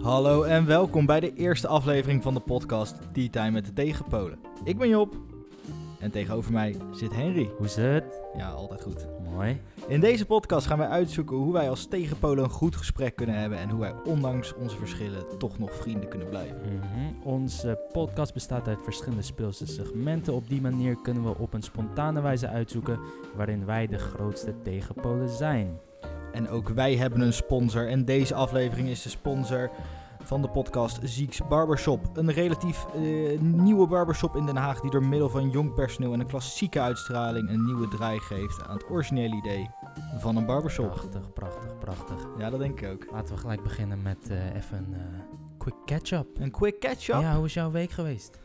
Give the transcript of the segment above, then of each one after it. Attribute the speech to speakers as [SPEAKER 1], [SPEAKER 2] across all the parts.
[SPEAKER 1] Hallo en welkom bij de eerste aflevering van de podcast Tea Time met de Tegenpolen. Ik ben Job en tegenover mij zit Henry.
[SPEAKER 2] Hoe is het?
[SPEAKER 1] Ja, altijd goed.
[SPEAKER 2] Mooi.
[SPEAKER 1] In deze podcast gaan wij uitzoeken hoe wij als tegenpolen een goed gesprek kunnen hebben en hoe wij ondanks onze verschillen toch nog vrienden kunnen blijven.
[SPEAKER 2] Mhm. Onze podcast bestaat uit verschillende speelse segmenten. Op die manier kunnen we op een spontane wijze uitzoeken waarin wij de grootste tegenpolen zijn.
[SPEAKER 1] En ook wij hebben een sponsor en deze aflevering is de sponsor van de podcast Zieks Barbershop. Een relatief eh, nieuwe barbershop in Den Haag die door middel van jong personeel en een klassieke uitstraling een nieuwe draai geeft aan het originele idee van een barbershop.
[SPEAKER 2] Prachtig, prachtig, prachtig.
[SPEAKER 1] Ja, dat denk ik ook.
[SPEAKER 2] Laten we gelijk beginnen met eh, even een eh, quick catch-up.
[SPEAKER 1] Een quick catch-up.
[SPEAKER 2] Ja, hoe is jouw week geweest?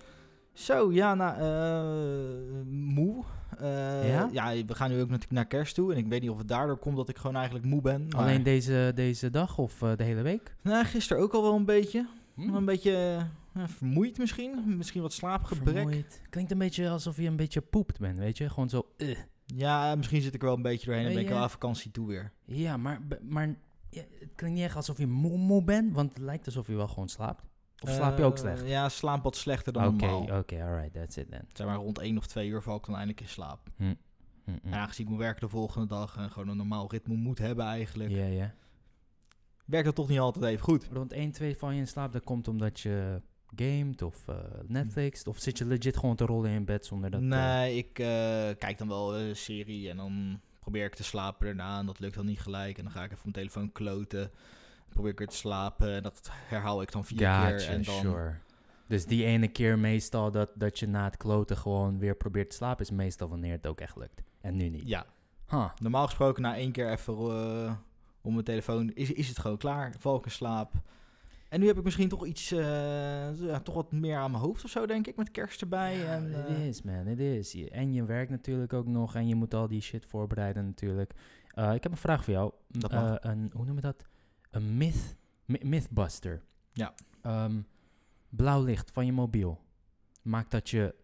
[SPEAKER 1] Zo, ja, nou, eh, moe. Eh,
[SPEAKER 2] Ja?
[SPEAKER 1] we gaan nu ook natuurlijk naar kerst toe. En ik weet niet of het daardoor komt dat ik gewoon eigenlijk moe ben. Maar...
[SPEAKER 2] Alleen deze, deze dag of eh, de hele week?
[SPEAKER 1] Nou, gisteren ook al wel een beetje.
[SPEAKER 2] Hm?
[SPEAKER 1] Een beetje eh, vermoeid misschien. Misschien wat slaapgebrek.
[SPEAKER 2] Vermoeid. Klinkt een beetje alsof je een beetje poept bent, weet je? Gewoon zo, eh.
[SPEAKER 1] Ja, misschien zit ik er wel een beetje doorheen. En ben ik
[SPEAKER 2] Ja.
[SPEAKER 1] wel aan vakantie toe weer.
[SPEAKER 2] Ja, maar, b- maar ja, het klinkt niet echt alsof je moe, moe bent, want het lijkt alsof je wel gewoon slaapt. Of slaap je ook
[SPEAKER 1] Eh,
[SPEAKER 2] slecht?
[SPEAKER 1] Ja, slaap wat slechter dan
[SPEAKER 2] Oké, oh.
[SPEAKER 1] normaal.
[SPEAKER 2] oké, alright, that's it then.
[SPEAKER 1] Zeg maar rond één of twee uur val ik dan eindelijk in slaap.
[SPEAKER 2] Mm-mm.
[SPEAKER 1] En aangezien ik moet werken de volgende dag en gewoon een normaal ritme moet hebben eigenlijk,
[SPEAKER 2] Ja, ja.
[SPEAKER 1] werkt dat toch niet altijd even goed.
[SPEAKER 2] Rond 1, 2 val je in slaap, dat komt omdat je gamet of eh Netflix, of zit je legit gewoon te rollen in bed zonder dat... eh,
[SPEAKER 1] nee, ik eh, kijk dan wel een serie en dan probeer ik te slapen daarna en dat lukt dan niet gelijk. En dan ga ik even mijn telefoon kloten. Dan probeer ik weer te slapen en dat herhaal ik dan vier keer.
[SPEAKER 2] gotcha,
[SPEAKER 1] En dan,
[SPEAKER 2] sure. Dus die ene keer meestal dat, dat je na het kloten gewoon weer probeert te slapen, is meestal wanneer het ook echt lukt. En nu niet.
[SPEAKER 1] Ja,
[SPEAKER 2] Huh.
[SPEAKER 1] normaal gesproken na één keer even eh om mijn telefoon is, is het gewoon klaar. Val ik in slaap. En nu heb ik misschien toch iets, eh, ja, toch wat meer aan mijn hoofd of zo denk ik, met kerst erbij.
[SPEAKER 2] Ja,
[SPEAKER 1] en,
[SPEAKER 2] het
[SPEAKER 1] eh,
[SPEAKER 2] is, man, het is. Je- En je werkt natuurlijk ook nog en je moet al die shit voorbereiden natuurlijk. Eh, ik heb een vraag voor jou. M-
[SPEAKER 1] Dat mag.
[SPEAKER 2] eh, een, hoe noem je dat? Een myth, mi- mythbuster.
[SPEAKER 1] Ja.
[SPEAKER 2] Ehm, blauw licht van je mobiel. Maakt dat je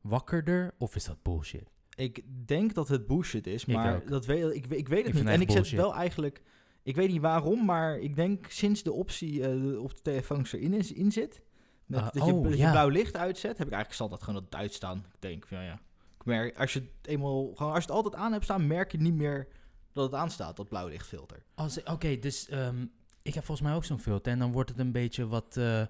[SPEAKER 2] wakkerder of is dat bullshit?
[SPEAKER 1] Ik denk dat het bullshit is,
[SPEAKER 2] Ik
[SPEAKER 1] maar
[SPEAKER 2] ook.
[SPEAKER 1] dat weet, ik, ik weet het
[SPEAKER 2] vind
[SPEAKER 1] niet.
[SPEAKER 2] het
[SPEAKER 1] En
[SPEAKER 2] echt
[SPEAKER 1] ik zet
[SPEAKER 2] bullshit.
[SPEAKER 1] wel eigenlijk... Ik weet niet waarom, maar ik denk sinds de optie eh, op de telefoons erin is, in zit... Met,
[SPEAKER 2] Ah,
[SPEAKER 1] dat je,
[SPEAKER 2] oh,
[SPEAKER 1] dat je
[SPEAKER 2] ja.
[SPEAKER 1] blauw licht uitzet, heb ik eigenlijk altijd gewoon dat Duits staan. Ik denk, ja, ja. Ik merk, als je het eenmaal, gewoon als je het altijd aan hebt staan, merk je niet meer dat het aanstaat, dat blauw lichtfilter.
[SPEAKER 2] Als, Oké, dus ehm, ik heb volgens mij ook zo'n filter en dan wordt het een beetje wat eh,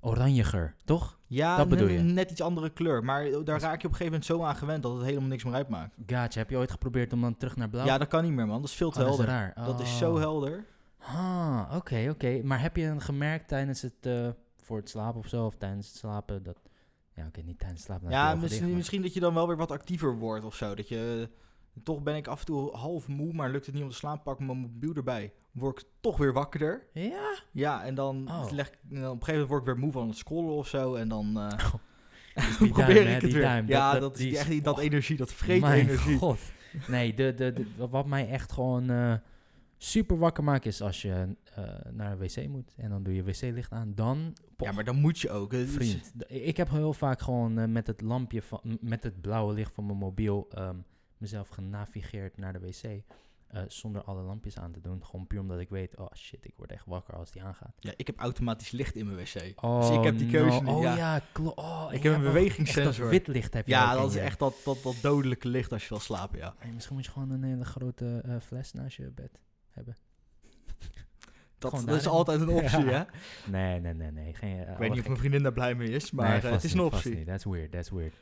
[SPEAKER 2] oranjiger, toch?
[SPEAKER 1] Ja,
[SPEAKER 2] Dat bedoel
[SPEAKER 1] net,
[SPEAKER 2] je?
[SPEAKER 1] net iets andere kleur, maar daar raak
[SPEAKER 2] Dus-
[SPEAKER 1] je op een gegeven moment zo aan gewend dat het helemaal niks meer uitmaakt.
[SPEAKER 2] Gotcha, heb je ooit geprobeerd om dan terug naar blauw?
[SPEAKER 1] Ja, dat kan niet meer, man. Dat is veel
[SPEAKER 2] Oh,
[SPEAKER 1] te
[SPEAKER 2] dat is
[SPEAKER 1] helder.
[SPEAKER 2] raar.
[SPEAKER 1] Dat is zo
[SPEAKER 2] Oh.
[SPEAKER 1] helder.
[SPEAKER 2] Ah, oké, oké. Maar heb je dan gemerkt tijdens het, eh, voor het slapen of zo, of tijdens het slapen, dat... Ja, oké, niet tijdens het slapen. dan heb
[SPEAKER 1] Ja,
[SPEAKER 2] je je ogen
[SPEAKER 1] misschien,
[SPEAKER 2] dicht,
[SPEAKER 1] misschien dat je dan wel weer wat actiever wordt of zo. Dat je, eh, toch ben ik af en toe half moe, maar lukt het niet om te slapen, pak ik mijn mobiel erbij. Word ik toch weer wakkerder.
[SPEAKER 2] maar- Ja?
[SPEAKER 1] Ja, en dan
[SPEAKER 2] Oh.
[SPEAKER 1] leg ik, en dan op een gegeven moment word ik weer moe van het scrollen of zo. En dan eh,
[SPEAKER 2] Dus die
[SPEAKER 1] probeer
[SPEAKER 2] duim,
[SPEAKER 1] ik
[SPEAKER 2] hè,
[SPEAKER 1] het
[SPEAKER 2] die
[SPEAKER 1] weer.
[SPEAKER 2] duim,
[SPEAKER 1] ja, dat,
[SPEAKER 2] dat-
[SPEAKER 1] is
[SPEAKER 2] die
[SPEAKER 1] die,
[SPEAKER 2] is- oh.
[SPEAKER 1] echt die- dat energie, dat vreet
[SPEAKER 2] Mijn
[SPEAKER 1] energie.
[SPEAKER 2] god. Nee, de, de, de- wat mij echt gewoon eh, super wakker maakt is als je eh, naar een wc moet en dan doe je wc-licht aan, dan...
[SPEAKER 1] Ja, maar dan moet je ook. Dus Het is-
[SPEAKER 2] Vriend, Dus, d- ik heb heel vaak gewoon eh, met het lampje van, m- met het blauwe licht van mijn mobiel ehm, mezelf genavigeerd naar de wc. eh, zonder alle lampjes aan te doen. Gewoon puur omdat ik weet, oh shit, ik word echt wakker als die aangaat.
[SPEAKER 1] Ja, ik heb automatisch licht in mijn wc.
[SPEAKER 2] Oh,
[SPEAKER 1] dus ik heb die keuze
[SPEAKER 2] no.
[SPEAKER 1] niet.
[SPEAKER 2] Oh
[SPEAKER 1] ja.
[SPEAKER 2] ja, klo- oh, en
[SPEAKER 1] ik
[SPEAKER 2] jij
[SPEAKER 1] heb een
[SPEAKER 2] hebt ook Echt
[SPEAKER 1] bewegingssensor.
[SPEAKER 2] dat wit licht heb je ook
[SPEAKER 1] ja,
[SPEAKER 2] in
[SPEAKER 1] dat is
[SPEAKER 2] je-
[SPEAKER 1] echt dat, dat, dat dodelijke licht als je wil slapen, ja.
[SPEAKER 2] Hey, misschien moet je gewoon een hele grote eh, fles naast je bed.
[SPEAKER 1] Dat,
[SPEAKER 2] Gewoon
[SPEAKER 1] dat is
[SPEAKER 2] daarin.
[SPEAKER 1] altijd een optie,
[SPEAKER 2] Ja.
[SPEAKER 1] hè.
[SPEAKER 2] Nee, nee, nee, nee. Geen,
[SPEAKER 1] Ik weet niet of mijn vriendin daar blij mee is, maar eh, het is een optie.
[SPEAKER 2] That's weird, that's weird.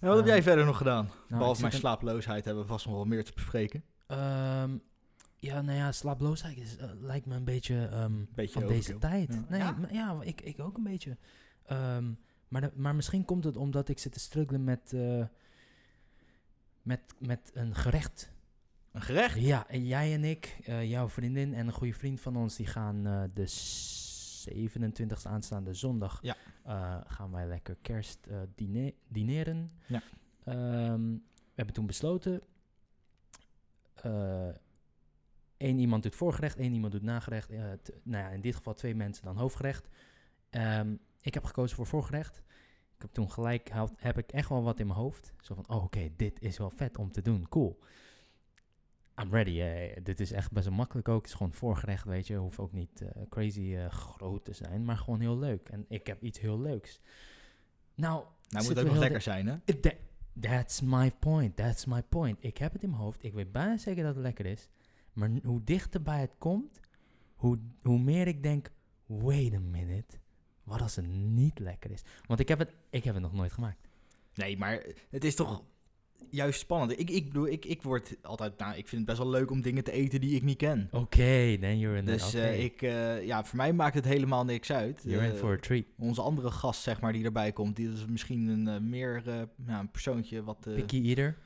[SPEAKER 1] En wat heb jij
[SPEAKER 2] Ehm,
[SPEAKER 1] verder nog gedaan?
[SPEAKER 2] ik
[SPEAKER 1] Behalve
[SPEAKER 2] zit
[SPEAKER 1] mijn
[SPEAKER 2] een-
[SPEAKER 1] slaaploosheid hebben we vast nog wel meer te bespreken.
[SPEAKER 2] Ehm, ja, nou ja, slaaploosheid is, eh, lijkt me een beetje, ehm,
[SPEAKER 1] Beetje
[SPEAKER 2] van deze
[SPEAKER 1] overkill.
[SPEAKER 2] tijd.
[SPEAKER 1] Ja.
[SPEAKER 2] Nee,
[SPEAKER 1] Ja?
[SPEAKER 2] maar ja ik, ik ook een beetje. Ehm, maar, de- maar misschien komt het omdat ik zit te struggelen met, eh, met, met een gerecht.
[SPEAKER 1] Een gerecht?
[SPEAKER 2] Ja, en jij en ik, eh, jouw vriendin en een goede vriend van ons, die gaan eh, de 27e aanstaande zondag.
[SPEAKER 1] Ja.
[SPEAKER 2] eh, gaan wij lekker kerst eh, dine- dineren.
[SPEAKER 1] Ja.
[SPEAKER 2] Ehm, we hebben toen besloten. eh één iemand doet voorgerecht, één iemand doet nagerecht. eh, t- nou ja, in dit geval twee mensen dan hoofdgerecht. Ehm, ik heb gekozen voor voorgerecht. Ik heb toen gelijk, had- heb ik echt wel wat in mijn hoofd. Zo van, oh, oké, dit is wel vet om te doen, cool. I'm ready. eh, dit is echt best wel makkelijk ook. Het is gewoon voorgerecht, weet je. Hoeft ook niet eh, crazy eh, groot te zijn, maar gewoon heel leuk. En ik heb iets heel leuks. Nou,
[SPEAKER 1] Nou, moet
[SPEAKER 2] zitten
[SPEAKER 1] ook
[SPEAKER 2] we
[SPEAKER 1] nog
[SPEAKER 2] heel
[SPEAKER 1] lekker zijn, hè?
[SPEAKER 2] de- Tha- that's my point. That's my point. Ik heb het in mijn hoofd. Ik weet bijna zeker dat het lekker is. Maar n- hoe dichterbij het komt, hoe, hoe meer ik denk, wait a minute. Wat als het niet lekker is? Want ik heb het, ik heb het nog nooit gemaakt.
[SPEAKER 1] Nee, maar het is toch juist spannend. Ik, ik bedoel, ik, ik word altijd... Nou, ik vind het best wel leuk om dingen te eten die ik niet ken.
[SPEAKER 2] Oké, then you're in
[SPEAKER 1] Dus
[SPEAKER 2] the,
[SPEAKER 1] eh,
[SPEAKER 2] Oh, oké.
[SPEAKER 1] ik, eh, ja, voor mij maakt het helemaal niks uit.
[SPEAKER 2] You're in
[SPEAKER 1] Eh,
[SPEAKER 2] for a treat.
[SPEAKER 1] Onze andere gast, zeg maar, die erbij komt, die is misschien een eh, meer eh, nou, een persoontje wat... eh,
[SPEAKER 2] Picky eater.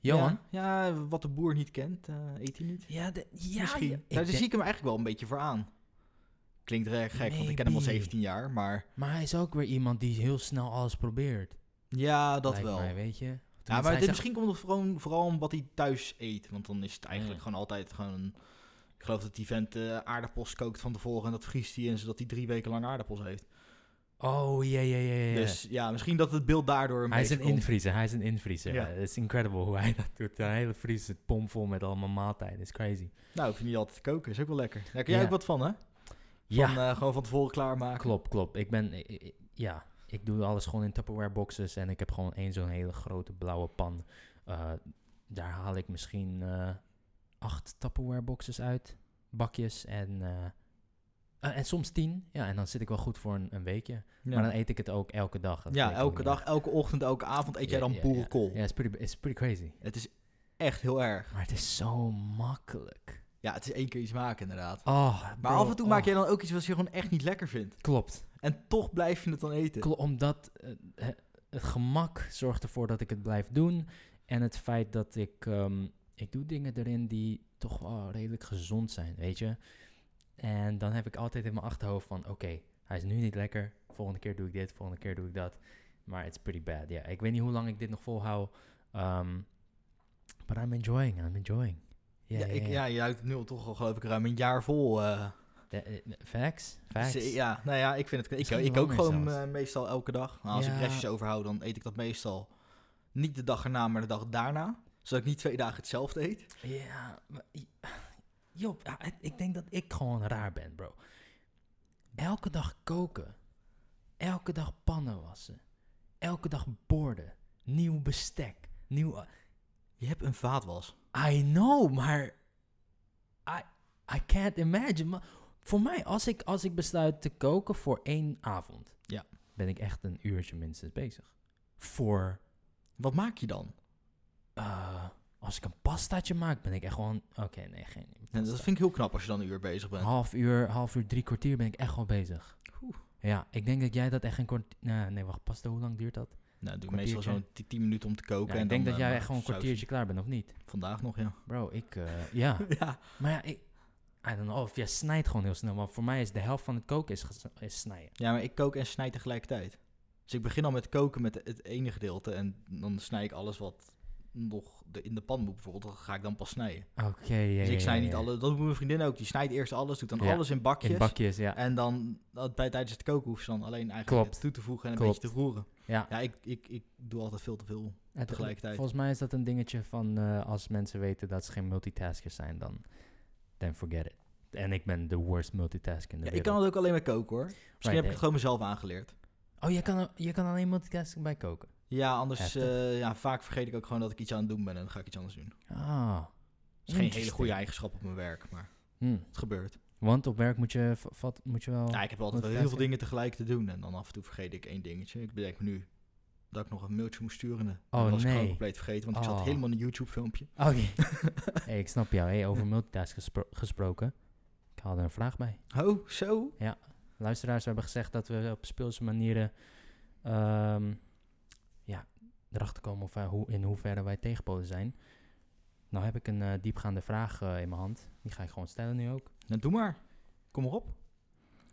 [SPEAKER 2] Johan?
[SPEAKER 1] Ja, ja, wat de boer niet kent, eh, eet hij niet.
[SPEAKER 2] Ja, de- ja,
[SPEAKER 1] Misschien. Nou, dus
[SPEAKER 2] ja, ik
[SPEAKER 1] Daar
[SPEAKER 2] denk-
[SPEAKER 1] zie ik hem eigenlijk wel een beetje voor aan. Klinkt erg gek, want ik ken hem al
[SPEAKER 2] Maybe.
[SPEAKER 1] 17 jaar, maar
[SPEAKER 2] maar hij is ook weer iemand die heel snel alles probeert.
[SPEAKER 1] ja, dat
[SPEAKER 2] lijkt
[SPEAKER 1] wel.
[SPEAKER 2] mij, weet je.
[SPEAKER 1] ja,
[SPEAKER 2] Tenminste,
[SPEAKER 1] maar
[SPEAKER 2] hij
[SPEAKER 1] dit,
[SPEAKER 2] zegt-
[SPEAKER 1] misschien komt het vooral, vooral om wat hij thuis eet, want dan is het eigenlijk
[SPEAKER 2] Mm.
[SPEAKER 1] gewoon altijd gewoon... een- Ik geloof dat die vent eh, aardappels kookt van tevoren en dat vriest hij in, zodat hij drie weken lang aardappels heeft.
[SPEAKER 2] Oh, ja, ja, ja, ja.
[SPEAKER 1] Dus ja, misschien dat het beeld daardoor een
[SPEAKER 2] Hij is
[SPEAKER 1] beetje
[SPEAKER 2] een
[SPEAKER 1] komt.
[SPEAKER 2] invriezer, hij is een invriezer.
[SPEAKER 1] Ja.
[SPEAKER 2] Het is incredible hoe hij dat doet. Een hele vries zit pomvol met allemaal maaltijden. is crazy.
[SPEAKER 1] Nou, ik vind niet altijd koken, is ook wel lekker. Daar kun jij
[SPEAKER 2] Ja.
[SPEAKER 1] ook wat van, hè?
[SPEAKER 2] Ja,
[SPEAKER 1] Van, eh, gewoon van tevoren klaarmaken.
[SPEAKER 2] klopt, klopt. Ik ben, i- i- ja, ik doe alles gewoon in Tupperware boxes en ik heb gewoon één zo'n hele grote blauwe pan. Eh, daar haal ik misschien eh, acht Tupperware boxes uit, bakjes en, eh, eh, en soms tien. Ja, en dan zit ik wel goed voor een, een weekje.
[SPEAKER 1] Ja.
[SPEAKER 2] Maar dan eet ik het ook elke dag. Dat
[SPEAKER 1] Ja,
[SPEAKER 2] vind ik ook
[SPEAKER 1] elke
[SPEAKER 2] niet
[SPEAKER 1] dag, elke ochtend, elke avond eet jij
[SPEAKER 2] Ja,
[SPEAKER 1] dan
[SPEAKER 2] ja, ja.
[SPEAKER 1] boerenkool.
[SPEAKER 2] erg. Ja, it's pretty, it's pretty crazy.
[SPEAKER 1] Het is echt heel erg.
[SPEAKER 2] Maar het is zo makkelijk.
[SPEAKER 1] Ja, het is één keer iets maken inderdaad.
[SPEAKER 2] Oh,
[SPEAKER 1] Maar af en toe maak jij dan ook iets wat je gewoon echt niet lekker vindt.
[SPEAKER 2] Klopt.
[SPEAKER 1] En toch blijf je het dan eten.
[SPEAKER 2] Klo- omdat eh, he- het gemak zorgt ervoor dat ik het blijf doen. En het feit dat ik... ehm, ik doe dingen erin die toch wel redelijk gezond zijn, weet je. En dan heb ik altijd in mijn achterhoofd van... Oké, hij is nu niet lekker. Volgende keer doe ik dit, volgende keer doe ik dat. Maar it's pretty bad, ja. Ik weet niet hoe lang ik dit nog volhoud. ehm, but I'm enjoying, I'm enjoying. Ja,
[SPEAKER 1] ja,
[SPEAKER 2] ja,
[SPEAKER 1] ik,
[SPEAKER 2] ja.
[SPEAKER 1] ja, je houdt het nu al toch al geloof ik ruim een jaar vol. eh.
[SPEAKER 2] De- eh, facts, facts.
[SPEAKER 1] Dus, eh, ja, nou ja, ik vind het... Ik,
[SPEAKER 2] Misschien
[SPEAKER 1] ik
[SPEAKER 2] wel
[SPEAKER 1] ook
[SPEAKER 2] meer
[SPEAKER 1] gewoon
[SPEAKER 2] zelfs.
[SPEAKER 1] eh, meestal elke dag. Nou, als ik
[SPEAKER 2] Ja.
[SPEAKER 1] restjes overhoud, dan eet ik dat meestal niet de dag erna, maar de dag daarna. Zodat ik niet twee dagen hetzelfde eet.
[SPEAKER 2] Ja, maar i- Job, ja, ik- ik denk dat ik gewoon raar ben, bro. Elke dag koken. Elke dag pannen wassen. Elke dag borden. Nieuw bestek. Nieuw...
[SPEAKER 1] Je hebt een vaatwas.
[SPEAKER 2] I know, maar... I, I can't imagine. Maar voor mij, als ik, als ik besluit te koken voor één avond...
[SPEAKER 1] Ja.
[SPEAKER 2] ben ik echt een uurtje minstens bezig. Voor...
[SPEAKER 1] Wat maak je dan?
[SPEAKER 2] eh, als ik een pastaatje maak, ben ik echt gewoon... Oké, nee, geen...
[SPEAKER 1] En Nou, dat vind ik heel knap als je dan een uur bezig bent. Nou,
[SPEAKER 2] Een half uur, half uur, drie kwartier ben ik echt wel bezig.
[SPEAKER 1] Oeh.
[SPEAKER 2] Ja, ik denk dat jij dat echt een kwartier... Nee, nee, wacht, pas, hoe lang duurt dat?
[SPEAKER 1] Nou, doe ik
[SPEAKER 2] Kwartiertje.
[SPEAKER 1] meestal zo'n 10 minuten om te
[SPEAKER 2] Ja,
[SPEAKER 1] koken. en
[SPEAKER 2] ik denk
[SPEAKER 1] dan,
[SPEAKER 2] dat
[SPEAKER 1] eh,
[SPEAKER 2] jij
[SPEAKER 1] maar
[SPEAKER 2] echt gewoon een
[SPEAKER 1] saus-
[SPEAKER 2] kwartiertje klaar bent, of niet?
[SPEAKER 1] Vandaag nog, ja.
[SPEAKER 2] Bro, ik... eh, ja,
[SPEAKER 1] ja.
[SPEAKER 2] maar ja, ik... I don't know, of jij snijdt gewoon heel snel. Want voor mij is de helft van het koken is, ges- is snijden.
[SPEAKER 1] Ja, maar ik kook en snijd tegelijkertijd. Dus ik begin al met koken met het ene gedeelte. En dan snij ik alles wat nog de, in de pan moet bijvoorbeeld. Dat ga ik dan pas snijden.
[SPEAKER 2] Oké, ja,
[SPEAKER 1] dus ik
[SPEAKER 2] ja,
[SPEAKER 1] snij
[SPEAKER 2] ja,
[SPEAKER 1] niet
[SPEAKER 2] ja.
[SPEAKER 1] alles. Dat doet mijn vriendin ook. Die snijdt eerst alles, doet dan
[SPEAKER 2] Ja,
[SPEAKER 1] alles in bakjes.
[SPEAKER 2] In bakjes, ja.
[SPEAKER 1] En dan dat bij, tijdens het koken hoeft ze dan alleen eigenlijk
[SPEAKER 2] Klopt.
[SPEAKER 1] het toe te voegen en een
[SPEAKER 2] Klopt.
[SPEAKER 1] beetje te roeren.
[SPEAKER 2] Ja.
[SPEAKER 1] Ja, ik, ik, ik doe altijd veel te veel.
[SPEAKER 2] Het-
[SPEAKER 1] tegelijkertijd.
[SPEAKER 2] Volgens mij is dat een dingetje van eh, als mensen weten dat ze geen multitaskers zijn, dan then forget it. En ik ben de worst multitasker in de
[SPEAKER 1] Ja, ik
[SPEAKER 2] wereld.
[SPEAKER 1] kan het ook alleen maar koken hoor. Misschien
[SPEAKER 2] Right,
[SPEAKER 1] heb ik
[SPEAKER 2] eh.
[SPEAKER 1] het gewoon mezelf aangeleerd.
[SPEAKER 2] Oh, je kan, je kan alleen multitasking bij koken?
[SPEAKER 1] Ja, anders
[SPEAKER 2] Heftig.
[SPEAKER 1] eh, ja, vaak vergeet ik ook gewoon dat ik iets aan het doen ben en dan ga ik iets anders doen.
[SPEAKER 2] Ah.
[SPEAKER 1] Het is geen hele
[SPEAKER 2] Interesting.
[SPEAKER 1] goede eigenschap op mijn werk, maar
[SPEAKER 2] Hmm.
[SPEAKER 1] het gebeurt.
[SPEAKER 2] Want op werk moet je, v- vat, moet je wel...
[SPEAKER 1] Ja, ik heb altijd wel heel veel
[SPEAKER 2] multitasking.
[SPEAKER 1] dingen tegelijk te doen en dan af en toe vergeet ik één dingetje. Ik bedenk me nu dat ik nog een mailtje moest sturen. en
[SPEAKER 2] Oh,
[SPEAKER 1] dat was ik
[SPEAKER 2] nee.
[SPEAKER 1] gewoon compleet vergeten, want ik zat
[SPEAKER 2] Oh.
[SPEAKER 1] helemaal in een YouTube-filmpje.
[SPEAKER 2] Ah, Oké. hey, ik snap jou. Hey, over multitask gespro- gesproken. Ik haal er een vraag bij.
[SPEAKER 1] Oh, zo?
[SPEAKER 2] Luisteraars, we hebben gezegd dat we op speelse manieren... ehm, ja, erachter komen of, wij- hoe, in hoeverre wij tegenpolen zijn. Nou heb ik een eh, diepgaande vraag eh, in mijn hand. Die ga ik gewoon stellen nu ook.
[SPEAKER 1] Nou, doe maar. Kom erop.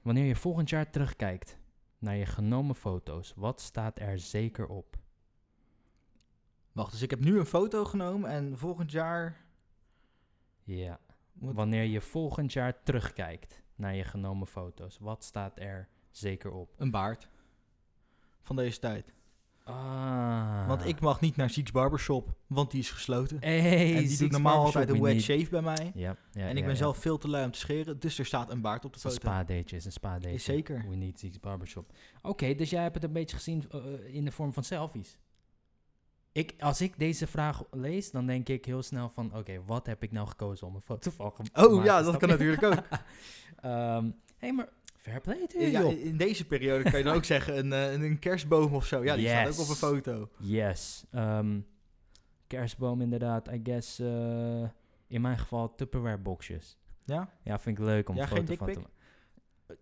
[SPEAKER 2] Wanneer je volgend jaar terugkijkt naar je genomen foto's, wat staat er zeker op?
[SPEAKER 1] Wacht, dus ik heb nu een foto genomen en volgend jaar...
[SPEAKER 2] Ja.
[SPEAKER 1] Wat-
[SPEAKER 2] Wanneer je volgend jaar terugkijkt naar je genomen foto's, wat staat er zeker op?
[SPEAKER 1] Een baard. Van deze tijd.
[SPEAKER 2] Ah.
[SPEAKER 1] Want ik mag niet naar Zieks Barbershop, want die is gesloten.
[SPEAKER 2] Hey,
[SPEAKER 1] en die
[SPEAKER 2] Six
[SPEAKER 1] doet normaal
[SPEAKER 2] Barbershop
[SPEAKER 1] altijd een
[SPEAKER 2] we
[SPEAKER 1] wet
[SPEAKER 2] need.
[SPEAKER 1] shave bij mij.
[SPEAKER 2] Ja, ja,
[SPEAKER 1] en ik
[SPEAKER 2] ja,
[SPEAKER 1] ben
[SPEAKER 2] ja.
[SPEAKER 1] zelf veel te lui om te scheren, dus er staat een baard op de
[SPEAKER 2] Het is een
[SPEAKER 1] foto.
[SPEAKER 2] spa-date, is een spa-date.
[SPEAKER 1] Is zeker.
[SPEAKER 2] We need Six Barbershop. Oké, dus jij hebt het een beetje gezien eh, in de vorm van selfies. Ik, als ik deze vraag lees, dan denk ik heel snel van... Oké, wat heb ik nou gekozen om een foto van ge- te
[SPEAKER 1] Oh
[SPEAKER 2] maken,
[SPEAKER 1] ja, dat
[SPEAKER 2] snap
[SPEAKER 1] kan
[SPEAKER 2] je?
[SPEAKER 1] natuurlijk ook.
[SPEAKER 2] Ehm, hey, maar fair play to you,
[SPEAKER 1] Ja,
[SPEAKER 2] joh.
[SPEAKER 1] in deze periode kan je dan ook zeggen een, eh, een, een kerstboom of zo. Ja, die staat ook
[SPEAKER 2] Yes.
[SPEAKER 1] op een foto.
[SPEAKER 2] Yes. ehm, kerstboom inderdaad, I guess... eh, in mijn geval Tupperware boxjes.
[SPEAKER 1] Ja,
[SPEAKER 2] Ja, vind ik leuk om
[SPEAKER 1] Ja,
[SPEAKER 2] een
[SPEAKER 1] geen
[SPEAKER 2] foto van te
[SPEAKER 1] dickpic?
[SPEAKER 2] maken.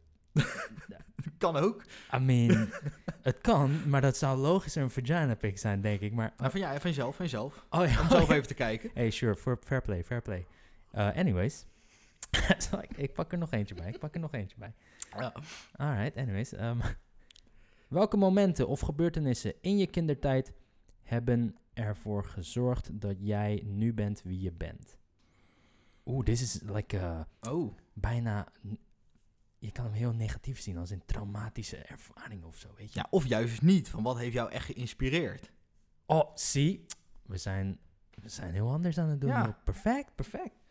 [SPEAKER 1] kan ook.
[SPEAKER 2] I mean, het kan, maar dat zou logischer een vagina pic zijn, denk ik. Maar,
[SPEAKER 1] Maar van, ja, van jezelf, van jezelf.
[SPEAKER 2] oh ja,
[SPEAKER 1] Om zelf even te kijken.
[SPEAKER 2] Hey, sure, for fair play, fair play. Uh, anyways. Zal ik, ik pak er nog eentje bij, ik pak er nog eentje bij.
[SPEAKER 1] Ja.
[SPEAKER 2] Alright, anyways. ehm, welke momenten of gebeurtenissen in je kindertijd hebben ervoor gezorgd dat jij nu bent wie je bent? Oeh, dit is like eh,
[SPEAKER 1] Oh,
[SPEAKER 2] bijna... n- Je kan hem heel negatief zien als een traumatische ervaring of zo, weet je?
[SPEAKER 1] ja, of juist dus niet. Van wat heeft jou echt geïnspireerd?
[SPEAKER 2] Oh, zie, we zijn, we zijn heel anders aan het doen.
[SPEAKER 1] Ja.
[SPEAKER 2] joh. Perfect, perfect.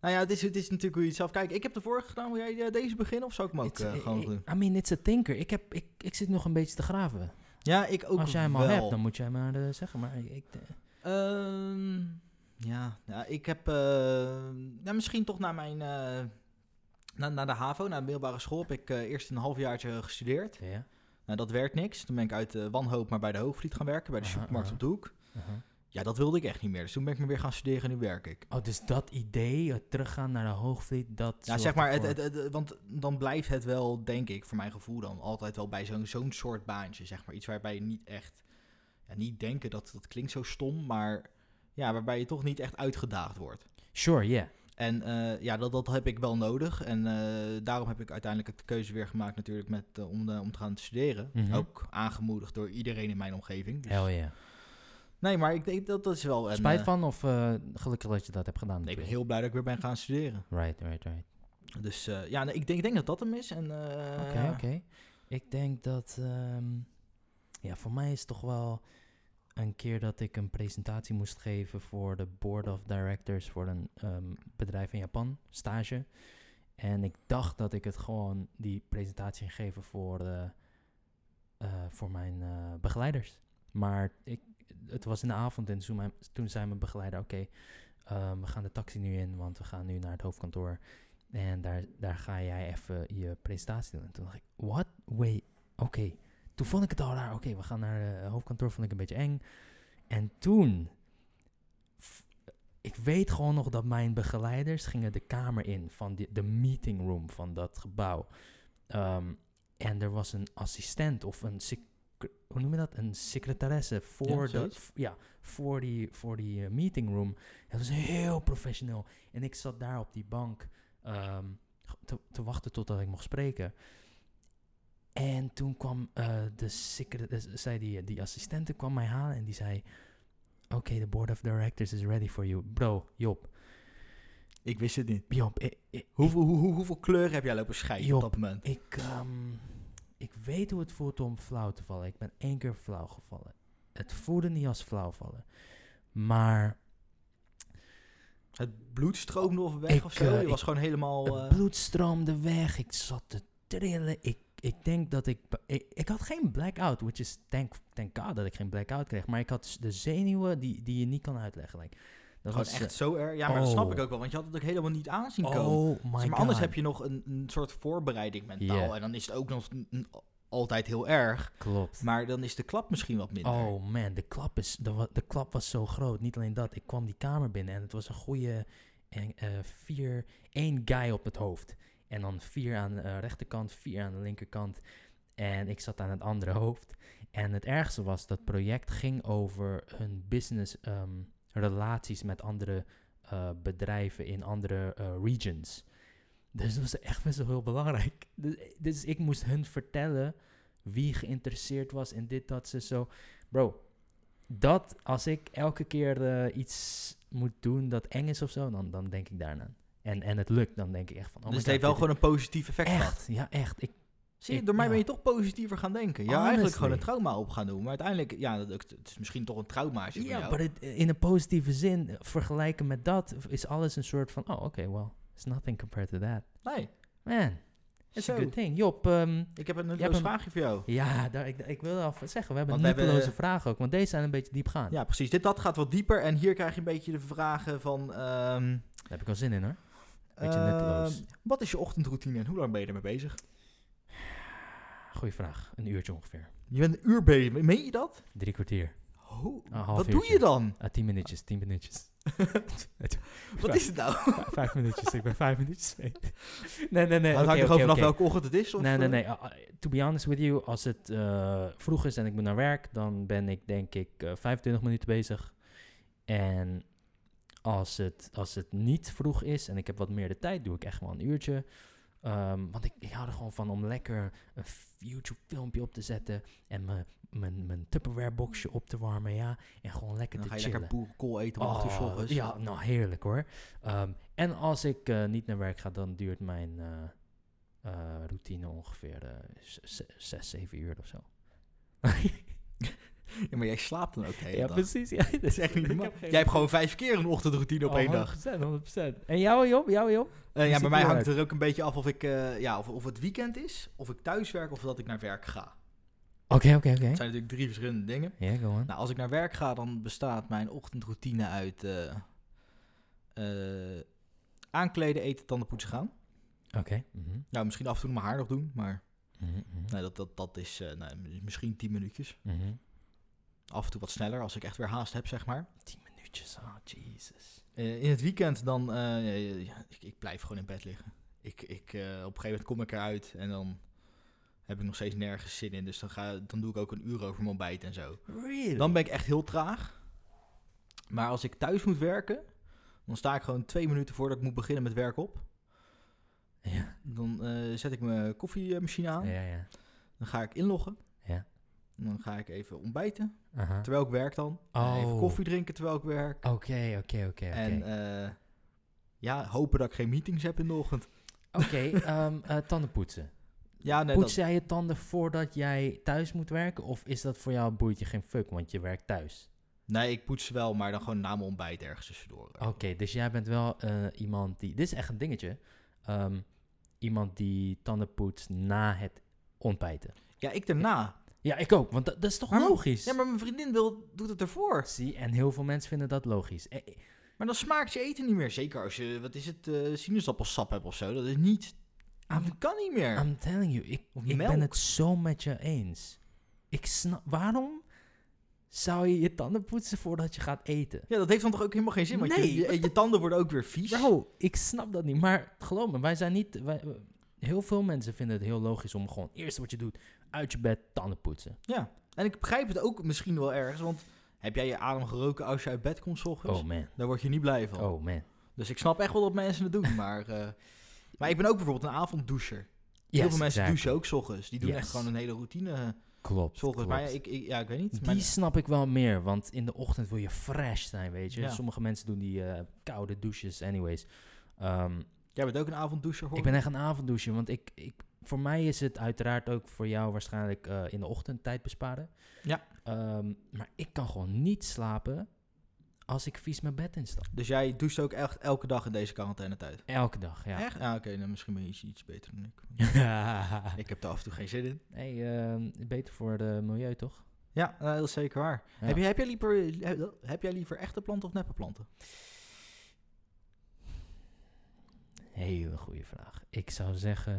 [SPEAKER 1] Nou ja, het is, het is natuurlijk hoe je het zelf kijkt. Ik heb de vorige gedaan. Wil jij eh, deze beginnen of zou ik hem ook
[SPEAKER 2] It's-
[SPEAKER 1] eh,
[SPEAKER 2] eh,
[SPEAKER 1] gewoon
[SPEAKER 2] eh,
[SPEAKER 1] doen?
[SPEAKER 2] I mean, it's a tinker. Ik, heb, ik, ik zit nog een beetje te graven.
[SPEAKER 1] Ja, ik ook
[SPEAKER 2] Als jij hem al
[SPEAKER 1] wel.
[SPEAKER 2] hebt, dan moet jij maar eh, zeggen. Maar ik, ik-
[SPEAKER 1] Ehm, ja, ja, ik heb eh, nou, misschien toch naar mijn... eh na, naar de HAVO, naar de middelbare school, heb ik eh, eerst een halfjaartje gestudeerd.
[SPEAKER 2] ja.
[SPEAKER 1] Nou, dat werd niks. Toen ben ik uit eh, wanhoop maar bij de Hoogvliet gaan werken, bij de
[SPEAKER 2] Aha,
[SPEAKER 1] supermarkt
[SPEAKER 2] aha.
[SPEAKER 1] op de hoek.
[SPEAKER 2] aha.
[SPEAKER 1] Ja, dat wilde ik echt niet meer. Dus toen ben ik me weer gaan studeren en nu werk ik.
[SPEAKER 2] Oh, dus dat idee, het teruggaan naar de hoogvliet, dat...
[SPEAKER 1] Ja,
[SPEAKER 2] zorgt
[SPEAKER 1] zeg maar, het,
[SPEAKER 2] ervoor-
[SPEAKER 1] het, het- want dan blijft het wel, denk ik, voor mijn gevoel dan altijd wel bij zo'n zo'n soort baantje, zeg maar. Iets waarbij je niet echt, ja, niet denken, dat, dat klinkt zo stom, maar ja, waarbij je toch niet echt uitgedaagd wordt.
[SPEAKER 2] Sure, yeah.
[SPEAKER 1] En eh, ja, dat, dat heb ik wel nodig. En eh, daarom heb ik uiteindelijk de keuze weer gemaakt natuurlijk met, eh, om, eh, om te gaan studeren.
[SPEAKER 2] Mhm.
[SPEAKER 1] Ook aangemoedigd door iedereen in mijn omgeving. Dus-
[SPEAKER 2] Hell yeah.
[SPEAKER 1] Nee, maar ik denk dat dat is wel... een,
[SPEAKER 2] Spijt
[SPEAKER 1] eh,
[SPEAKER 2] van of eh, gelukkig dat je dat hebt gedaan?
[SPEAKER 1] nee, ik ben
[SPEAKER 2] natuurlijk.
[SPEAKER 1] heel blij dat ik weer ben gaan studeren.
[SPEAKER 2] Right, right, right.
[SPEAKER 1] Dus eh, ja, nee, ik denk, ik denk dat dat hem is. En, eh,
[SPEAKER 2] Oké,
[SPEAKER 1] ja.
[SPEAKER 2] oké. Ik denk dat... ehm, ja, voor mij is het toch wel een keer dat ik een presentatie moest geven voor de board of directors voor een ehm, bedrijf in Japan, stage. En ik dacht dat ik het gewoon die presentatie ging geven voor, eh, eh, voor mijn eh, begeleiders. Maar ik, het was in de avond en toen, mijn, toen zei mijn begeleider, oké, ehm, we gaan de taxi nu in, want we gaan nu naar het hoofdkantoor. En daar, daar ga jij even je presentatie doen. En toen dacht ik, what? Wait, oké. Toen vond ik het al raar. Oké, we gaan naar eh, het hoofdkantoor, vond ik een beetje eng. En toen, f- ik weet gewoon nog dat mijn begeleiders gingen de kamer in van die, de meeting room van dat gebouw. Ehm, en er was een assistent of een, sec- hoe noem je dat? Een secretaresse voor, de,
[SPEAKER 1] zoiets.
[SPEAKER 2] v- ja, voor die, voor die eh, meeting room. Het was heel professioneel. En ik zat daar op die bank ehm, te, te wachten totdat ik mocht spreken. En toen kwam eh, de secret- eh, zei die, die assistente kwam mij halen en die zei: Oké, de board of directors is ready for you. Bro, Job,
[SPEAKER 1] Ik wist het niet.
[SPEAKER 2] Job, ik, ik,
[SPEAKER 1] Hoeveel, hoe, hoe- hoeveel kleur heb jij lopen scheiden
[SPEAKER 2] Joh.
[SPEAKER 1] op dat moment?
[SPEAKER 2] ik, ehm, ik weet hoe het voelt om flauw te vallen. Ik ben één keer flauw gevallen. Het voelde niet als flauw vallen. Maar
[SPEAKER 1] Het bloed stroomde of weg
[SPEAKER 2] Ik,
[SPEAKER 1] of zo?
[SPEAKER 2] eh,
[SPEAKER 1] je
[SPEAKER 2] ik-
[SPEAKER 1] was gewoon helemaal...
[SPEAKER 2] Het
[SPEAKER 1] eh,
[SPEAKER 2] bloed stroomde weg. Ik zat te trillen. Ik, ik denk dat ik, ik... Ik had geen blackout, which is... Thank, thank God dat ik geen blackout kreeg. Maar ik had s- de zenuwen die, die je niet kan uitleggen. Like, dat
[SPEAKER 1] gewoon
[SPEAKER 2] was
[SPEAKER 1] echt zo erg. Ja, maar dat snap
[SPEAKER 2] oh.
[SPEAKER 1] ik ook wel, want je had het ook helemaal niet
[SPEAKER 2] eh,
[SPEAKER 1] aanzien komen.
[SPEAKER 2] Oh my
[SPEAKER 1] Zeg maar
[SPEAKER 2] God.
[SPEAKER 1] anders heb je nog een, een soort voorbereiding mentaal.
[SPEAKER 2] Ja.
[SPEAKER 1] En dan is het ook nog n- n- altijd heel erg.
[SPEAKER 2] Klopt.
[SPEAKER 1] Maar dan is de klap misschien wat minder.
[SPEAKER 2] Oh man, de klap, is, de, wa- de klap was zo groot. Niet alleen dat, ik kwam die kamer binnen en het was een goede en, eh, vier, één guy op het hoofd. En dan vier aan de eh, rechterkant, vier aan de linkerkant. En ik zat aan het andere hoofd. En het ergste was, dat project ging over hun business ehm, relaties met andere eh, bedrijven in andere eh, regions. Dus dat was echt best wel heel belangrijk. Dus, dus ik moest hun vertellen wie geïnteresseerd was in dit, dat, ze zo. Bro, dat als ik elke keer eh, iets moet doen dat eng is of zo, dan, dan denk ik daarna. En, en het lukt, dan denk ik echt van... Oh my
[SPEAKER 1] dus het
[SPEAKER 2] God,
[SPEAKER 1] heeft wel
[SPEAKER 2] dit-
[SPEAKER 1] gewoon een positief effect gehad.
[SPEAKER 2] Echt, ja, echt. Ik
[SPEAKER 1] Zie je,
[SPEAKER 2] Ik-
[SPEAKER 1] door mij
[SPEAKER 2] ja.
[SPEAKER 1] ben je toch positiever gaan denken. Ja,
[SPEAKER 2] Honestly.
[SPEAKER 1] eigenlijk gewoon een trauma op gaan doen. Maar uiteindelijk, ja, dat- het is misschien toch een traumaatje voor
[SPEAKER 2] Ja,
[SPEAKER 1] jou.
[SPEAKER 2] maar het- eh, in een positieve zin, eh, vergelijken met dat, is alles een soort van, oh, oké, well, it's nothing compared to that.
[SPEAKER 1] Nee,
[SPEAKER 2] Man, it's
[SPEAKER 1] Zo.
[SPEAKER 2] a good thing. Job, ehm,
[SPEAKER 1] ik heb een
[SPEAKER 2] hebt
[SPEAKER 1] nutteloos
[SPEAKER 2] hem-
[SPEAKER 1] vraagje voor jou.
[SPEAKER 2] ja, daar, ik, ik wil al zeggen, we hebben
[SPEAKER 1] Want we hebben,
[SPEAKER 2] nutteloze
[SPEAKER 1] eh,
[SPEAKER 2] vragen ook, want deze zijn een beetje diep gaan.
[SPEAKER 1] Ja, precies. Dit dat gaat wat dieper en hier krijg je een beetje de vragen van... ehm,
[SPEAKER 2] Daar heb ik al zin in, hoor. Beetje nutteloos.
[SPEAKER 1] ehm, wat is je ochtendroutine en hoe lang ben je ermee bezig?
[SPEAKER 2] Goeie vraag, een uurtje ongeveer.
[SPEAKER 1] Je bent een uur bezig. Meen je dat?
[SPEAKER 2] Drie kwartier,
[SPEAKER 1] Ho,
[SPEAKER 2] Een Oh, half
[SPEAKER 1] wat doe
[SPEAKER 2] uurtje.
[SPEAKER 1] je dan?
[SPEAKER 2] ah, tien minuutjes, tien minuutjes.
[SPEAKER 1] Wat is het nou?
[SPEAKER 2] Vijf, vijf minuutjes, ik ben vijf minuutjes mee. Nee, nee, nee.
[SPEAKER 1] Maar Nou, het hangt
[SPEAKER 2] oké,
[SPEAKER 1] toch
[SPEAKER 2] oké,
[SPEAKER 1] ook vanaf
[SPEAKER 2] oké.
[SPEAKER 1] welke ochtend het is? Of
[SPEAKER 2] Nee, nee,
[SPEAKER 1] eh?
[SPEAKER 2] nee. Uh, uh, to be honest with you, als het eh, vroeg is en ik moet naar werk, dan ben ik denk ik eh, 25 minuten bezig. En als het, als het niet vroeg is en ik heb wat meer de tijd, doe ik echt wel een uurtje. Ehm, want ik, ik hou er gewoon van om lekker een f- YouTube-filmpje op te zetten en mijn- mijn mijn Tupperware-boxje op te warmen, ja. En gewoon lekker
[SPEAKER 1] eh, Dan
[SPEAKER 2] te
[SPEAKER 1] ga je
[SPEAKER 2] chillen.
[SPEAKER 1] lekker boerenkool eten om acht uur 's
[SPEAKER 2] Oh,
[SPEAKER 1] ochtends.
[SPEAKER 2] Ja, nou heerlijk hoor. Ehm, en als ik eh, niet naar werk ga, dan duurt mijn eh, eh, routine ongeveer eh, z- z- zes, zeven uur of zo.
[SPEAKER 1] Ja, maar jij slaapt dan ook de hele
[SPEAKER 2] ja,
[SPEAKER 1] dag.
[SPEAKER 2] precies. Ja,
[SPEAKER 1] Dat is echt niet normaal. Jij hebt gewoon vijf keer een ochtendroutine op één
[SPEAKER 2] Oh,
[SPEAKER 1] dag.
[SPEAKER 2] 100%, 100%. En jou, Job? Jou, Job?
[SPEAKER 1] Eh, ja,
[SPEAKER 2] ziet
[SPEAKER 1] bij
[SPEAKER 2] die
[SPEAKER 1] mij hangt
[SPEAKER 2] uit?
[SPEAKER 1] er ook een beetje af of, ik, eh, ja, of, of het weekend is, of ik thuis werk of dat ik naar werk ga.
[SPEAKER 2] Oké, oké, oké.
[SPEAKER 1] Dat zijn natuurlijk drie verschillende dingen.
[SPEAKER 2] Ja, go on.
[SPEAKER 1] Nou, als ik naar werk ga, dan bestaat mijn ochtendroutine uit eh, eh, aankleden, eten, tanden poetsen gaan.
[SPEAKER 2] Oké. mhm,
[SPEAKER 1] Nou, misschien af en toe nog mijn haar nog doen, maar
[SPEAKER 2] mhm, mhm,
[SPEAKER 1] nee, dat, dat, dat is eh, nou, misschien tien minuutjes.
[SPEAKER 2] mhm.
[SPEAKER 1] Af en toe wat sneller, als ik echt weer haast heb, zeg maar.
[SPEAKER 2] Tien minuutjes, oh Jesus.
[SPEAKER 1] Eh, in het weekend dan, eh, ja, ik, ik blijf gewoon in bed liggen. Ik, ik, eh, op een gegeven moment kom ik eruit en dan heb ik nog steeds nergens zin in. Dus dan, ga, dan doe ik ook een uur over mijn ontbijt en zo.
[SPEAKER 2] Really?
[SPEAKER 1] Dan ben ik echt heel traag. Maar als ik thuis moet werken, dan sta ik gewoon twee minuten voordat ik moet beginnen met werk op.
[SPEAKER 2] Ja,
[SPEAKER 1] Dan eh, zet ik mijn koffiemachine aan.
[SPEAKER 2] ja, ja.
[SPEAKER 1] Dan ga ik inloggen.
[SPEAKER 2] Ja.
[SPEAKER 1] En Dan ga ik even ontbijten,
[SPEAKER 2] Aha.
[SPEAKER 1] terwijl ik werk dan. Eh,
[SPEAKER 2] Oh.
[SPEAKER 1] Even koffie drinken terwijl ik werk.
[SPEAKER 2] Oké, oké, oké,
[SPEAKER 1] En
[SPEAKER 2] oké.
[SPEAKER 1] eh, ja, hopen dat ik geen meetings heb in de ochtend.
[SPEAKER 2] Oké, ehm, eh, tanden poetsen.
[SPEAKER 1] Ja, nee,
[SPEAKER 2] Poets jij je tanden voordat jij thuis moet werken? Of is dat voor jou boeit je geen fuck, want je werkt thuis?
[SPEAKER 1] dat- nee, ik poets wel, maar dan gewoon na mijn ontbijt ergens tussendoor.
[SPEAKER 2] Oké, dus jij bent wel eh, iemand die... Dit is echt een dingetje. Ehm, iemand die tanden poetst na het ontbijten.
[SPEAKER 1] Ja, ik daarna.
[SPEAKER 2] Ja, ik ook, want dat, dat is toch
[SPEAKER 1] Maar mo-
[SPEAKER 2] logisch?
[SPEAKER 1] Ja, maar mijn vriendin wil, doet het ervoor.
[SPEAKER 2] Zie, en heel veel mensen vinden dat logisch. Eh, eh,
[SPEAKER 1] Maar dan smaakt je eten niet meer. Zeker als je, wat is het, eh, sinaasappelsap hebt of zo. Dat is niet,
[SPEAKER 2] I'm-
[SPEAKER 1] dat kan niet meer.
[SPEAKER 2] I'm telling you, ik,
[SPEAKER 1] Of
[SPEAKER 2] Ah, ik ben
[SPEAKER 1] melk.
[SPEAKER 2] het zo met je eens. Ik snap... Waarom zou je je tanden poetsen voordat je gaat eten?
[SPEAKER 1] ja, dat heeft dan toch ook helemaal geen zin. Want
[SPEAKER 2] Nee,
[SPEAKER 1] je, je,
[SPEAKER 2] what
[SPEAKER 1] je tanden worden ook weer vies.
[SPEAKER 2] Bro, ik snap dat niet. Maar geloof me, wij zijn niet. Wij, we- heel veel mensen vinden het heel logisch om gewoon eerst wat je doet, uit je bed, tanden poetsen.
[SPEAKER 1] Ja, en ik begrijp het ook misschien wel ergens. Want heb jij je adem geroken als je uit bed komt 's ochtends?
[SPEAKER 2] Oh man.
[SPEAKER 1] Daar word je niet blij van.
[SPEAKER 2] Oh man.
[SPEAKER 1] Dus ik snap echt wel dat mensen het doen. Maar, eh, maar ik ben ook bijvoorbeeld een avonddoucher. Heel veel mensen douchen ook 's ochtends. Die doen
[SPEAKER 2] Yes.
[SPEAKER 1] echt gewoon een hele routine eh,
[SPEAKER 2] Klopt.
[SPEAKER 1] 's ochtends.
[SPEAKER 2] klopt.
[SPEAKER 1] Maar ja, ik, ik, ja, ik weet niet.
[SPEAKER 2] Die
[SPEAKER 1] Mijn-
[SPEAKER 2] snap ik wel meer, want in de ochtend wil je fresh zijn, weet je.
[SPEAKER 1] Ja.
[SPEAKER 2] Sommige mensen doen die eh, koude douches, anyways. Ehm,
[SPEAKER 1] jij bent ook een avonddoucher, hoor.
[SPEAKER 2] ik ben echt een avonddouche, want ik, ik, voor mij is het uiteraard ook voor jou waarschijnlijk eh, in de ochtend tijd besparen.
[SPEAKER 1] Ja.
[SPEAKER 2] Ehm, maar ik kan gewoon niet slapen als ik vies mijn bed instap.
[SPEAKER 1] Dus jij doucht ook echt elke dag in deze quarantaine-tijd?
[SPEAKER 2] Elke dag, ja.
[SPEAKER 1] Echt? Ja, oké. nou, misschien ben je iets, iets beter dan ik. Ik heb er af en toe geen zin in.
[SPEAKER 2] hey, ehm, beter voor de milieu toch?
[SPEAKER 1] Ja, eh, dat is zeker waar.
[SPEAKER 2] Ja.
[SPEAKER 1] Heb, jij, heb, jij liever, heb, heb jij liever echte planten of neppe planten?
[SPEAKER 2] Hele goede vraag. Ik zou zeggen,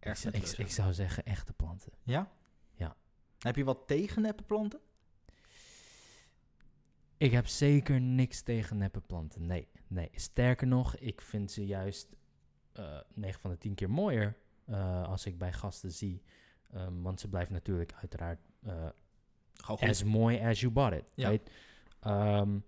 [SPEAKER 2] ik,
[SPEAKER 1] Erg
[SPEAKER 2] zou- ik,
[SPEAKER 1] nutteloos,
[SPEAKER 2] ik
[SPEAKER 1] hè?
[SPEAKER 2] zou zeggen echte planten.
[SPEAKER 1] Ja?
[SPEAKER 2] Ja.
[SPEAKER 1] Heb je wat tegen neppe planten?
[SPEAKER 2] Ik heb zeker niks tegen neppe planten. Nee, nee. Sterker nog, ik vind ze juist eh 9 van de 10 keer mooier eh, als ik bij gasten zie. Ehm, want ze blijven natuurlijk uiteraard eh,
[SPEAKER 1] Gewoon goed.
[SPEAKER 2] as mooi as you bought it.
[SPEAKER 1] Ja.
[SPEAKER 2] Right? Ehm,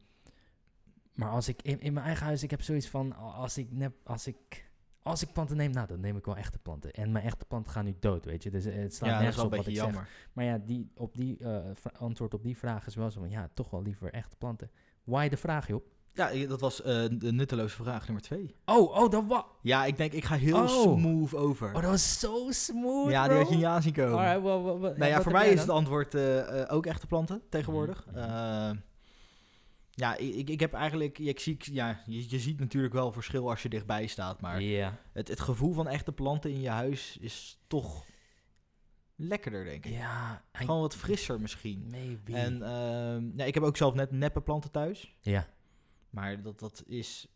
[SPEAKER 2] maar als ik in, in mijn eigen huis, ik heb zoiets van, a- als ik, nep, als ik, als ik planten neem, nou, dan neem ik wel echte planten. En mijn echte planten gaan nu dood, weet je. Dus eh, het slaat
[SPEAKER 1] ja, dat is
[SPEAKER 2] nergens
[SPEAKER 1] wel een
[SPEAKER 2] op wat
[SPEAKER 1] beetje
[SPEAKER 2] ik
[SPEAKER 1] jammer.
[SPEAKER 2] zeg. Maar ja, die, op die, eh, vra- antwoord op die vraag is wel zo van, ja, toch wel liever echte planten. Why de vraag, joh?
[SPEAKER 1] Ja, eh, dat was eh, de nutteloze vraag nummer twee.
[SPEAKER 2] Oh, oh, dat was...
[SPEAKER 1] Ja, ik denk, ik ga heel
[SPEAKER 2] Oh.
[SPEAKER 1] smooth over.
[SPEAKER 2] Oh, dat was zo smooth,
[SPEAKER 1] ja, die
[SPEAKER 2] bro. Oh,
[SPEAKER 1] had je niet aan zien komen.
[SPEAKER 2] Alright, wa- wa- wa-
[SPEAKER 1] Nou ja,
[SPEAKER 2] wat
[SPEAKER 1] voor
[SPEAKER 2] heb
[SPEAKER 1] mij
[SPEAKER 2] jij
[SPEAKER 1] is het
[SPEAKER 2] dan?
[SPEAKER 1] antwoord eh, eh, ook echte planten tegenwoordig.
[SPEAKER 2] Mhm, mhm.
[SPEAKER 1] Eh, ja, ik, ik heb eigenlijk, ja, ik zie, ja, je, je ziet natuurlijk wel verschil als je dichtbij staat, maar
[SPEAKER 2] Ja.
[SPEAKER 1] het, het gevoel van echte planten in je huis is toch lekkerder, denk ik.
[SPEAKER 2] Ja. I-
[SPEAKER 1] Gewoon wat frisser misschien.
[SPEAKER 2] Maybe.
[SPEAKER 1] En ehm, ja, ik heb ook zelf net neppe planten thuis,
[SPEAKER 2] ja.
[SPEAKER 1] maar dat, dat is,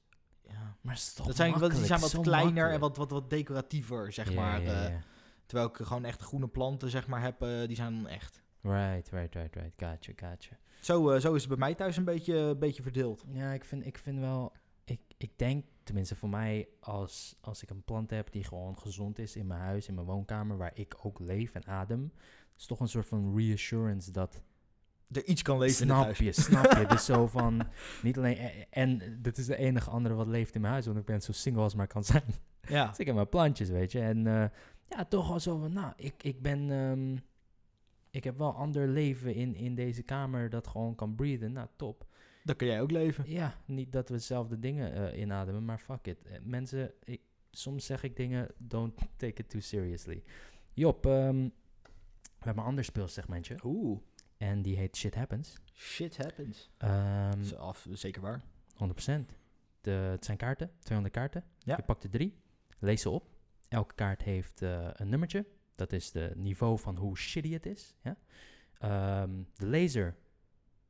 [SPEAKER 1] ja,
[SPEAKER 2] Maar het is toch
[SPEAKER 1] dat zijn, wat, die
[SPEAKER 2] makkelijk,
[SPEAKER 1] zijn wat
[SPEAKER 2] zo
[SPEAKER 1] kleiner en
[SPEAKER 2] makkelijk.
[SPEAKER 1] wat, wat, wat decoratiever, zeg
[SPEAKER 2] Ja,
[SPEAKER 1] maar.
[SPEAKER 2] ja,
[SPEAKER 1] eh,
[SPEAKER 2] ja.
[SPEAKER 1] terwijl ik gewoon echt groene planten, zeg maar, heb, eh, die zijn dan echt.
[SPEAKER 2] Right, right, right, right. Gotcha, gotcha.
[SPEAKER 1] Zo, eh, zo is het bij mij thuis een beetje, een beetje verdeeld.
[SPEAKER 2] Ja, ik vind, ik vind wel... Ik, ik denk, tenminste voor mij, als, als ik een plant heb die gewoon gezond is in mijn huis, in mijn woonkamer, waar ik ook leef en adem, is toch een soort van reassurance dat
[SPEAKER 1] Er iets kan leven in het
[SPEAKER 2] snap
[SPEAKER 1] huis.
[SPEAKER 2] je, snap je. Dus zo van, niet alleen... En, en dit is de enige andere wat leeft in mijn huis, want ik ben zo single als maar kan zijn.
[SPEAKER 1] Ja.
[SPEAKER 2] Dus ik heb mijn plantjes, weet je. En eh, ja, toch wel zo van, nou, ik, ik ben... ehm, ik heb wel ander leven in, in deze kamer dat gewoon kan breathen. Nou, top.
[SPEAKER 1] Dan kun jij ook leven.
[SPEAKER 2] Ja, niet dat we dezelfde dingen eh, inademen, maar fuck it. Eh, mensen, ik, soms zeg ik dingen, don't take it too seriously. Job, ehm, we hebben een ander speelsegmentje.
[SPEAKER 1] Oeh.
[SPEAKER 2] En die heet Shit Happens.
[SPEAKER 1] Shit happens.
[SPEAKER 2] Ehm,
[SPEAKER 1] Is Mm. af, zeker waar.
[SPEAKER 2] 100%. De, het zijn kaarten, 200 kaarten.
[SPEAKER 1] Ja.
[SPEAKER 2] Je pakt er drie, lees ze op. Elke kaart heeft eh, een nummertje. Dat is het niveau van hoe shitty het is. Ja? Ehm, de lezer,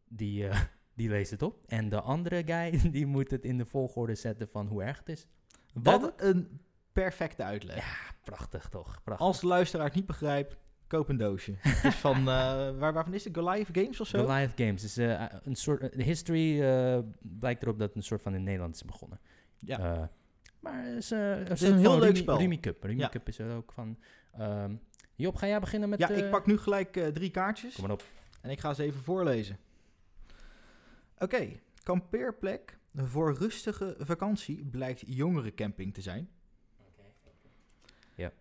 [SPEAKER 2] die, eh, die leest het op. En de andere guy, die moet het in de volgorde zetten van hoe erg het is.
[SPEAKER 1] Wat een perfecte uitleg.
[SPEAKER 2] Ja, Prachtig toch? Prachtig.
[SPEAKER 1] Als de luisteraar het niet begrijpt, koop een doosje. Het is van, eh, waar, waarvan is het? Goliath Games of zo?
[SPEAKER 2] Goliath Games is eh, een soort... De history eh, blijkt erop dat het een soort van in Nederland is begonnen.
[SPEAKER 1] Ja.
[SPEAKER 2] Eh, maar het is, eh,
[SPEAKER 1] is
[SPEAKER 2] soort
[SPEAKER 1] een heel
[SPEAKER 2] van
[SPEAKER 1] leuk
[SPEAKER 2] Rumi-
[SPEAKER 1] spel.
[SPEAKER 2] Rumi Cup. Rumi
[SPEAKER 1] Ja.
[SPEAKER 2] Cup is er ook van... ehm, Job, ga jij beginnen met...
[SPEAKER 1] ja,
[SPEAKER 2] eh,
[SPEAKER 1] ik pak nu gelijk eh, drie kaartjes.
[SPEAKER 2] Kom maar op.
[SPEAKER 1] En ik ga ze even voorlezen. Oké, kampeerplek voor rustige vakantie blijkt jongerencamping te zijn.
[SPEAKER 2] Ja.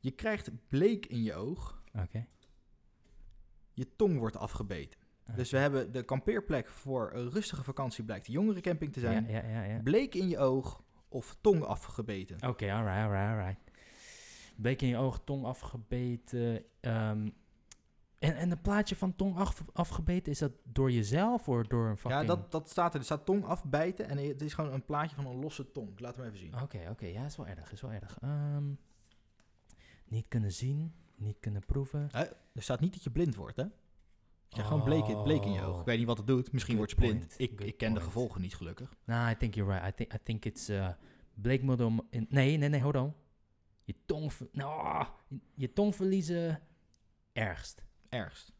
[SPEAKER 1] Je krijgt bleek in je oog.
[SPEAKER 2] Oké.
[SPEAKER 1] Je tong wordt afgebeten. Dus we hebben de kampeerplek voor een rustige vakantie blijkt de jongerencamping te zijn.
[SPEAKER 2] Ja, ja, ja. Oh, ja.
[SPEAKER 1] Bleek in je oog of tong afgebeten.
[SPEAKER 2] Oké, alright, alright, alright. Bleek in je oog, tong afgebeten. ehm, en, en het plaatje van tong af, afgebeten, is dat door jezelf of door een fucking...
[SPEAKER 1] Ja, dat, dat staat er. Er staat tong afbijten en het is gewoon een plaatje van een losse tong. Laat hem even zien.
[SPEAKER 2] Oké, oké. Ja, is wel erg, is wel erg. Ehm, niet kunnen zien, niet kunnen proeven.
[SPEAKER 1] Hè? Er staat niet dat je blind wordt, hè? Je krijgt gewoon bleek, in- bleek in je oog.
[SPEAKER 2] Oh.
[SPEAKER 1] Ik weet niet wat het doet. Misschien
[SPEAKER 2] Good
[SPEAKER 1] word je blind.
[SPEAKER 2] point,
[SPEAKER 1] Ik,
[SPEAKER 2] good
[SPEAKER 1] ik ken de
[SPEAKER 2] point.
[SPEAKER 1] gevolgen niet, gelukkig.
[SPEAKER 2] Nah, I think you're right. I think I think it's uh, Blake Model. In, nee, nee, nee, hold on. Je tong, ver- nou, je, je tong verliezen ergst.
[SPEAKER 1] Ergst.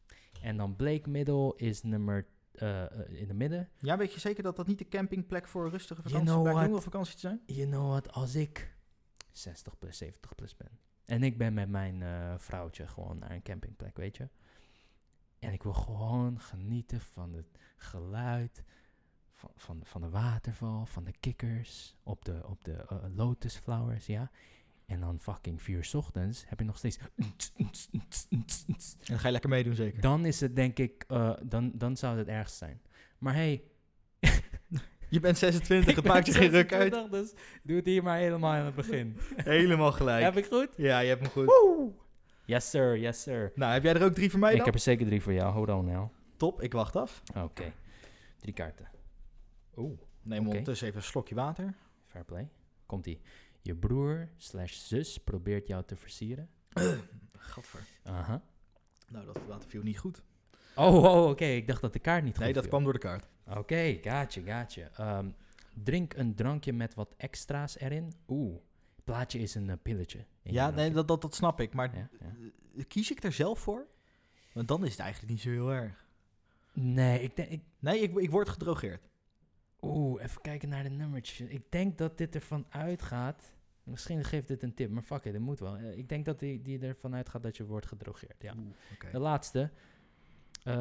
[SPEAKER 2] En dan Blake Middel is nummer eh, eh, in de midden.
[SPEAKER 1] Ja, weet je zeker dat dat niet de campingplek voor een rustige
[SPEAKER 2] You
[SPEAKER 1] vakantie
[SPEAKER 2] know
[SPEAKER 1] blijkt
[SPEAKER 2] what?
[SPEAKER 1] jongerenvakantie te zijn?
[SPEAKER 2] You know what? Als ik 60 plus 70 plus ben en ik ben met mijn eh, vrouwtje gewoon naar een campingplek, weet je. En ik wil gewoon genieten van het geluid, van, van, van de waterval, van de kikkers, op de, op de eh, lotusflowers, ja. En dan fucking vier uur 's ochtends heb ik nog steeds...
[SPEAKER 1] En dan ga je lekker meedoen zeker.
[SPEAKER 2] Dan is het denk ik, eh, dan, dan zou het ergst zijn. Maar hey,
[SPEAKER 1] Je bent 26, het
[SPEAKER 2] ik
[SPEAKER 1] maakt je
[SPEAKER 2] ben
[SPEAKER 1] geen ruk uit.
[SPEAKER 2] 26, Dus doe het hier maar helemaal aan het begin.
[SPEAKER 1] Helemaal gelijk.
[SPEAKER 2] Heb ik goed?
[SPEAKER 1] Ja, je hebt hem goed.
[SPEAKER 2] Woe! Yes sir, yes sir.
[SPEAKER 1] Nou, heb jij er ook drie voor mij dan?
[SPEAKER 2] Ik heb er zeker drie voor jou. Hold on now.
[SPEAKER 1] Top, ik wacht af.
[SPEAKER 2] Oké. Drie kaarten. Oeh,
[SPEAKER 1] Neem
[SPEAKER 2] Oké.
[SPEAKER 1] ondertussen even een slokje water.
[SPEAKER 2] fair play. Komt-ie. Je broer slash zus probeert jou te versieren.
[SPEAKER 1] Gadver.
[SPEAKER 2] Aha.
[SPEAKER 1] Nou, dat water viel niet goed.
[SPEAKER 2] Oh, oh oké. Ik dacht dat de kaart niet
[SPEAKER 1] Nee,
[SPEAKER 2] goed
[SPEAKER 1] dat
[SPEAKER 2] viel.
[SPEAKER 1] kwam door de kaart.
[SPEAKER 2] Oké, gaatje, gaatje. Ehm, drink een drankje met wat extra's erin. Oeh. Plaatje is een eh, pilletje. in
[SPEAKER 1] Ja,
[SPEAKER 2] je
[SPEAKER 1] nee,
[SPEAKER 2] drankje.
[SPEAKER 1] dat, dat, dat snap ik. Maar
[SPEAKER 2] Ja, ja.
[SPEAKER 1] kies ik er zelf voor? Want dan is het eigenlijk niet zo heel erg.
[SPEAKER 2] Nee, ik denk... Ik,
[SPEAKER 1] Nee, ik, ik word gedrogeerd.
[SPEAKER 2] Oeh, even kijken naar de nummertjes. Ik denk dat dit ervan uitgaat. Misschien geeft dit een tip, maar fuck it, dat moet wel. Eh, Ik denk dat die, die ervan uitgaat dat je wordt gedrogeerd. Ja.
[SPEAKER 1] Oeh, oké.
[SPEAKER 2] De laatste. Eh,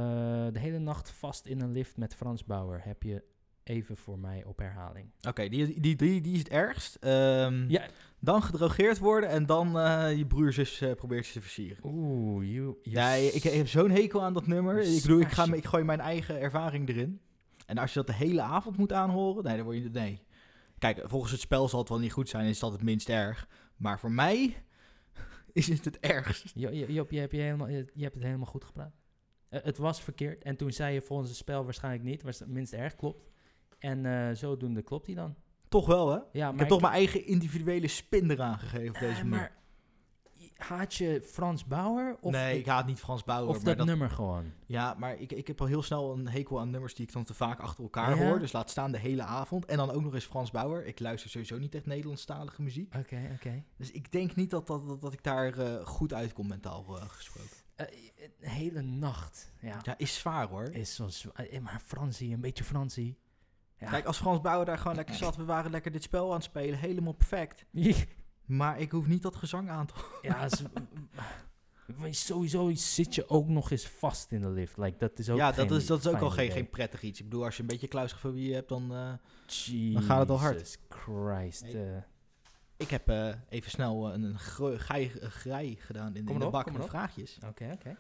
[SPEAKER 2] de hele nacht vast in een lift met Frans Bauer heb je even voor mij op herhaling.
[SPEAKER 1] Oké, die, die, die, die is het ergst. Ehm,
[SPEAKER 2] Ja.
[SPEAKER 1] Dan gedrogeerd worden en dan eh, je broer zus eh, probeert je te versieren.
[SPEAKER 2] Oeh, you. you
[SPEAKER 1] Ja, ik, ik heb zo'n hekel aan dat nummer.
[SPEAKER 2] je
[SPEAKER 1] Ik, bedoel, ik, ga,
[SPEAKER 2] smash
[SPEAKER 1] me-
[SPEAKER 2] it.
[SPEAKER 1] ik gooi mijn eigen ervaring erin. En als je dat de hele avond moet aanhoren, nee, dan word je... Nee. Kijk, volgens het spel zal het wel niet goed zijn, is dat het minst erg. Maar voor mij is het het ergst.
[SPEAKER 2] Jo- Jo- Job, je hebt, je, helemaal, je je hebt het helemaal goed gedaan. Eh, het was verkeerd. En toen zei je volgens het spel waarschijnlijk niet. Was het minst erg klopt. En eh, zodoende klopt hij dan.
[SPEAKER 1] Toch wel, hè?
[SPEAKER 2] Ja, maar
[SPEAKER 1] Ik heb toch mijn eigen individuele spin eraan gegeven op
[SPEAKER 2] Eh,
[SPEAKER 1] deze manier.
[SPEAKER 2] maar haat je Frans Bauer? Of,
[SPEAKER 1] nee, ik haat niet Frans Bauer.
[SPEAKER 2] of
[SPEAKER 1] maar
[SPEAKER 2] dat,
[SPEAKER 1] dat,
[SPEAKER 2] nummer gewoon?
[SPEAKER 1] ja, maar ik, ik heb al heel snel een hekel aan nummers die ik dan te vaak achter elkaar
[SPEAKER 2] Ja?
[SPEAKER 1] hoor. Dus laat staan de hele avond. En dan ook nog eens Frans Bauer. Ik luister sowieso niet echt Nederlandstalige muziek.
[SPEAKER 2] Oké, oké.
[SPEAKER 1] Dus ik denk niet dat, dat, dat, dat ik daar eh, goed uitkom mentaal eh, gesproken.
[SPEAKER 2] Eh, een hele nacht. Ja.
[SPEAKER 1] Ja, is zwaar hoor.
[SPEAKER 2] Is zo zwa- eh, maar Fransie, een beetje Fransie. Ja.
[SPEAKER 1] Kijk, als Frans Bauer daar gewoon lekker zat, we waren lekker dit spel aan het spelen, helemaal perfect. Maar ik hoef niet dat gezang aan te
[SPEAKER 2] ja, is- maar sowieso zit je ook nog eens vast in de lift. Like, dat is ook
[SPEAKER 1] Ja, dat
[SPEAKER 2] geen
[SPEAKER 1] is, dat is ook
[SPEAKER 2] fijn
[SPEAKER 1] al geen,
[SPEAKER 2] idee.
[SPEAKER 1] geen prettig iets. Ik bedoel, als je een beetje claustrofobie hebt, dan... eh,
[SPEAKER 2] Dan
[SPEAKER 1] gaat het al hard.
[SPEAKER 2] Jesus Christ.
[SPEAKER 1] Hey.
[SPEAKER 2] eh.
[SPEAKER 1] Ik heb eh, even snel eh, een, een gro- gij- eh, grij gedaan in, de-
[SPEAKER 2] Kom
[SPEAKER 1] in de
[SPEAKER 2] erop,
[SPEAKER 1] bak
[SPEAKER 2] kom
[SPEAKER 1] met
[SPEAKER 2] erop.
[SPEAKER 1] vraagjes.
[SPEAKER 2] Oké, oké.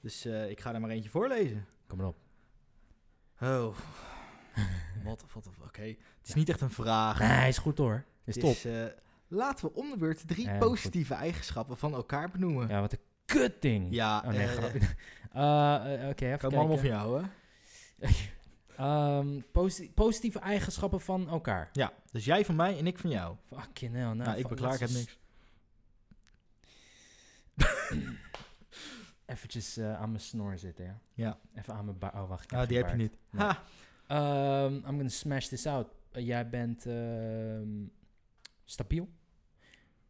[SPEAKER 1] Dus eh, ik ga er maar eentje voorlezen.
[SPEAKER 2] Kom maar op.
[SPEAKER 1] Oh, wat, wat, oké. Het is niet echt een vraag.
[SPEAKER 2] Nee, is goed hoor. Is
[SPEAKER 1] Het
[SPEAKER 2] top.
[SPEAKER 1] is, eh, laten we om de beurt drie
[SPEAKER 2] Ja,
[SPEAKER 1] positieve eigenschappen van elkaar benoemen. Ja,
[SPEAKER 2] Ja, wat een kutting. Oh nee,
[SPEAKER 1] eh,
[SPEAKER 2] grapje. Eh, eh, Oké,
[SPEAKER 1] komen
[SPEAKER 2] even kijken.
[SPEAKER 1] allemaal van jou, hè?
[SPEAKER 2] Ehm, posi- positieve eigenschappen van elkaar.
[SPEAKER 1] Ja, dus jij van mij en ik van jou.
[SPEAKER 2] Fucking hell. Nou,
[SPEAKER 1] Nou, ik
[SPEAKER 2] fuck,
[SPEAKER 1] ben klaar, ik
[SPEAKER 2] laat
[SPEAKER 1] heb
[SPEAKER 2] eens
[SPEAKER 1] niks.
[SPEAKER 2] Eventjes eh, aan mijn snor zitten, ja.
[SPEAKER 1] Ja.
[SPEAKER 2] Even aan mijn baard. Oh, wacht. ik heb
[SPEAKER 1] Ah, die
[SPEAKER 2] geen
[SPEAKER 1] heb je
[SPEAKER 2] baard.
[SPEAKER 1] niet.
[SPEAKER 2] Nee.
[SPEAKER 1] Ha!
[SPEAKER 2] Ehm, I'm gonna smash this out. Eh, jij bent ehm, stabiel.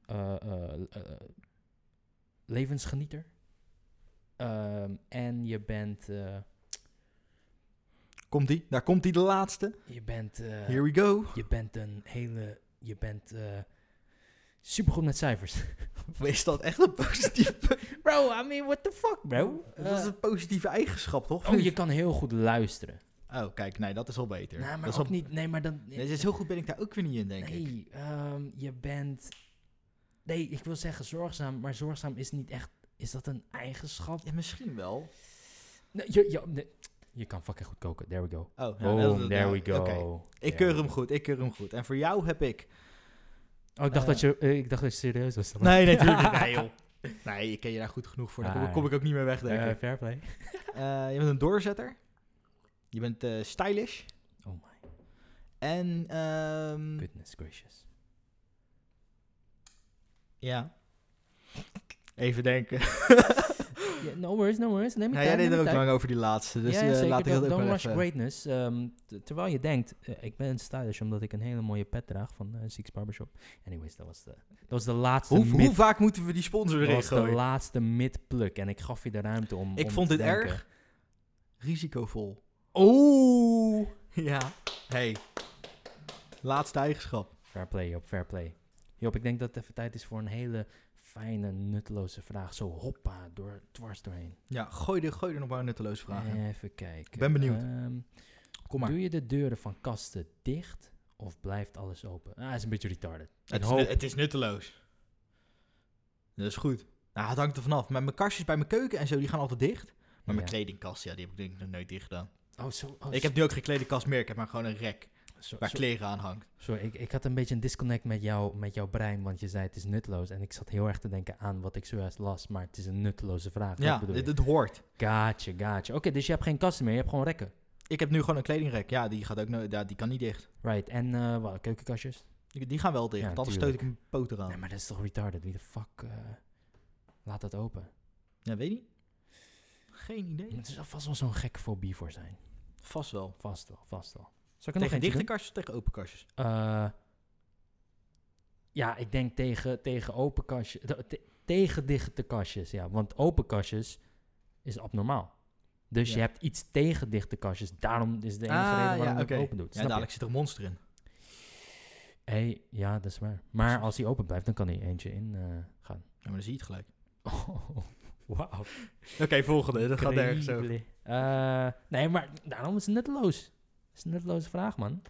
[SPEAKER 2] Eh, eh, eh, levensgenieter. Ehm, en je bent... eh,
[SPEAKER 1] Komt die? Daar komt die, de laatste.
[SPEAKER 2] je bent... eh,
[SPEAKER 1] Here we go.
[SPEAKER 2] je bent een hele... Je bent... eh, supergoed met cijfers.
[SPEAKER 1] Is dat echt een positieve...
[SPEAKER 2] bro, I mean, what the fuck, bro?
[SPEAKER 1] dat is
[SPEAKER 2] Eh,
[SPEAKER 1] een positieve eigenschap, toch?
[SPEAKER 2] oh, je kan heel goed luisteren.
[SPEAKER 1] Oh, kijk, nee, dat is al beter.
[SPEAKER 2] Nou, maar
[SPEAKER 1] dat is
[SPEAKER 2] ook
[SPEAKER 1] al-
[SPEAKER 2] niet... Nee, maar dan...
[SPEAKER 1] Nee, dus heel goed ben ik daar ook weer niet in, denk ik.
[SPEAKER 2] Nee, ehm, je bent. Nee, ik wil zeggen zorgzaam, maar zorgzaam is niet echt. Is dat een eigenschap?
[SPEAKER 1] Ja, misschien wel.
[SPEAKER 2] Nee, je, je, nee. je kan fucking goed koken. There we go.
[SPEAKER 1] Oh, nou,
[SPEAKER 2] Boom,
[SPEAKER 1] dat- dat-
[SPEAKER 2] there we
[SPEAKER 1] nou,
[SPEAKER 2] go.
[SPEAKER 1] oké.
[SPEAKER 2] There
[SPEAKER 1] Ik keur
[SPEAKER 2] we
[SPEAKER 1] hem
[SPEAKER 2] go.
[SPEAKER 1] goed, ik keur hem goed. En voor jou heb ik...
[SPEAKER 2] Oh, ik dacht,
[SPEAKER 1] Eh.
[SPEAKER 2] dat je, eh, ik dacht dat je serieus was. dan.
[SPEAKER 1] Nee, nee, natuurlijk niet. Nee, joh. Nee, ik ken je daar goed genoeg voor. Daar kom,
[SPEAKER 2] Ah,
[SPEAKER 1] kom ik ook niet meer weg, denk
[SPEAKER 2] Eh,
[SPEAKER 1] ik.
[SPEAKER 2] fair play.
[SPEAKER 1] Eh, je bent een doorzetter. Je bent eh, stylish.
[SPEAKER 2] Oh my
[SPEAKER 1] En, ehm,
[SPEAKER 2] goodness gracious.
[SPEAKER 1] ja. Even denken.
[SPEAKER 2] Yeah, no worries, no worries. Neem je
[SPEAKER 1] Nou,
[SPEAKER 2] tijd,
[SPEAKER 1] jij deed
[SPEAKER 2] neem
[SPEAKER 1] er
[SPEAKER 2] je
[SPEAKER 1] ook
[SPEAKER 2] tijd.
[SPEAKER 1] lang over die laatste, dus
[SPEAKER 2] ja,
[SPEAKER 1] eh,
[SPEAKER 2] zeker.
[SPEAKER 1] laat ik dat
[SPEAKER 2] don't
[SPEAKER 1] ook
[SPEAKER 2] don't
[SPEAKER 1] maar
[SPEAKER 2] rush
[SPEAKER 1] even...
[SPEAKER 2] greatness. Ehm, t- terwijl je denkt, eh, ik ben stylish omdat ik een hele mooie pet draag van eh, Six Barbershop. Anyways, dat was de, dat was de laatste
[SPEAKER 1] Hoe,
[SPEAKER 2] myth
[SPEAKER 1] hoe vaak moeten we die sponsor
[SPEAKER 2] Dat
[SPEAKER 1] erin
[SPEAKER 2] was de
[SPEAKER 1] gooien?
[SPEAKER 2] laatste midpluk en ik gaf je de ruimte om.
[SPEAKER 1] Ik
[SPEAKER 2] om
[SPEAKER 1] vond
[SPEAKER 2] te
[SPEAKER 1] dit
[SPEAKER 2] denken.
[SPEAKER 1] erg risicovol.
[SPEAKER 2] Oeh!
[SPEAKER 1] Ja. Hey. Laatste eigenschap.
[SPEAKER 2] Fair play, Job, fair play. Job, ik denk dat het even tijd is voor een hele fijne, nutteloze vraag. Zo hoppa, door, dwars doorheen.
[SPEAKER 1] Ja, gooi er, gooi er nog maar een nutteloze vraag in.
[SPEAKER 2] Even kijken.
[SPEAKER 1] Ik ben benieuwd.
[SPEAKER 2] Ehm,
[SPEAKER 1] Kom maar.
[SPEAKER 2] Doe je de deuren van kasten dicht of blijft alles open? Ah, is een beetje retarded.
[SPEAKER 1] Het
[SPEAKER 2] Ik
[SPEAKER 1] is,
[SPEAKER 2] hoop-
[SPEAKER 1] nu- het is nutteloos. Dat is goed. Nou, het hangt er vanaf. Maar mijn kastjes bij mijn keuken en zo, die gaan altijd dicht. Maar mijn
[SPEAKER 2] Ja.
[SPEAKER 1] kledingkast, ja, die heb ik denk ik nog nooit dicht gedaan.
[SPEAKER 2] Oh, zo. oh,
[SPEAKER 1] ik heb nu ook geen kledingkast meer, ik heb maar gewoon een rek
[SPEAKER 2] zo-
[SPEAKER 1] waar
[SPEAKER 2] zo-
[SPEAKER 1] kleren aan hangt.
[SPEAKER 2] Sorry, ik, ik had een beetje een disconnect met, jou, met jouw brein, want je zei het is nutteloos. En ik zat heel erg te denken aan wat ik zojuist las, maar het is een nutteloze vraag.
[SPEAKER 1] Ja,
[SPEAKER 2] Wat bedoel je?
[SPEAKER 1] het, het hoort.
[SPEAKER 2] Gaatje, gaatje. Oké, dus je hebt geen kasten meer, je hebt gewoon rekken.
[SPEAKER 1] Ik heb nu gewoon een kledingrek. Ja, die gaat ook nooit, ja, die kan niet dicht.
[SPEAKER 2] Right, en eh wat, keukenkastjes?
[SPEAKER 1] Die die gaan wel dicht,
[SPEAKER 2] Ja,
[SPEAKER 1] want anders stoot
[SPEAKER 2] tuurlijk.
[SPEAKER 1] ik mijn poot eraan.
[SPEAKER 2] Nee, maar dat is toch retarded? Wie de fuck eh, laat dat open?
[SPEAKER 1] Ja, weet je? Geen idee.
[SPEAKER 2] Er zal vast wel zo'n gekke fobie voor zijn.
[SPEAKER 1] Vast wel.
[SPEAKER 2] Vast wel, vast wel. Zal ik er
[SPEAKER 1] Tegen
[SPEAKER 2] nog eentje
[SPEAKER 1] dichte
[SPEAKER 2] doen?
[SPEAKER 1] kastjes of tegen open kastjes?
[SPEAKER 2] Eh, ja, ik denk tegen, tegen open kastjes. te- te- tegen dichte kastjes, ja. Want open kastjes is abnormaal. Dus
[SPEAKER 1] Ja.
[SPEAKER 2] je hebt iets tegen dichte kastjes. Daarom is de enige
[SPEAKER 1] Ah,
[SPEAKER 2] reden waarom
[SPEAKER 1] ja,
[SPEAKER 2] je het
[SPEAKER 1] oké.
[SPEAKER 2] open doet.
[SPEAKER 1] Ja,
[SPEAKER 2] Snap je?
[SPEAKER 1] dadelijk zit er een monster in.
[SPEAKER 2] Hey, ja, dat is waar. Maar als hij open blijft, dan kan hij eentje in eh, gaan.
[SPEAKER 1] Ja, maar dan zie je het gelijk.
[SPEAKER 2] Oh, wauw.
[SPEAKER 1] Oké, volgende. Dat
[SPEAKER 2] Creepily. Eh, nee, maar daarom is het nutteloos. Het is een nutteloze vraag, man.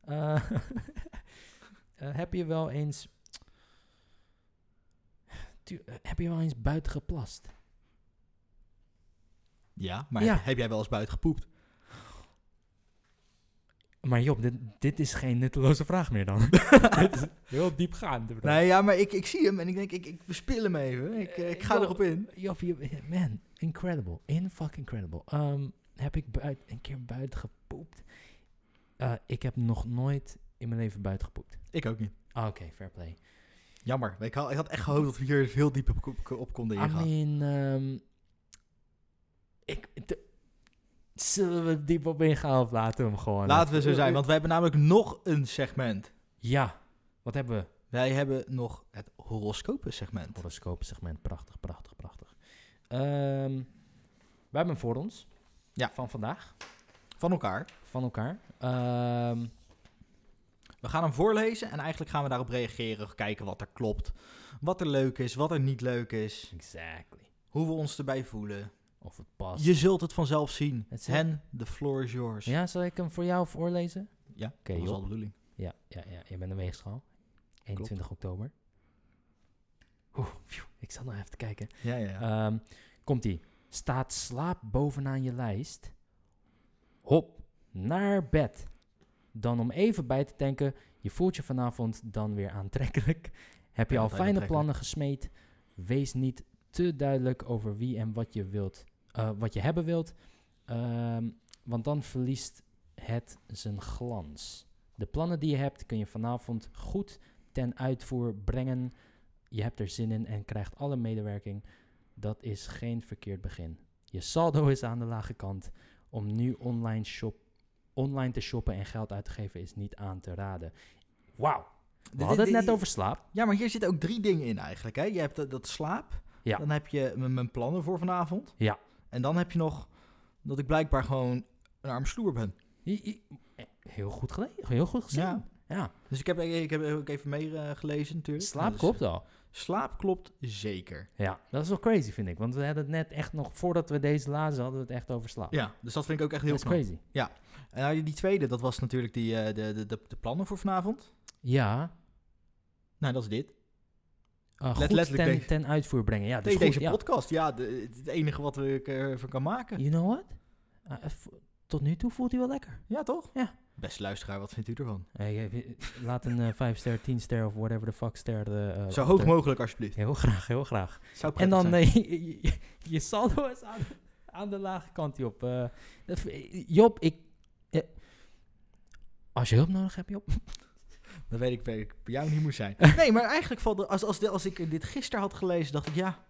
[SPEAKER 2] Eh, eh, heb je wel eens... Tu- eh, heb je wel eens buiten geplast?
[SPEAKER 1] Ja, maar
[SPEAKER 2] Ja.
[SPEAKER 1] heb jij wel eens buiten gepoept?
[SPEAKER 2] Maar Job, dit, dit is geen nutteloze vraag meer dan.
[SPEAKER 3] Dit is heel diepgaand. inderdaad.
[SPEAKER 1] Nee, ja, maar ik, ik zie hem en ik denk, ik, ik bespil hem even. Ik, eh, ik ga
[SPEAKER 2] Yo.
[SPEAKER 1] erop in.
[SPEAKER 2] Job, je- eh, man, incredible. In fucking incredible. Ehm, heb ik buit, een keer buiten gepoept? Eh, ik heb nog nooit in mijn leven buiten gepoept.
[SPEAKER 1] Ik ook niet.
[SPEAKER 2] Ah, Oké, fair play.
[SPEAKER 1] Jammer. Ik had, ik had echt gehoopt dat we hier heel diep op, op, op konden
[SPEAKER 2] I
[SPEAKER 1] ingaan.
[SPEAKER 2] mean, ehm, ik, de- zullen we diep op ingaan of laten we hem gewoon...
[SPEAKER 1] Laten we zo
[SPEAKER 2] eh,
[SPEAKER 1] zijn, want we hebben namelijk nog een segment.
[SPEAKER 2] Ja, wat hebben we?
[SPEAKER 1] Wij hebben nog het horoscopen segment.
[SPEAKER 2] Horoscoop segment, prachtig, prachtig, prachtig. Ehm we hebben hem voor ons.
[SPEAKER 1] Ja.
[SPEAKER 2] Van vandaag,
[SPEAKER 1] Van elkaar.
[SPEAKER 2] van elkaar. Ehm,
[SPEAKER 1] We gaan hem voorlezen en eigenlijk gaan we daarop reageren. Kijken wat er klopt. Wat er leuk is, wat er niet leuk is.
[SPEAKER 2] exactly.
[SPEAKER 1] Hoe we ons erbij voelen.
[SPEAKER 2] Of het past.
[SPEAKER 1] Je zult het vanzelf zien.
[SPEAKER 2] Het is-
[SPEAKER 1] Hen, the floor is yours.
[SPEAKER 2] Ja, zal ik hem voor jou voorlezen?
[SPEAKER 1] Ja,
[SPEAKER 2] Oké,
[SPEAKER 1] dat was
[SPEAKER 2] joh.
[SPEAKER 1] al de bedoeling.
[SPEAKER 2] Ja, ja, ja. Je bent een weegschaal. 21 oktober. Oeh, phew, ik zal nog even te kijken.
[SPEAKER 1] Ja, ja, ja.
[SPEAKER 2] Ehm, Komt-ie. Staat slaap bovenaan je lijst? Hop, naar bed. Dan om even bij te denken, je voelt je vanavond dan weer aantrekkelijk. Heb je
[SPEAKER 1] Ja,
[SPEAKER 2] al
[SPEAKER 1] dat
[SPEAKER 2] fijne
[SPEAKER 1] aantrekkelijk.
[SPEAKER 2] plannen gesmeed? Wees niet te duidelijk over wie en wat je, wilt, eh, wat je hebben wilt. Ehm, want dan verliest het zijn glans. De plannen die je hebt kun je vanavond goed ten uitvoer brengen. Je hebt er zin in en krijgt alle medewerking. Dat is geen verkeerd begin. Je saldo is aan de lage kant. Om nu online, shop, online te shoppen en geld uit te geven is niet aan te raden. Wauw. We
[SPEAKER 1] Dit-
[SPEAKER 2] hadden het
[SPEAKER 1] dit-
[SPEAKER 2] net over slaap.
[SPEAKER 1] Ja, maar hier zitten ook drie dingen in eigenlijk. Hè? Je hebt dat, dat slaap.
[SPEAKER 2] Ja.
[SPEAKER 1] Dan heb je m- mijn plannen voor vanavond.
[SPEAKER 2] Ja.
[SPEAKER 1] En dan heb je nog dat ik blijkbaar gewoon een arm sloer ben.
[SPEAKER 2] I- i- eh, Heel goed gelegen. Heel goed gezien.
[SPEAKER 1] Ja.
[SPEAKER 2] Ja.
[SPEAKER 1] Dus ik heb, ik heb ook even meegelezen natuurlijk.
[SPEAKER 2] Slaap
[SPEAKER 1] Dus,
[SPEAKER 2] klopt al.
[SPEAKER 1] slaap klopt zeker.
[SPEAKER 2] Ja. Dat is wel crazy vind ik. Want we hadden het net echt nog, voordat we deze lazen, hadden we het echt over slaap.
[SPEAKER 1] Ja, dus dat vind ik ook echt heel
[SPEAKER 2] dat is
[SPEAKER 1] knap.
[SPEAKER 2] crazy.
[SPEAKER 1] En nou, die tweede, dat was natuurlijk die, eh, de, de, de, de plannen voor vanavond.
[SPEAKER 2] Ja.
[SPEAKER 1] Nou, dat is
[SPEAKER 2] Dus
[SPEAKER 1] dit.
[SPEAKER 2] eh,
[SPEAKER 1] Let-
[SPEAKER 2] goed
[SPEAKER 1] letterlijk
[SPEAKER 2] ten,
[SPEAKER 1] deze-
[SPEAKER 2] ten uitvoer brengen. Ja, dus
[SPEAKER 1] Nee,
[SPEAKER 2] goed,
[SPEAKER 1] deze
[SPEAKER 2] ja.
[SPEAKER 1] podcast, ja, de- het enige wat ik ervan kan maken.
[SPEAKER 2] You know what? Eh, eh, vo- tot nu toe voelt hij wel lekker.
[SPEAKER 1] Ja, toch?
[SPEAKER 2] Ja.
[SPEAKER 1] Beste luisteraar, wat vindt u ervan?
[SPEAKER 2] Eh, eh, eh, laat een eh, 5 ster, 10 ster of whatever the fuck ster. eh, eh,
[SPEAKER 1] Zo
[SPEAKER 2] achter.
[SPEAKER 1] hoog mogelijk, alsjeblieft.
[SPEAKER 2] Heel graag, heel graag.
[SPEAKER 1] Zou
[SPEAKER 2] en
[SPEAKER 1] prettig
[SPEAKER 2] dan
[SPEAKER 1] zijn.
[SPEAKER 2] eh, je, je- je saldo is aan, aan de lage kant, Job. Eh, dat v- Job, ik... eh, als je hulp nodig hebt, Job. eh,
[SPEAKER 1] Dan weet ik, weet ik bij jou niet moest zijn. Nee, maar eigenlijk valt de- als, als, de- als ik dit gisteren had gelezen, dacht ik ja,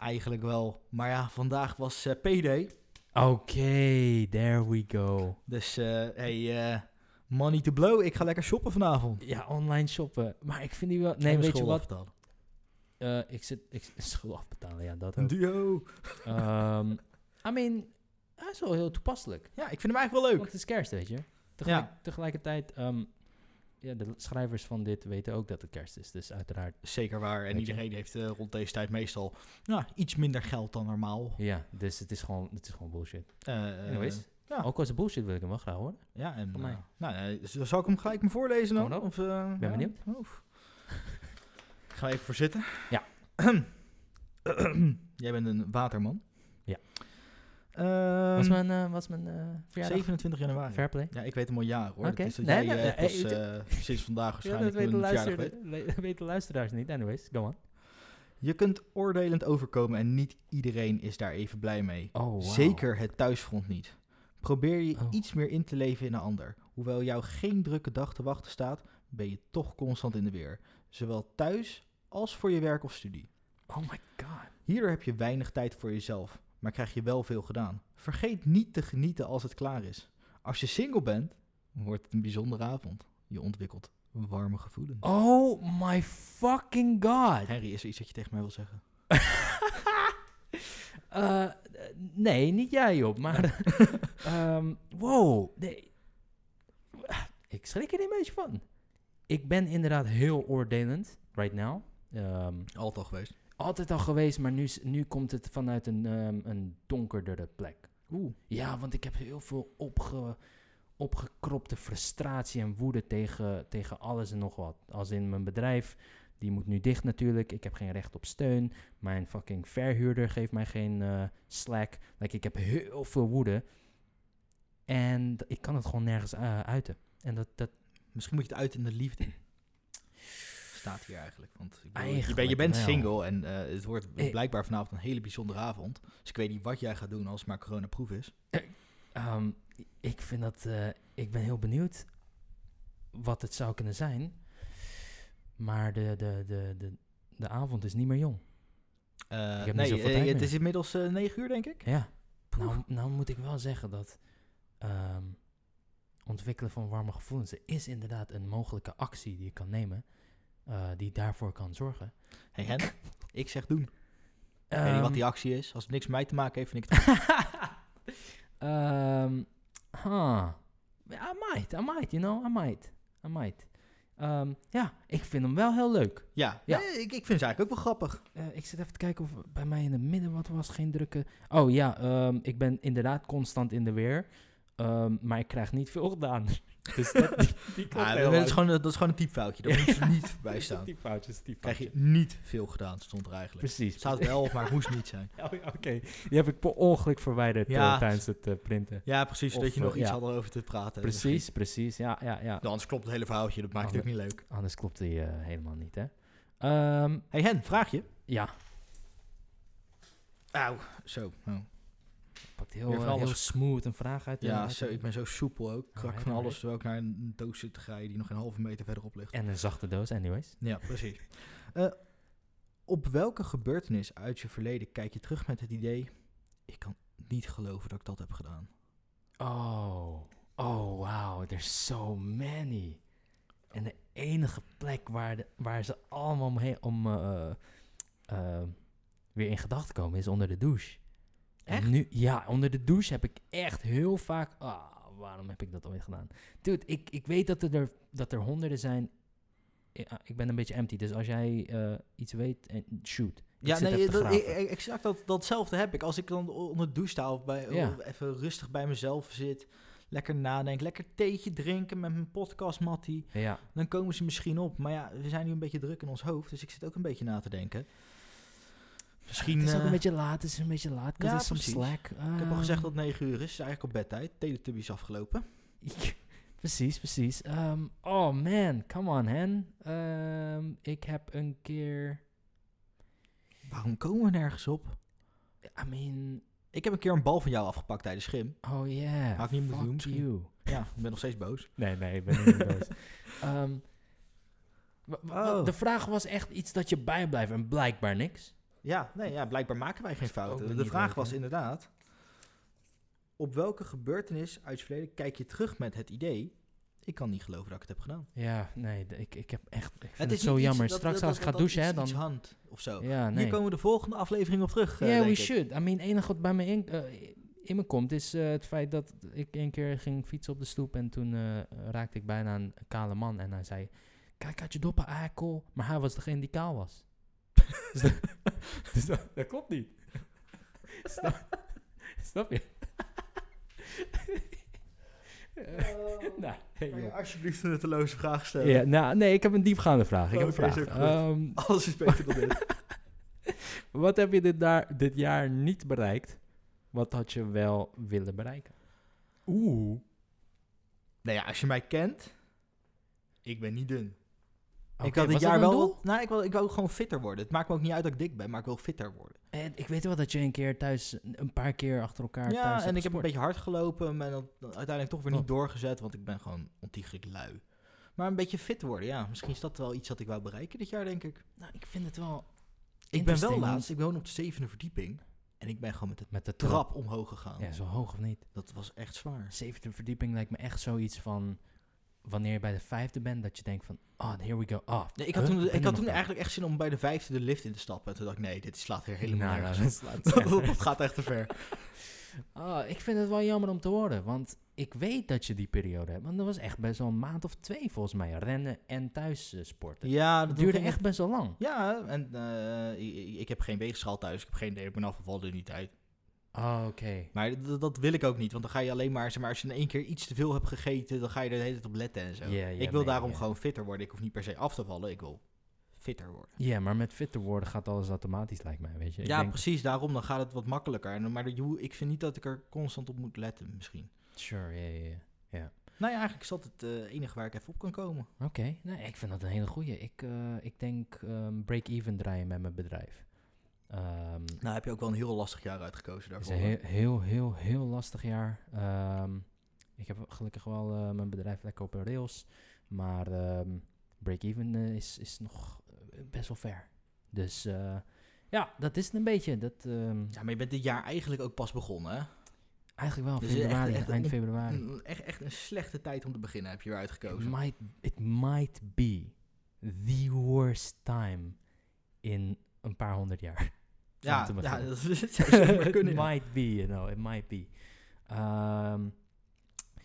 [SPEAKER 1] eigenlijk wel. Maar ja, vandaag was eh, PD.
[SPEAKER 2] Oké, there we go.
[SPEAKER 1] Dus eh hey, eh, money to blow. Ik ga lekker shoppen vanavond.
[SPEAKER 2] Ja, online shoppen. Maar ik vind die wel... Nee,
[SPEAKER 1] En
[SPEAKER 2] weet je
[SPEAKER 1] schulden
[SPEAKER 2] wat?
[SPEAKER 1] afbetalen.
[SPEAKER 2] Eh, ik zit... Ik, schuld afbetalen, ja, dat
[SPEAKER 1] Een
[SPEAKER 2] ook.
[SPEAKER 1] duo.
[SPEAKER 2] Ehm I mean, hij is wel heel toepasselijk.
[SPEAKER 1] Ja, ik vind hem eigenlijk wel leuk.
[SPEAKER 2] Want het is kerst, weet je. Tegelijk, Tegelijkertijd, ehm, ja, de schrijvers van dit weten ook dat het kerst is. Dus uiteraard,
[SPEAKER 1] Zeker waar. En
[SPEAKER 2] Weet je.
[SPEAKER 1] iedereen heeft eh, rond deze tijd meestal nou, iets minder geld dan normaal.
[SPEAKER 2] ja. Dus het is gewoon, het is gewoon bullshit.
[SPEAKER 1] Eh,
[SPEAKER 2] Anyways.
[SPEAKER 1] ja.
[SPEAKER 2] Ook als het bullshit wil ik hem wel graag horen.
[SPEAKER 1] Ja, en
[SPEAKER 2] Van mij.
[SPEAKER 1] eh, nou, eh, z- zal ik hem gelijk maar voorlezen dan?
[SPEAKER 2] Gewoon op.
[SPEAKER 1] Of, eh,
[SPEAKER 2] ben
[SPEAKER 1] ja?
[SPEAKER 2] benieuwd.
[SPEAKER 1] Oef. Ik Ga even voor zitten.
[SPEAKER 2] Ja.
[SPEAKER 1] Jij bent een waterman.
[SPEAKER 2] Ja.
[SPEAKER 1] Ehm,
[SPEAKER 2] was mijn, eh, was mijn eh, verjaardag?
[SPEAKER 1] 27 januari.
[SPEAKER 2] Fair play.
[SPEAKER 1] Ja, ik weet hem al jaren hoor.
[SPEAKER 2] Oké.
[SPEAKER 1] Dat is dat
[SPEAKER 2] Nee,
[SPEAKER 1] jij
[SPEAKER 2] nee,
[SPEAKER 1] eh,
[SPEAKER 2] nee,
[SPEAKER 1] pas,
[SPEAKER 2] eh,
[SPEAKER 1] eh, sinds vandaag
[SPEAKER 2] Ja,
[SPEAKER 1] waarschijnlijk
[SPEAKER 2] dat weten,
[SPEAKER 1] een
[SPEAKER 2] luister,
[SPEAKER 1] verjaardag weet.
[SPEAKER 2] we- weten luisteraars niet. Anyways, go on.
[SPEAKER 1] Je kunt oordelend overkomen en niet iedereen is daar even blij mee.
[SPEAKER 2] Oh,
[SPEAKER 1] Zeker het thuisfront niet. Probeer je
[SPEAKER 2] Oh.
[SPEAKER 1] iets meer in te leven in een ander. Hoewel jou geen drukke dag te wachten staat, ben je toch constant in de weer. Zowel thuis als voor je werk of studie.
[SPEAKER 2] Oh my god.
[SPEAKER 1] Hierdoor heb je weinig tijd voor jezelf, maar krijg je wel veel gedaan. Vergeet niet te genieten als het klaar is. Als je single bent, wordt het een bijzondere avond. Je ontwikkelt warme gevoelens.
[SPEAKER 2] Oh my fucking god.
[SPEAKER 1] Harry, is er iets dat je tegen mij wil zeggen?
[SPEAKER 2] Eh, eh, nee, niet jij op, maar. ehm, wow, nee. Ik schrik er een beetje van. Ik ben inderdaad heel oordelend, right now. Ehm,
[SPEAKER 1] Altijd al geweest.
[SPEAKER 2] altijd al geweest, maar nu, s- nu komt het vanuit een, ehm, een donkerdere plek.
[SPEAKER 1] Oeh.
[SPEAKER 2] Ja, want ik heb heel veel opge, opgekropte frustratie en woede tegen, tegen alles en nog wat. Als in mijn bedrijf, die moet nu dicht natuurlijk. Ik heb geen recht op steun. Mijn fucking verhuurder geeft mij geen eh, slack. Like, ik heb heel veel woede. En d- ik kan het gewoon nergens eh, uiten. En dat, dat
[SPEAKER 1] Misschien moet je het uit in de liefde. Staat hier eigenlijk. Want ik bedoel, je, bent,
[SPEAKER 2] Eigenlijk
[SPEAKER 1] je bent
[SPEAKER 2] wel.
[SPEAKER 1] single en eh, het wordt
[SPEAKER 2] Eh.
[SPEAKER 1] blijkbaar vanavond een hele bijzondere avond. Dus ik weet niet wat jij gaat doen als het maar coronaproof is.
[SPEAKER 2] Ehm, ik vind dat. eh, ik ben heel benieuwd wat het zou kunnen zijn. Maar de, de, de, de, de avond is niet meer jong.
[SPEAKER 1] Eh,
[SPEAKER 2] Ik heb niet
[SPEAKER 1] nee,
[SPEAKER 2] zoveel
[SPEAKER 1] eh,
[SPEAKER 2] tijd
[SPEAKER 1] het
[SPEAKER 2] meer.
[SPEAKER 1] is inmiddels eh, negen uur, denk ik.
[SPEAKER 2] Ja. Nou, nou moet ik wel zeggen dat. ehm, ontwikkelen van warme gevoelens er is inderdaad een mogelijke actie die je kan nemen. eh, die daarvoor kan zorgen.
[SPEAKER 1] Hey, Hen, ik zeg doen. Ik weet niet wat
[SPEAKER 2] Ehm,
[SPEAKER 1] die actie is. Als het niks met mij te maken heeft, vind ik het goed.
[SPEAKER 2] um, huh. I might, I might, you know, I might, I might. Ehm, ja, ik vind hem wel heel leuk.
[SPEAKER 1] Ja,
[SPEAKER 2] Ja.
[SPEAKER 1] nee, ik, ik vind ze eigenlijk ook wel grappig.
[SPEAKER 2] Eh, ik zit even te kijken of bij mij in het midden wat was. Geen drukke. Oh ja, ehm, ik ben inderdaad constant in de weer. Ehm, maar ik krijg niet veel gedaan. dus dat, die, die klopt
[SPEAKER 1] Ah,
[SPEAKER 2] helemaal
[SPEAKER 1] dat, is
[SPEAKER 2] niet.
[SPEAKER 1] gewoon, dat is gewoon een typfoutje. Daar moet je niet bij
[SPEAKER 3] Is dat
[SPEAKER 1] staan.
[SPEAKER 3] die foutjes, die
[SPEAKER 1] Krijg je
[SPEAKER 3] foutjes.
[SPEAKER 1] niet veel gedaan, stond er eigenlijk.
[SPEAKER 2] Precies.
[SPEAKER 1] Het staat wel, maar het moest niet zijn.
[SPEAKER 3] Oh ja, Oké.
[SPEAKER 2] Die heb ik per ongeluk verwijderd eh,
[SPEAKER 1] Ja.
[SPEAKER 2] tijdens het eh, printen.
[SPEAKER 1] Ja, precies.
[SPEAKER 2] Of,
[SPEAKER 1] Zodat je
[SPEAKER 2] eh,
[SPEAKER 1] nog iets
[SPEAKER 2] ja.
[SPEAKER 1] had over te praten.
[SPEAKER 2] Precies, precies. Ja, ja, ja.
[SPEAKER 1] Nou, anders klopt het hele verhaaltje. Dat maakt het ook niet leuk.
[SPEAKER 2] Anders klopt die eh, helemaal niet, hè? Ehm,
[SPEAKER 1] hey, Hen, vraag je?
[SPEAKER 2] ja,
[SPEAKER 1] Auw, zo. oh.
[SPEAKER 2] pakt
[SPEAKER 1] Weer
[SPEAKER 2] heel,
[SPEAKER 1] van
[SPEAKER 2] eh, heel
[SPEAKER 1] alles.
[SPEAKER 2] smooth een vraag uit. eh,
[SPEAKER 1] Ja,
[SPEAKER 2] uit-
[SPEAKER 1] zo, ik ben zo soepel ook. Krak
[SPEAKER 2] Alright,
[SPEAKER 1] van alles,
[SPEAKER 2] alright.
[SPEAKER 1] terwijl ik naar een doos zit te grijpen die nog een halve meter verderop ligt.
[SPEAKER 2] En een zachte doos, anyways.
[SPEAKER 1] Ja, precies. Eh, op welke gebeurtenis uit je verleden kijk je terug met het idee... Ik kan niet geloven dat ik dat heb gedaan.
[SPEAKER 2] Oh, oh wow, there's so many. En de enige plek waar, de, waar ze allemaal omheen, om eh, eh, weer in gedachten komen is onder de douche.
[SPEAKER 1] Echt?
[SPEAKER 2] En nu, ja, onder de douche heb ik echt heel vaak. Ah, waarom heb ik dat ooit gedaan? Dude, ik, ik weet dat er, dat er honderden zijn. Ik, ah, ik ben een beetje empty, dus als jij eh, iets weet, en shoot. Ik
[SPEAKER 1] ja,
[SPEAKER 2] zit
[SPEAKER 1] nee,
[SPEAKER 2] even te
[SPEAKER 1] dat,
[SPEAKER 2] graven.
[SPEAKER 1] ik, ik- exact dat, datzelfde heb ik. Als ik dan o- onder de douche sta of bij,
[SPEAKER 2] Ja.
[SPEAKER 1] of even rustig bij mezelf zit... Lekker nadenken, lekker theetje drinken met mijn podcast, Mattie.
[SPEAKER 2] ja.
[SPEAKER 1] Dan komen ze misschien op. Maar ja, we zijn nu een beetje druk in ons hoofd. Dus ik zit ook een beetje na te denken. Misschien.
[SPEAKER 2] Het is ook
[SPEAKER 1] eh,
[SPEAKER 2] een beetje laat, het is een beetje laat.
[SPEAKER 1] ja,
[SPEAKER 2] 'cause it's some
[SPEAKER 1] precies.
[SPEAKER 2] slack.
[SPEAKER 1] Ik heb al gezegd
[SPEAKER 2] Ehm,
[SPEAKER 1] dat het 9 uur is. Het is eigenlijk al bedtijd. Teletubbies afgelopen.
[SPEAKER 2] precies, precies. Ehm, oh man, come on, hen. Ehm, ik heb een keer.
[SPEAKER 1] Waarom komen we nergens op?
[SPEAKER 2] I mean,
[SPEAKER 1] Ik heb een keer een bal van jou afgepakt tijdens schim.
[SPEAKER 2] oh yeah.
[SPEAKER 1] Had ik niet moeten
[SPEAKER 2] fuck
[SPEAKER 1] doen, misschien.
[SPEAKER 2] you.
[SPEAKER 1] Ja, ik ben nog steeds boos.
[SPEAKER 2] Nee, nee, ik ben niet boos. Ehm, wa- wa- wa-
[SPEAKER 1] Oh.
[SPEAKER 2] De vraag was echt iets dat je bijblijft en blijkbaar niks.
[SPEAKER 1] Ja, nee, ja blijkbaar maken wij geen
[SPEAKER 2] Dat is ook
[SPEAKER 1] fouten.
[SPEAKER 2] weer
[SPEAKER 1] De
[SPEAKER 2] niet
[SPEAKER 1] vraag
[SPEAKER 2] leuk,
[SPEAKER 1] was
[SPEAKER 2] hè?
[SPEAKER 1] inderdaad... Op welke gebeurtenis uit je verleden kijk je terug met het idee... Ik kan niet geloven dat ik het heb gedaan.
[SPEAKER 2] Ja, nee, d- ik, ik heb echt. Ik vind het,
[SPEAKER 1] is
[SPEAKER 2] zo
[SPEAKER 1] niet iets
[SPEAKER 2] jammer.
[SPEAKER 1] dat-
[SPEAKER 2] Straks
[SPEAKER 1] dat-
[SPEAKER 2] als
[SPEAKER 1] dat-
[SPEAKER 2] ik
[SPEAKER 1] dat
[SPEAKER 2] ga douchen, hè,
[SPEAKER 1] iets-
[SPEAKER 2] dan.
[SPEAKER 1] iets hand of zo.
[SPEAKER 2] ja, nee.
[SPEAKER 1] Hier komen we de volgende aflevering op terug. eh,
[SPEAKER 2] Ja, we
[SPEAKER 1] denk ik.
[SPEAKER 2] should. I mean, het enige wat bij me in, eh, in me komt is eh, het feit dat ik een keer ging fietsen op de stoep en toen eh, raakte ik bijna een kale man en hij zei, kijk uit je doppen, eikel. Maar hij was degene die kaal was.
[SPEAKER 3] Dus dat, dat klopt niet.
[SPEAKER 2] Snap, snap je? Eh, nou, hey,
[SPEAKER 1] Oh. Kan je
[SPEAKER 2] joh.
[SPEAKER 1] alsjeblieft een nutteloze vraag stellen?
[SPEAKER 2] ja, nou, nee, ik heb een diepgaande vraag. Ik
[SPEAKER 1] Oké, Oh,
[SPEAKER 2] heb een
[SPEAKER 1] is
[SPEAKER 2] vraag.
[SPEAKER 1] ook goed.
[SPEAKER 2] Ehm,
[SPEAKER 1] Alles is beter dan dit.
[SPEAKER 2] wat heb je dit, daar, dit jaar niet bereikt? Wat had je wel willen bereiken?
[SPEAKER 3] Oeh.
[SPEAKER 1] Nou ja, als je mij kent, ik ben niet dun. ik
[SPEAKER 2] Oké,
[SPEAKER 1] had dit
[SPEAKER 2] was dat
[SPEAKER 1] jaar
[SPEAKER 2] een
[SPEAKER 1] wel.
[SPEAKER 2] doel?
[SPEAKER 1] Nou, ik wil, ik wil gewoon fitter worden. Het maakt me ook niet uit dat ik dik ben, maar ik wil fitter worden.
[SPEAKER 2] En ik weet wel dat je een keer thuis, een paar keer achter elkaar thuis
[SPEAKER 1] ja,
[SPEAKER 2] hebt
[SPEAKER 1] en ik heb een
[SPEAKER 2] gesport.
[SPEAKER 1] beetje hard gelopen, maar dan, dan uiteindelijk toch weer niet
[SPEAKER 2] Oh.
[SPEAKER 1] doorgezet, want ik ben gewoon ontiegelijk lui. Maar een beetje fit worden, ja. Misschien is dat wel iets dat ik wou bereiken dit jaar, denk ik.
[SPEAKER 2] Nou, ik vind het wel...
[SPEAKER 1] Ik ben wel
[SPEAKER 2] interesting,
[SPEAKER 1] laatst, ik woon op de zevende verdieping. En ik ben gewoon met de
[SPEAKER 2] want Met de trap.
[SPEAKER 1] trap omhoog gegaan.
[SPEAKER 2] Ja, zo hoog of niet.
[SPEAKER 1] Dat was echt zwaar.
[SPEAKER 2] Zevende verdieping lijkt me echt zoiets van... Wanneer je bij de vijfde bent, dat je denkt van... Oh, here we go. Oh,
[SPEAKER 1] Nee, ik had
[SPEAKER 2] huh?
[SPEAKER 1] toen,
[SPEAKER 2] ben
[SPEAKER 1] ik had
[SPEAKER 2] er nog
[SPEAKER 1] toen
[SPEAKER 2] bij.
[SPEAKER 1] eigenlijk echt zin om bij de vijfde de lift in te stappen. En toen dacht ik, nee, dit slaat weer helemaal
[SPEAKER 2] Nou,
[SPEAKER 1] nergens
[SPEAKER 2] nou,
[SPEAKER 1] op.
[SPEAKER 2] dat slaat
[SPEAKER 1] Dat,
[SPEAKER 2] nergens.
[SPEAKER 1] dat gaat echt te ver.
[SPEAKER 2] Ah, ik vind het wel jammer om te horen, want ik weet dat je die periode hebt. Want dat was echt best wel een maand of twee volgens mij. Rennen en thuis eh, sporten.
[SPEAKER 1] Ja,
[SPEAKER 2] dat duurde echt best wel lang.
[SPEAKER 1] Ja, en eh, i- i- ik heb geen weegschaal thuis. Ik heb geen idee. Ik ben afgevallen in die tijd.
[SPEAKER 2] Oh, oké.
[SPEAKER 1] Maar d- dat wil ik ook niet. Want dan ga je alleen maar, zeg maar, als je in één keer iets te veel hebt gegeten, dan ga je er de hele tijd op letten en zo.
[SPEAKER 2] Ja, ja,
[SPEAKER 1] ik wil
[SPEAKER 2] nee,
[SPEAKER 1] daarom
[SPEAKER 2] ja.
[SPEAKER 1] gewoon fitter worden. Ik hoef niet per se af te vallen. Ik wil fitter worden.
[SPEAKER 2] Ja, maar met fitter worden gaat alles automatisch, lijkt mij, weet je. Ik
[SPEAKER 1] ja,
[SPEAKER 2] denk-
[SPEAKER 1] precies. Daarom dan gaat het wat makkelijker. En- Maar de- joe, ik vind niet dat ik er constant op moet letten, misschien.
[SPEAKER 2] Sure, ja, ja, ja.
[SPEAKER 1] Nou ja, eigenlijk is dat het eh, enige waar ik even op kan komen.
[SPEAKER 2] Oké, nee, ik vind dat een hele goeie. Ik, eh, ik denk ehm, break-even draaien met mijn bedrijf. Ehm,
[SPEAKER 1] Nou heb je ook wel een heel lastig jaar uitgekozen
[SPEAKER 2] het is
[SPEAKER 1] daarvoor.
[SPEAKER 2] een heel, heel, heel, heel lastig jaar. Ehm, ik heb gelukkig wel eh, mijn bedrijf lekker op de rails. Maar ehm, break-even eh, is, is nog eh, best wel ver. Dus eh, ja, dat is het een beetje. Dat, ehm,
[SPEAKER 1] Ja, maar je bent dit jaar eigenlijk ook pas begonnen, hè?
[SPEAKER 2] Eigenlijk wel,
[SPEAKER 1] Dus echt-
[SPEAKER 2] februari,
[SPEAKER 1] echt
[SPEAKER 2] eind
[SPEAKER 1] on-
[SPEAKER 2] februari.
[SPEAKER 1] Een- Echt, echt een slechte tijd om te beginnen heb je weer
[SPEAKER 2] It
[SPEAKER 1] uitgekozen.
[SPEAKER 2] might, it might be the worst time in een paar honderd jaar.
[SPEAKER 1] ja,
[SPEAKER 2] om te
[SPEAKER 1] ja,
[SPEAKER 2] beginnen.
[SPEAKER 1] dat zou zomaar kunnen.
[SPEAKER 2] it
[SPEAKER 1] ja.
[SPEAKER 2] might be, you know, it might be. Ehm,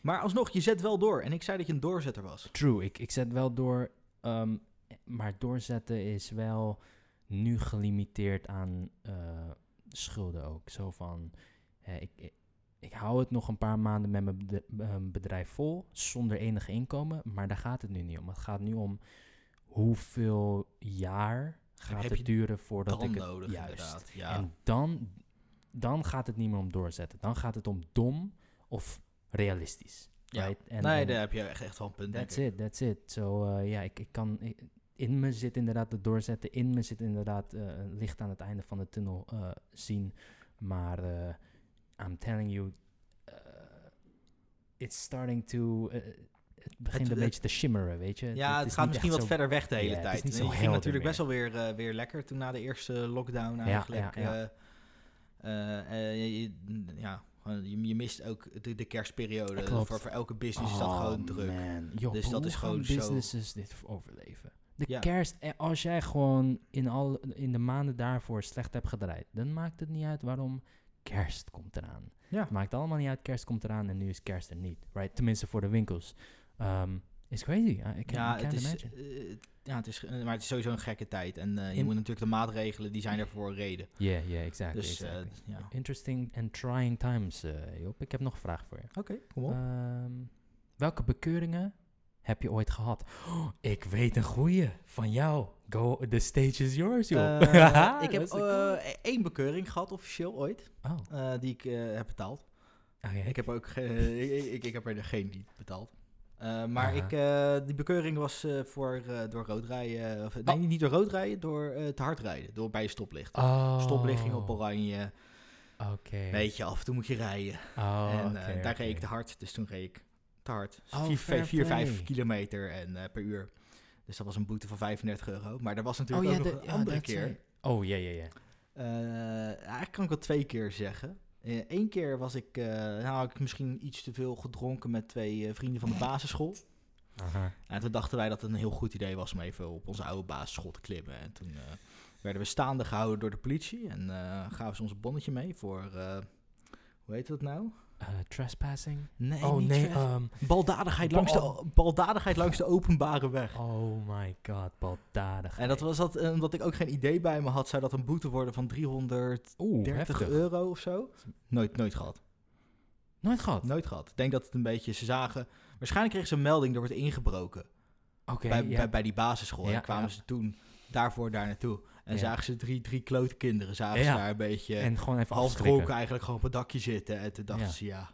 [SPEAKER 1] Maar alsnog, je zet wel door. En ik zei dat je een doorzetter was.
[SPEAKER 2] true, ik, ik zet wel door, ehm, maar doorzetten is wel nu gelimiteerd aan eh, schulden ook. Zo van, hè, ik, ik, ik hou het nog een paar maanden met mijn bede- ehm, bedrijf vol, zonder enig inkomen, maar daar gaat het nu niet om. Het gaat nu om hoeveel jaar gaat
[SPEAKER 1] heb je
[SPEAKER 2] het duren voordat
[SPEAKER 1] Dan
[SPEAKER 2] ik het...
[SPEAKER 1] nodig,
[SPEAKER 2] juist.
[SPEAKER 1] inderdaad. Ja.
[SPEAKER 2] En dan, dan gaat het niet meer om doorzetten. Dan gaat het om dom of realistisch.
[SPEAKER 1] Ja.
[SPEAKER 2] Right? En,
[SPEAKER 1] nee,
[SPEAKER 2] en
[SPEAKER 1] daar heb je echt, echt wel een punt, denk
[SPEAKER 2] that's
[SPEAKER 1] ik.
[SPEAKER 2] it, that's it. So, eh, ja, ik, ik kan... ik- in me zit inderdaad het doorzetten. In me zit inderdaad eh, een licht aan het einde van de tunnel eh, zien. Maar eh, I'm telling you... eh, it's starting to... eh, het begint een
[SPEAKER 1] het-
[SPEAKER 2] beetje te shimmeren, weet je.
[SPEAKER 1] Ja, het,
[SPEAKER 2] Eh, is
[SPEAKER 1] gaat
[SPEAKER 2] niet echt
[SPEAKER 1] misschien wat
[SPEAKER 2] zo-
[SPEAKER 1] verder weg de hele
[SPEAKER 2] Ja, het is
[SPEAKER 1] tijd.
[SPEAKER 2] niet zo
[SPEAKER 1] je ging
[SPEAKER 2] helder
[SPEAKER 1] natuurlijk best wel weer, eh, weer lekker toen na de eerste lockdown
[SPEAKER 2] ja,
[SPEAKER 1] eigenlijk. eh, eh,
[SPEAKER 2] ja.
[SPEAKER 1] eh, je- je- Ja, gewoon, je, je mist ook de, de kerstperiode.
[SPEAKER 2] Klopt.
[SPEAKER 1] Voor, voor elke business is dat
[SPEAKER 2] Oh,
[SPEAKER 1] gewoon druk.
[SPEAKER 2] man. Joh,
[SPEAKER 1] Dus dat
[SPEAKER 2] hoe
[SPEAKER 1] is gewoon zo-
[SPEAKER 2] gaan businesses dit overleven? De
[SPEAKER 1] Ja.
[SPEAKER 2] kerst, eh, als jij gewoon in, al, in de maanden daarvoor slecht hebt gedraaid, dan maakt het niet uit waarom kerst komt eraan.
[SPEAKER 1] Ja.
[SPEAKER 2] Het maakt allemaal niet uit, kerst komt eraan en nu is kerst er niet. Right? Tenminste voor de winkels. Ehm is crazy. I, I can't,
[SPEAKER 1] Ja, het
[SPEAKER 2] I can't
[SPEAKER 1] is,
[SPEAKER 2] imagine.
[SPEAKER 1] eh, ja, het is, eh, maar het is sowieso een gekke tijd. En eh, je
[SPEAKER 2] In-
[SPEAKER 1] moet natuurlijk de maatregelen, die zijn er voor een reden.
[SPEAKER 2] Yeah, yeah, exactly.
[SPEAKER 1] Dus eh,
[SPEAKER 2] exactly.
[SPEAKER 1] ja,
[SPEAKER 2] Interesting and trying times, eh, Job. Ik heb nog een vraag voor je.
[SPEAKER 1] oké, kom op.
[SPEAKER 2] Ehm, welke bekeuringen heb je ooit gehad? Oh, ik weet een goeie van jou. Go, the stage is yours, joh.
[SPEAKER 1] Eh, ik heb
[SPEAKER 2] Dat is een cool-
[SPEAKER 1] eh, één bekeuring gehad, officieel ooit,
[SPEAKER 2] Oh,
[SPEAKER 1] eh, die ik eh, heb betaald.
[SPEAKER 2] oké.
[SPEAKER 1] Ik heb, ook ge- ik, ik, ik heb er geen niet betaald. Eh, maar
[SPEAKER 2] Aha.
[SPEAKER 1] ik, eh, die bekeuring was eh, voor eh, door rood rijden. of, nee, niet door rood rijden, door eh, te hard rijden. Door bij stoplicht.
[SPEAKER 2] Oh,
[SPEAKER 1] Stoplichting op oranje.
[SPEAKER 2] Oké.
[SPEAKER 1] Weet je, af en toe moet je rijden.
[SPEAKER 2] Oh,
[SPEAKER 1] en eh,
[SPEAKER 2] oké,
[SPEAKER 1] daar reed ik
[SPEAKER 2] oké.
[SPEAKER 1] te hard, dus toen reed ik te hard. Dus
[SPEAKER 2] Oh,
[SPEAKER 1] 4,
[SPEAKER 2] fair
[SPEAKER 1] 5,
[SPEAKER 2] play.
[SPEAKER 1] kilometer en, eh, per uur. Dus dat was een boete van 35 euro. Maar dat was
[SPEAKER 2] Oh
[SPEAKER 1] natuurlijk
[SPEAKER 2] ja,
[SPEAKER 1] ook
[SPEAKER 2] de-
[SPEAKER 1] nog een
[SPEAKER 2] ja,
[SPEAKER 1] andere
[SPEAKER 2] dat
[SPEAKER 1] keer.
[SPEAKER 2] zei- Oh ja, ja, ja.
[SPEAKER 1] Eh, eigenlijk kan ik wel twee keer zeggen. Eén keer was ik, eh, nou, had ik misschien iets te veel gedronken met twee eh, vrienden van de basisschool.
[SPEAKER 2] Aha.
[SPEAKER 1] En toen dachten wij dat het een heel goed idee was om even op onze oude basisschool te klimmen. En toen eh, werden we staande gehouden door de politie en eh, gaven ze ons een bonnetje mee voor, eh, hoe heet dat nou?
[SPEAKER 2] Eh, trespassing.
[SPEAKER 1] Nee,
[SPEAKER 2] oh
[SPEAKER 1] niet
[SPEAKER 2] nee,
[SPEAKER 1] ver-
[SPEAKER 2] ehm,
[SPEAKER 1] baldadigheid,
[SPEAKER 2] ba-
[SPEAKER 1] langs de,
[SPEAKER 2] oh.
[SPEAKER 1] baldadigheid langs de openbare weg.
[SPEAKER 2] oh my god, baldadig.
[SPEAKER 1] En dat was dat, eh, omdat ik ook geen idee bij me had, zou dat een boete worden van 330
[SPEAKER 2] Oeh, heftig.
[SPEAKER 1] euro of zo. Nooit, nooit gehad.
[SPEAKER 2] Nooit gehad.
[SPEAKER 1] Nooit gehad. Ik denk dat het een beetje, ze zagen... Waarschijnlijk kregen ze een melding, er wordt ingebroken.
[SPEAKER 2] Oké,
[SPEAKER 1] bij,
[SPEAKER 2] ja.
[SPEAKER 1] bij, bij die basisschool.
[SPEAKER 2] Ja,
[SPEAKER 1] en kwamen
[SPEAKER 2] ja.
[SPEAKER 1] ze toen daarvoor daar naartoe. En
[SPEAKER 2] Ja.
[SPEAKER 1] zagen ze drie, drie klote kinderen, zagen
[SPEAKER 2] Ja.
[SPEAKER 1] ze daar een beetje
[SPEAKER 2] en gewoon even
[SPEAKER 1] eh, half
[SPEAKER 2] afschrikken.
[SPEAKER 1] dronken eigenlijk gewoon op het dakje zitten. En toen dachten
[SPEAKER 2] Ja.
[SPEAKER 1] ze, ja,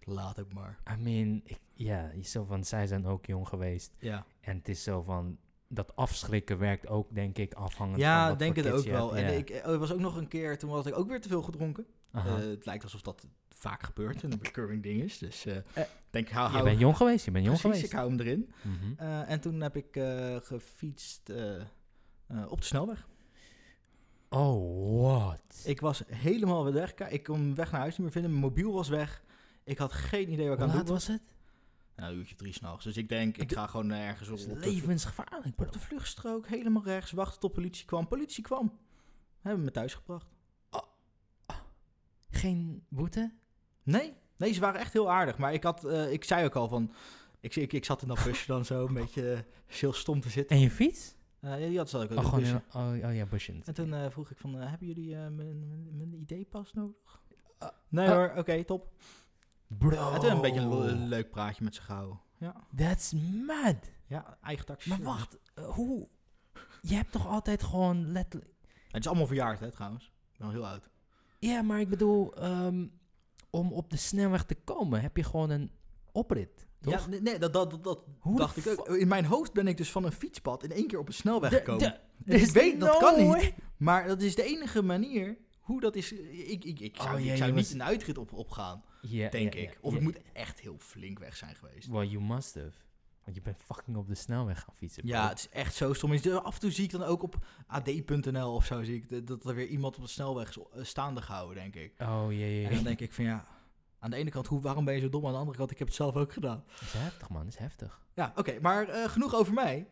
[SPEAKER 1] laat ook maar.
[SPEAKER 2] I mean, ik, ja, zo van, zij zijn ook jong geweest.
[SPEAKER 1] Ja,
[SPEAKER 2] En het is zo van, dat afschrikken werkt ook, denk ik, afhankelijk van
[SPEAKER 1] ja
[SPEAKER 2] wat
[SPEAKER 1] denk
[SPEAKER 2] voor
[SPEAKER 1] het ook
[SPEAKER 2] kids je
[SPEAKER 1] wel.
[SPEAKER 2] hebt.
[SPEAKER 1] En
[SPEAKER 2] Ja.
[SPEAKER 1] ik, eh, oh, er was ook nog een keer, toen had ik ook weer te veel gedronken.
[SPEAKER 2] Aha.
[SPEAKER 1] Eh, het lijkt alsof dat vaak gebeurt en een recurring ding is. Dus eh,
[SPEAKER 2] Eh,
[SPEAKER 1] denk, hou,
[SPEAKER 2] je
[SPEAKER 1] hou,
[SPEAKER 2] bent jong geweest, je bent jong
[SPEAKER 1] precies, ik
[SPEAKER 2] geweest.
[SPEAKER 1] hou hem erin.
[SPEAKER 2] Mhm.
[SPEAKER 1] Eh, en toen heb ik eh, gefietst eh, eh, op de snelweg.
[SPEAKER 2] Oh, what?
[SPEAKER 1] Ik was helemaal weer weg. Ka- Ik kon mijn weg naar huis niet meer vinden. Mijn mobiel was weg. Ik had geen idee wat
[SPEAKER 2] Hoe
[SPEAKER 1] ik aan het
[SPEAKER 2] laat
[SPEAKER 1] doen was.
[SPEAKER 2] was het?
[SPEAKER 1] Nou, een uurtje drie s'nachts. Dus ik denk, ik ga gewoon eh, ergens op,
[SPEAKER 2] Dat is
[SPEAKER 1] op, de,
[SPEAKER 2] levensgevaarlijk, bro.
[SPEAKER 1] op de vluchtstrook. Helemaal rechts. Wachten tot politie kwam. Politie kwam. Hebben me thuis gebracht.
[SPEAKER 2] Geen boete?
[SPEAKER 1] Nee. Nee, ze waren echt heel aardig. Maar ik, had, eh, ik zei ook al van... Ik, ik, ik zat in dat busje dan zo een beetje eh, heel stom te zitten.
[SPEAKER 2] En je fiets?
[SPEAKER 1] Eh, ja, die had ze ook. in
[SPEAKER 2] Oh,
[SPEAKER 1] dat
[SPEAKER 2] gewoon
[SPEAKER 1] busje.
[SPEAKER 2] in- oh, oh ja, busje.
[SPEAKER 1] En toen eh, vroeg ik van, eh, hebben jullie eh, mijn, mijn, mijn ID-pas nodig?
[SPEAKER 2] Ah,
[SPEAKER 1] nee
[SPEAKER 2] ah.
[SPEAKER 1] hoor, oké, top.
[SPEAKER 2] Bro.
[SPEAKER 1] Het is een beetje een, lo- een leuk praatje met z'n gauw. Ja,
[SPEAKER 2] That's mad.
[SPEAKER 1] ja eigen taxi.
[SPEAKER 2] Maar
[SPEAKER 1] ja.
[SPEAKER 2] wacht, eh, hoe... Je hebt toch altijd gewoon letterlijk...
[SPEAKER 1] Het is allemaal verjaard, hè, trouwens. Ik ben al heel oud.
[SPEAKER 2] Ja, maar ik bedoel, ehm, om op de snelweg te komen heb je gewoon een oprit. Toch?
[SPEAKER 1] Ja, nee, nee, dat, dat, dat, dat
[SPEAKER 2] Hoe de
[SPEAKER 1] dacht ik ook. In mijn hoofd ben ik dus van een fietspad in één keer op een snelweg
[SPEAKER 2] De-
[SPEAKER 1] gekomen.
[SPEAKER 2] de-
[SPEAKER 1] En
[SPEAKER 2] er
[SPEAKER 1] ik
[SPEAKER 2] is
[SPEAKER 1] weet, dat kan
[SPEAKER 2] no
[SPEAKER 1] niet.
[SPEAKER 2] way.
[SPEAKER 1] Maar dat is de enige manier hoe dat is. Ik, ik, ik zou,
[SPEAKER 2] Oh,
[SPEAKER 1] ik
[SPEAKER 2] ja,
[SPEAKER 1] zou
[SPEAKER 2] je
[SPEAKER 1] niet
[SPEAKER 2] was-
[SPEAKER 1] een uitrit op, opgaan,
[SPEAKER 2] Ja,
[SPEAKER 1] denk
[SPEAKER 2] ja,
[SPEAKER 1] ik.
[SPEAKER 2] ja,
[SPEAKER 1] Of
[SPEAKER 2] ja.
[SPEAKER 1] ik moet echt heel flink weg zijn geweest.
[SPEAKER 2] Well, you must have. Want je bent fucking op de snelweg gaan fietsen.
[SPEAKER 1] Ja,
[SPEAKER 2] bro.
[SPEAKER 1] het is echt zo stom. Is- Af en toe zie ik dan ook op ad.nl of zo, zie ik dat- dat er weer iemand op de snelweg is, eh, staande gehouden, denk ik.
[SPEAKER 2] Oh, ja, ja,
[SPEAKER 1] En dan
[SPEAKER 2] ja.
[SPEAKER 1] denk ik van ja, aan de ene kant, hoe, waarom ben je zo dom? Aan de andere kant, ik heb het zelf ook gedaan.
[SPEAKER 2] Dat is heftig, man. Dat is heftig.
[SPEAKER 1] Ja, oké, maar eh, genoeg over mij.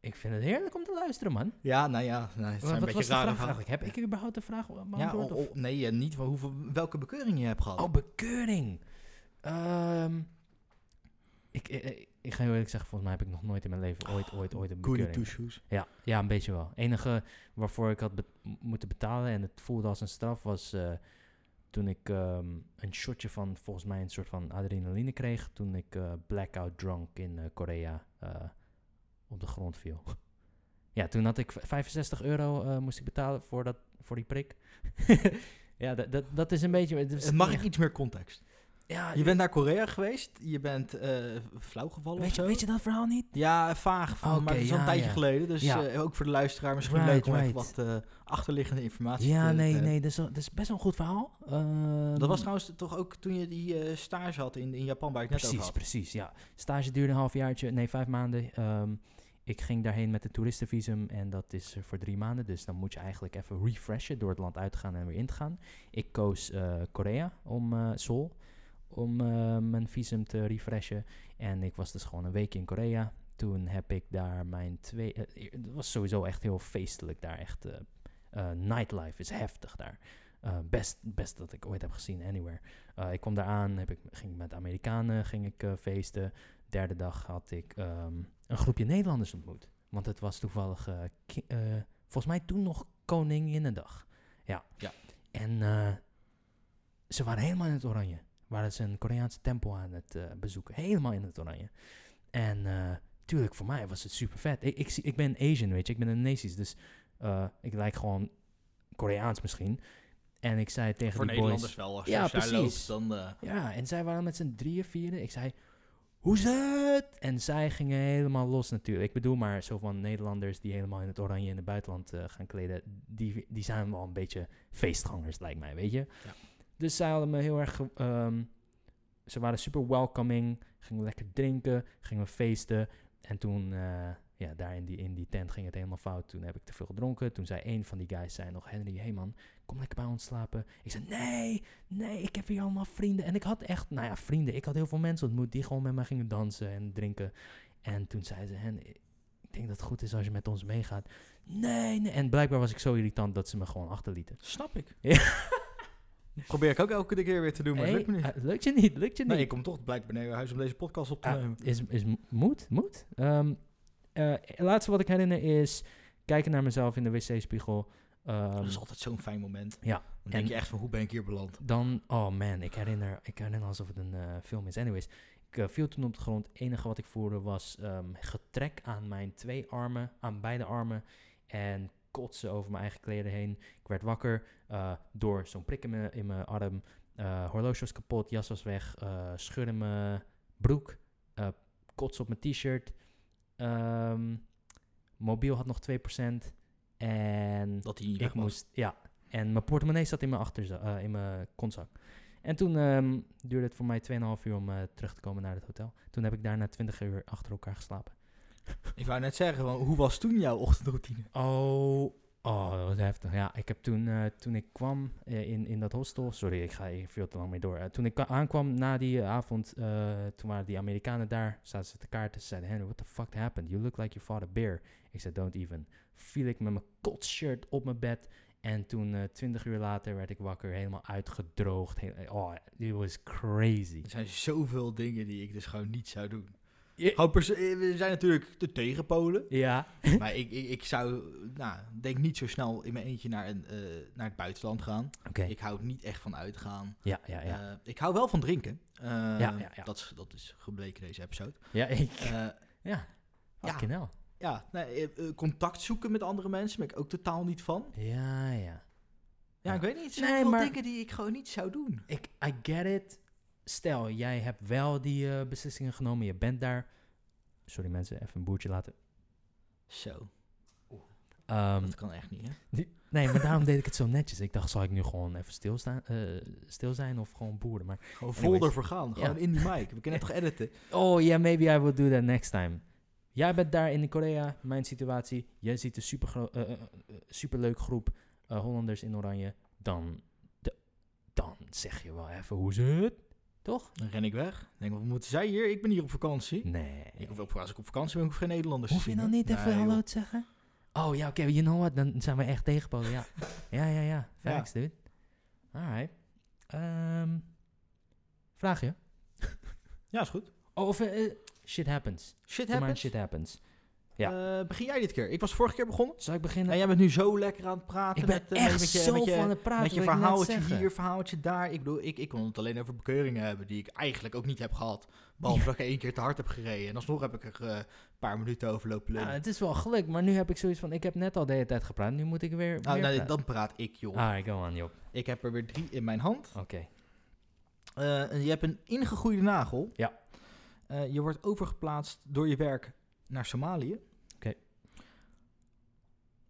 [SPEAKER 2] Ik vind het heerlijk om te luisteren, man.
[SPEAKER 1] Ja, nou ja, nou, het
[SPEAKER 2] Wat
[SPEAKER 1] zijn een
[SPEAKER 2] wat
[SPEAKER 1] beetje
[SPEAKER 2] was de
[SPEAKER 1] rare
[SPEAKER 2] vraag
[SPEAKER 1] verhalen.
[SPEAKER 2] eigenlijk? Heb ik überhaupt de vraag be-
[SPEAKER 1] Ja,
[SPEAKER 2] beantwoord?
[SPEAKER 1] o-
[SPEAKER 2] of-
[SPEAKER 1] o- nee, eh, niet van hoeveel, welke bekeuring je hebt gehad.
[SPEAKER 2] Oh, bekeuring. Ehm, ik, ik, ik- ik ga heel eerlijk zeggen, volgens mij heb ik nog nooit in mijn leven ooit, ooit, ooit een
[SPEAKER 1] Goede
[SPEAKER 2] bekeuring.
[SPEAKER 1] toeshoes.
[SPEAKER 2] Ja, ja, een beetje wel. enige waarvoor ik had be- m- moeten betalen en het voelde als een straf was eh, toen ik ehm, een shotje van volgens mij een soort van adrenaline kreeg toen ik eh, blackout drunk in eh, Korea eh, op de grond viel. ja, toen had ik v- 65 euro eh, moest ik betalen voor, dat, voor die prik. ja, dat, dat, dat is een beetje... het is
[SPEAKER 1] Eh, Mag
[SPEAKER 2] niet
[SPEAKER 1] ik iets meer context?
[SPEAKER 2] echt- Ja,
[SPEAKER 1] Je bent naar Korea geweest, je bent eh flauwgevallen
[SPEAKER 2] weet,
[SPEAKER 1] of
[SPEAKER 2] je,
[SPEAKER 1] zo.
[SPEAKER 2] weet je dat verhaal niet?
[SPEAKER 1] Ja, vaag, van,
[SPEAKER 2] Oké,
[SPEAKER 1] maar het is al een
[SPEAKER 2] ja,
[SPEAKER 1] tijdje
[SPEAKER 2] ja.
[SPEAKER 1] geleden, dus
[SPEAKER 2] Ja.
[SPEAKER 1] eh, ook voor de luisteraar misschien
[SPEAKER 2] Right,
[SPEAKER 1] leuk om even
[SPEAKER 2] right.
[SPEAKER 1] wat eh, achterliggende informatie
[SPEAKER 2] Ja,
[SPEAKER 1] te
[SPEAKER 2] nee,
[SPEAKER 1] te-
[SPEAKER 2] nee, dat is, wel- dat is best wel een goed verhaal.
[SPEAKER 1] eh, Dat was
[SPEAKER 2] Ehm,
[SPEAKER 1] trouwens toch ook toen je die eh, stage had in, in Japan, waar ik net
[SPEAKER 2] Precies,
[SPEAKER 1] over had.
[SPEAKER 2] precies, ja. Stage duurde een halfjaartje, nee, vijf maanden. Ehm, ik ging daarheen met een toeristenvisum en dat is eh, voor drie maanden. Dus dan moet je eigenlijk even refreshen door het land uit te gaan en weer in te gaan. Ik koos eh, Korea om eh, Seoul, om eh, mijn visum te refreshen. En ik was dus gewoon een week in Korea. Toen heb ik daar mijn twee... eh, eh, Het was sowieso echt heel feestelijk daar, echt... eh, eh, nightlife is heftig daar. Eh, best, best dat ik ooit heb gezien, anywhere. Eh, ik kwam daar aan, heb ik, ging ik met Amerikanen ging ik, eh, feesten. Derde dag had ik ehm, een groepje Nederlanders ontmoet. Want het was toevallig, eh, ki- eh, volgens mij toen nog Koninginnedag. Ja.
[SPEAKER 1] Ja.
[SPEAKER 2] En eh, ze waren helemaal in het oranje. Waren ze een Koreaanse tempel aan het eh, bezoeken. Helemaal in het oranje. En eh, tuurlijk, voor mij was het super vet. Ik, ik, zie- ik ben Asian, weet je. Ik ben Indonesisch, dus eh, ik lijk gewoon Koreaans misschien. En ik zei tegen
[SPEAKER 1] Voor
[SPEAKER 2] die boys...
[SPEAKER 1] Nederlanders wel, als je
[SPEAKER 2] Ja,
[SPEAKER 1] als je daar
[SPEAKER 2] precies.
[SPEAKER 1] loopt, dan... eh,
[SPEAKER 2] Ja, en zij waren met z'n drieën, vieren. Ik zei, hoe is het? En zij gingen helemaal los natuurlijk. Ik bedoel maar zo van Nederlanders die helemaal in het oranje in het buitenland eh, gaan kleden. Die, die zijn wel een beetje feestgangers, lijkt mij, weet je?
[SPEAKER 1] Ja.
[SPEAKER 2] Dus zij hadden me heel erg... ge- ehm, ze waren super welcoming. Gingen lekker drinken. Gingen feesten. En toen... eh, ja, daar in die, in die tent ging het helemaal fout. Toen heb ik te veel gedronken. Toen zei een van die guys zei nog... Henry, hey man, kom lekker bij ons slapen. Ik zei, nee, Nee, ik heb hier allemaal vrienden. En ik had echt, nou ja, vrienden. Ik had heel veel mensen ontmoet die gewoon met mij gingen dansen en drinken. En toen zei ze, hen, ik denk dat het goed is als je met ons meegaat. Nee, nee. En blijkbaar was ik zo irritant dat ze me gewoon achterlieten.
[SPEAKER 1] Snap ik.
[SPEAKER 2] Ja.
[SPEAKER 1] Probeer ik ook elke keer weer te doen, maar het
[SPEAKER 2] Hey,
[SPEAKER 1] lukt me niet.
[SPEAKER 2] eh, lukt je niet, lukt je niet.
[SPEAKER 1] Nee, ik kom toch blijkbaar naar huis om deze podcast op te
[SPEAKER 2] Ah,
[SPEAKER 1] nemen.
[SPEAKER 2] is, is m- moet, moet. Ehm, eh, het laatste wat ik herinner is kijken naar mezelf in de wc-spiegel. Ehm,
[SPEAKER 1] dat is altijd zo'n fijn moment.
[SPEAKER 2] Ja,
[SPEAKER 1] Dan denk
[SPEAKER 2] en-
[SPEAKER 1] je echt van, hoe ben ik hier beland?
[SPEAKER 2] Dan, oh man, ik herinner, ik herinner alsof het een eh, film is. Anyways, ik eh, viel toen op de grond. Het enige wat ik voelde was ehm, getrek aan mijn twee armen, aan beide armen. En kotsen over mijn eigen kleren heen. Ik werd wakker eh, door zo'n prik in mijn, in mijn arm. Eh, horloge was kapot, jas was weg. eh scheur in mijn broek. eh kots op mijn t-shirt. Ehm, mobiel had nog 2%. En
[SPEAKER 1] Dat hij niet weg
[SPEAKER 2] ik
[SPEAKER 1] was.
[SPEAKER 2] moest, ja. En mijn portemonnee zat in mijn achterzak, eh, in mijn kontzak. En toen ehm, duurde het voor mij 2,5 uur om eh, terug te komen naar het hotel. Toen heb ik daarna 20 uur achter elkaar geslapen.
[SPEAKER 1] Ik wou net zeggen, van, hoe was toen jouw ochtendroutine?
[SPEAKER 2] Oh, oh dat was heftig. Ja, ik heb toen, eh, toen ik kwam eh, in, in dat hostel... Sorry, ik ga hier veel te lang mee door. Eh, toen ik kwa- aankwam na die eh, avond, eh, toen waren die Amerikanen daar. Zaten ze te kaarten. Ze zeiden, Henry, what the fuck happened? You look like you fought a bear. Ik zei, don't even. Viel ik met mijn kotshirt op mijn bed. En toen, eh, twintig uur later, werd ik wakker. Helemaal uitgedroogd. Heel- oh, it was crazy.
[SPEAKER 1] Er zijn zoveel dingen die ik dus gewoon niet zou doen.
[SPEAKER 2] Je-
[SPEAKER 1] Gewoon perso- eh, we zijn natuurlijk de tegenpolen.
[SPEAKER 2] Ja.
[SPEAKER 1] maar ik, ik, ik zou, nou, denk niet zo snel in mijn eentje naar, een, eh, naar het buitenland gaan.
[SPEAKER 2] Oké.
[SPEAKER 1] Ik hou er niet echt van uitgaan.
[SPEAKER 2] Ja, ja, ja.
[SPEAKER 1] Eh, ik hou wel van drinken. Eh,
[SPEAKER 2] ja, ja.
[SPEAKER 1] Dat, is, dat is gebleken deze episode.
[SPEAKER 2] ja, ik...
[SPEAKER 1] Eh,
[SPEAKER 2] Ja.
[SPEAKER 1] Ja.
[SPEAKER 2] Fucking hell.
[SPEAKER 1] ja, nee, eh, eh, contact zoeken met andere mensen ben ik ook totaal niet van.
[SPEAKER 2] Ja, ja.
[SPEAKER 1] Ja,
[SPEAKER 2] Ja.
[SPEAKER 1] ik weet niet. Er zijn
[SPEAKER 2] Nee,
[SPEAKER 1] veel
[SPEAKER 2] maar-
[SPEAKER 1] dingen die ik gewoon niet zou doen.
[SPEAKER 2] Ik, I get it. Stel, jij hebt wel die eh, beslissingen genomen. Je bent daar. Sorry mensen, even een boertje laten.
[SPEAKER 1] Zo,
[SPEAKER 2] Ehm,
[SPEAKER 1] dat kan echt niet, hè?
[SPEAKER 2] nee, maar daarom deed ik het zo netjes. Ik dacht, zal ik nu gewoon even stilstaan, eh, stil zijn of gewoon boeren? Maar,
[SPEAKER 1] Gewoon
[SPEAKER 2] Anyways.
[SPEAKER 1] vol ervoor gaan. Gewoon
[SPEAKER 2] Ja.
[SPEAKER 1] in die mic. We kunnen het toch editen?
[SPEAKER 2] oh yeah, maybe I will do that next time. Jij bent daar in Korea, mijn situatie. Jij ziet een super superleuk groep eh, Hollanders in oranje. Dan, de- dan zeg je wel even, hoe is het? Toch?
[SPEAKER 1] Dan ren ik weg. Denk, wat moeten zij hier? Ik ben hier op vakantie.
[SPEAKER 2] Nee.
[SPEAKER 1] Ik hoef op, als ik op vakantie ben, hoef ik geen Nederlanders
[SPEAKER 2] Hoef
[SPEAKER 1] te
[SPEAKER 2] je
[SPEAKER 1] zien.
[SPEAKER 2] dan niet
[SPEAKER 1] hoor.
[SPEAKER 2] even
[SPEAKER 1] Nee,
[SPEAKER 2] hallo
[SPEAKER 1] joh.
[SPEAKER 2] te zeggen? Oh ja, oké, you know what? Dan zijn we echt tegenpolen, ja. ja, ja, ja. Facts, dude. Alright. Ehm, vraag je?
[SPEAKER 1] Ja, is goed.
[SPEAKER 2] Oh, of eh, eh, shit happens.
[SPEAKER 1] Shit
[SPEAKER 2] Come on,
[SPEAKER 1] happens.
[SPEAKER 2] shit happens.
[SPEAKER 1] Eh, begin jij dit keer. Ik was vorige keer begonnen.
[SPEAKER 2] Zal ik beginnen?
[SPEAKER 1] En jij bent nu zo lekker aan het praten.
[SPEAKER 2] ik ben
[SPEAKER 1] met, eh,
[SPEAKER 2] echt
[SPEAKER 1] met je,
[SPEAKER 2] zo
[SPEAKER 1] met je,
[SPEAKER 2] van het praten.
[SPEAKER 1] Met je
[SPEAKER 2] wil ik net
[SPEAKER 1] verhaaltje
[SPEAKER 2] zeggen.
[SPEAKER 1] hier, verhaaltje daar. Ik bedoel, ik, ik kon het alleen over bekeuringen hebben die ik eigenlijk ook niet heb gehad. Behalve dat ik één keer te hard heb gereden. En alsnog heb ik er eh, een paar minuten over lopen
[SPEAKER 2] Ja,
[SPEAKER 1] lullen.
[SPEAKER 2] Nou, het is wel geluk, maar nu heb ik zoiets van... Ik heb net al de hele tijd gepraat, nu moet ik weer...
[SPEAKER 1] nou,
[SPEAKER 2] weer
[SPEAKER 1] nou,
[SPEAKER 2] praten.
[SPEAKER 1] dan praat ik, joh.
[SPEAKER 2] Alright, go on, Job.
[SPEAKER 1] Ik heb er weer drie in mijn hand.
[SPEAKER 2] Oké.
[SPEAKER 1] Eh, en je hebt een ingegroeide nagel.
[SPEAKER 2] Ja.
[SPEAKER 1] Eh, je wordt overgeplaatst door je werk naar Somalië.
[SPEAKER 2] Oké.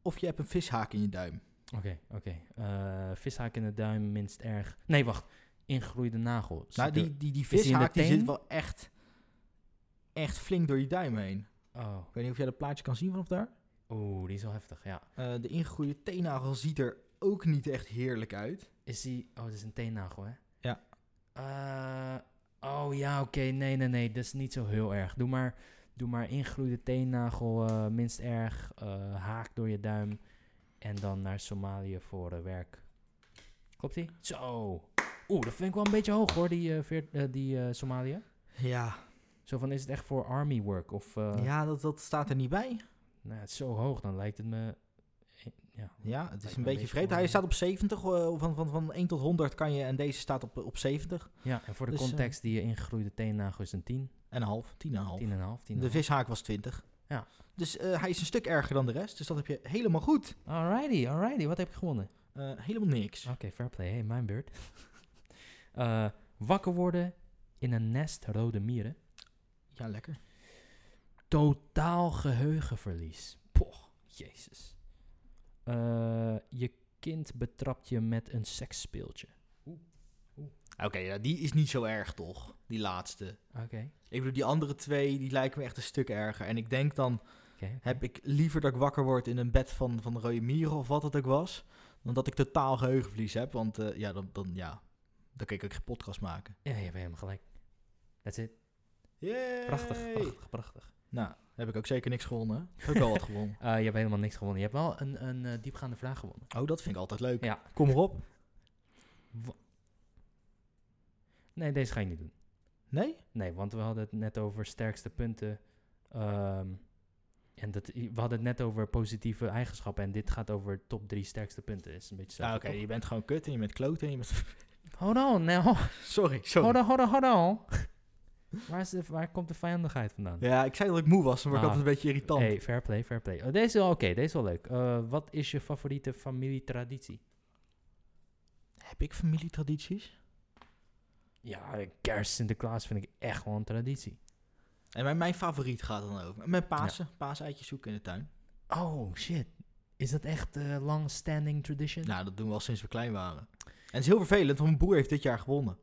[SPEAKER 1] Of je hebt een vishaak in je duim.
[SPEAKER 2] Oké, oké. Eh, vishaak in de duim, minst erg. Nee, wacht. Ingroeide nagel.
[SPEAKER 1] nou,
[SPEAKER 2] Zit er-
[SPEAKER 1] die, die, die
[SPEAKER 2] die in de
[SPEAKER 1] vishaak die
[SPEAKER 2] teen?
[SPEAKER 1] zit wel echt, echt flink door je duim heen.
[SPEAKER 2] Oh,
[SPEAKER 1] Ik weet niet of jij dat plaatje kan zien vanaf daar.
[SPEAKER 2] oeh, die is wel heftig, ja.
[SPEAKER 1] Eh, de ingegroeide teennagel ziet er ook niet echt heerlijk uit.
[SPEAKER 2] Is die... Oh, dat is een teennagel, hè?
[SPEAKER 1] Ja.
[SPEAKER 2] Eh, oh, ja, oké. Nee, nee, nee. Dat is niet zo heel erg. Doe maar, doe maar ingroeide teennagel, eh, minst erg. eh, haak door je duim. En dan naar Somalië voor eh, werk. Klopt die? Zo. Oeh, dat vind ik wel een beetje hoog, hoor, die, eh, veer- eh, die eh, Somalië.
[SPEAKER 1] Ja,
[SPEAKER 2] Zo van, is het echt voor army work? Of, eh,
[SPEAKER 1] ja dat, dat staat er niet bij.
[SPEAKER 2] Nou, het is zo hoog, dan lijkt het me... eh, Ja,
[SPEAKER 1] Ja, het
[SPEAKER 2] me
[SPEAKER 1] is
[SPEAKER 2] een
[SPEAKER 1] een beetje
[SPEAKER 2] beetje
[SPEAKER 1] vreemd. Hij
[SPEAKER 2] gewoon-
[SPEAKER 1] staat op 70, eh, van, van, van 1 tot 100 kan je en deze staat op, op 70.
[SPEAKER 2] ja en voor de
[SPEAKER 1] Dus, eh,
[SPEAKER 2] context die je ingegroeide teennagel is een 10.
[SPEAKER 1] En een half, 10,5.
[SPEAKER 2] 10,5, 10,5.
[SPEAKER 1] De vishaak was 20.
[SPEAKER 2] Ja.
[SPEAKER 1] Dus eh, hij is een stuk erger dan de rest, dus dat heb je helemaal goed.
[SPEAKER 2] Alrighty, alrighty. Wat heb ik gewonnen?
[SPEAKER 1] Eh, helemaal niks.
[SPEAKER 2] Oké, fair play. Hey, mijn beurt. Eh, wakker worden in een nest rode mieren.
[SPEAKER 1] Ja, lekker.
[SPEAKER 2] Totaal geheugenverlies. Poch, jezus. Eh, je kind betrapt je met een seksspeeltje.
[SPEAKER 1] Oké, ja, die is niet zo erg toch, die laatste.
[SPEAKER 2] Oké.
[SPEAKER 1] Ik bedoel, die andere twee, die lijken me echt een stuk erger. En ik denk dan,
[SPEAKER 2] oké.
[SPEAKER 1] heb ik liever dat ik wakker word in een bed van, van de rode mieren of wat het ook was, dan dat ik totaal geheugenverlies heb. Want eh, ja, dan, dan, ja, dan kan ik ook geen podcast maken.
[SPEAKER 2] Ja, je hebt helemaal gelijk. That's it.
[SPEAKER 1] Yay!
[SPEAKER 2] Prachtig, prachtig, prachtig.
[SPEAKER 1] Nou, heb ik ook zeker niks gewonnen. hè? Heb ik wel wat gewonnen.
[SPEAKER 2] Eh, je hebt helemaal niks gewonnen. Je hebt wel een, een eh, diepgaande vraag gewonnen.
[SPEAKER 1] Oh, dat vind ik altijd leuk.
[SPEAKER 2] Ja.
[SPEAKER 1] Kom erop.
[SPEAKER 2] Nee, deze ga je niet doen.
[SPEAKER 1] Nee?
[SPEAKER 2] Nee, want we hadden het net over sterkste punten. ehm, en dat, we hadden het net over positieve eigenschappen. En dit gaat over top drie sterkste punten. Is een beetje zo.
[SPEAKER 1] Ja, Ah, Nou, oké, je bent gewoon kut en je bent kloot en je bent...
[SPEAKER 2] Hold on, nee, ho-
[SPEAKER 1] sorry,
[SPEAKER 2] hold
[SPEAKER 1] sorry.
[SPEAKER 2] on, hold on, hold on. waar, is de, waar komt de vijandigheid vandaan?
[SPEAKER 1] Ja, ik zei dat ik moe was, dan word ik
[SPEAKER 2] Ah.
[SPEAKER 1] altijd een beetje irritant.
[SPEAKER 2] Hey, fair play, fair play. Oh, deze is wel oké, deze is wel leuk. Eh, wat is je favoriete familietraditie?
[SPEAKER 1] Heb ik familietradities?
[SPEAKER 2] Ja, kerst Sinterklaas vind ik echt wel een traditie.
[SPEAKER 1] En mijn, mijn favoriet gaat dan over. Mijn Pasen. Paaseitjes zoeken in de tuin.
[SPEAKER 2] Oh, shit. Is dat echt eh long-standing tradition?
[SPEAKER 1] Nou, dat doen we al sinds we klein waren. En het is heel vervelend, want mijn broer heeft dit jaar gewonnen.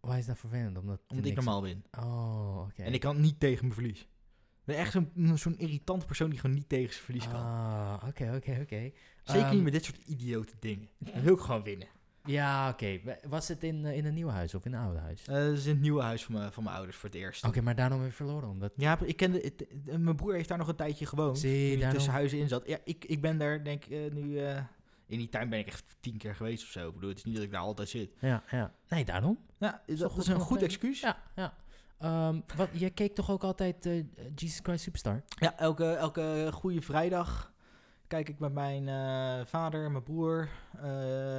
[SPEAKER 2] Waar is dat vervelend? Omdat, je
[SPEAKER 1] Omdat ik
[SPEAKER 2] niks-
[SPEAKER 1] normaal win.
[SPEAKER 2] Oh, oké.
[SPEAKER 1] En ik kan niet tegen mijn verlies. Ik ben echt zo'n zo'n irritant persoon die gewoon niet tegen zijn verlies kan.
[SPEAKER 2] Ah, oké, oké, oké.
[SPEAKER 1] Zeker
[SPEAKER 2] Ehm,
[SPEAKER 1] niet met dit soort idiote dingen. Dan wil ik gewoon winnen. Eh,
[SPEAKER 2] Ja, oké. We- Was het in, eh, in een nieuw huis of in een oude huis?
[SPEAKER 1] Eh, dat is in het nieuwe huis van, mijn- van mijn ouders voor het eerst.
[SPEAKER 2] Oké, maar daarom weer verloren. Omdat...
[SPEAKER 1] Ja, ik kende, het- eh, mijn broer heeft daar nog een tijdje gewoond.
[SPEAKER 2] Zie,
[SPEAKER 1] toen hij
[SPEAKER 2] daarom-
[SPEAKER 1] tussen huizen in zat. Ja, ik, ik ben daar denk ik eh, nu... eh, in die tuin ben ik echt tien keer geweest of zo. Ik bedoel, het is niet dat ik daar altijd zit.
[SPEAKER 2] Ja, ja. Nee, daarom.
[SPEAKER 1] Ja, dat,
[SPEAKER 2] wel
[SPEAKER 1] dat
[SPEAKER 2] goed
[SPEAKER 1] is een
[SPEAKER 2] van
[SPEAKER 1] goed
[SPEAKER 2] plan.
[SPEAKER 1] excuus. Ja,
[SPEAKER 2] Ja, ja. Ehm, wat, jij keek toch ook altijd eh, Jesus Christ Superstar?
[SPEAKER 1] elke, elke goede vrijdag kijk ik met mijn eh, vader, mijn broer, eh,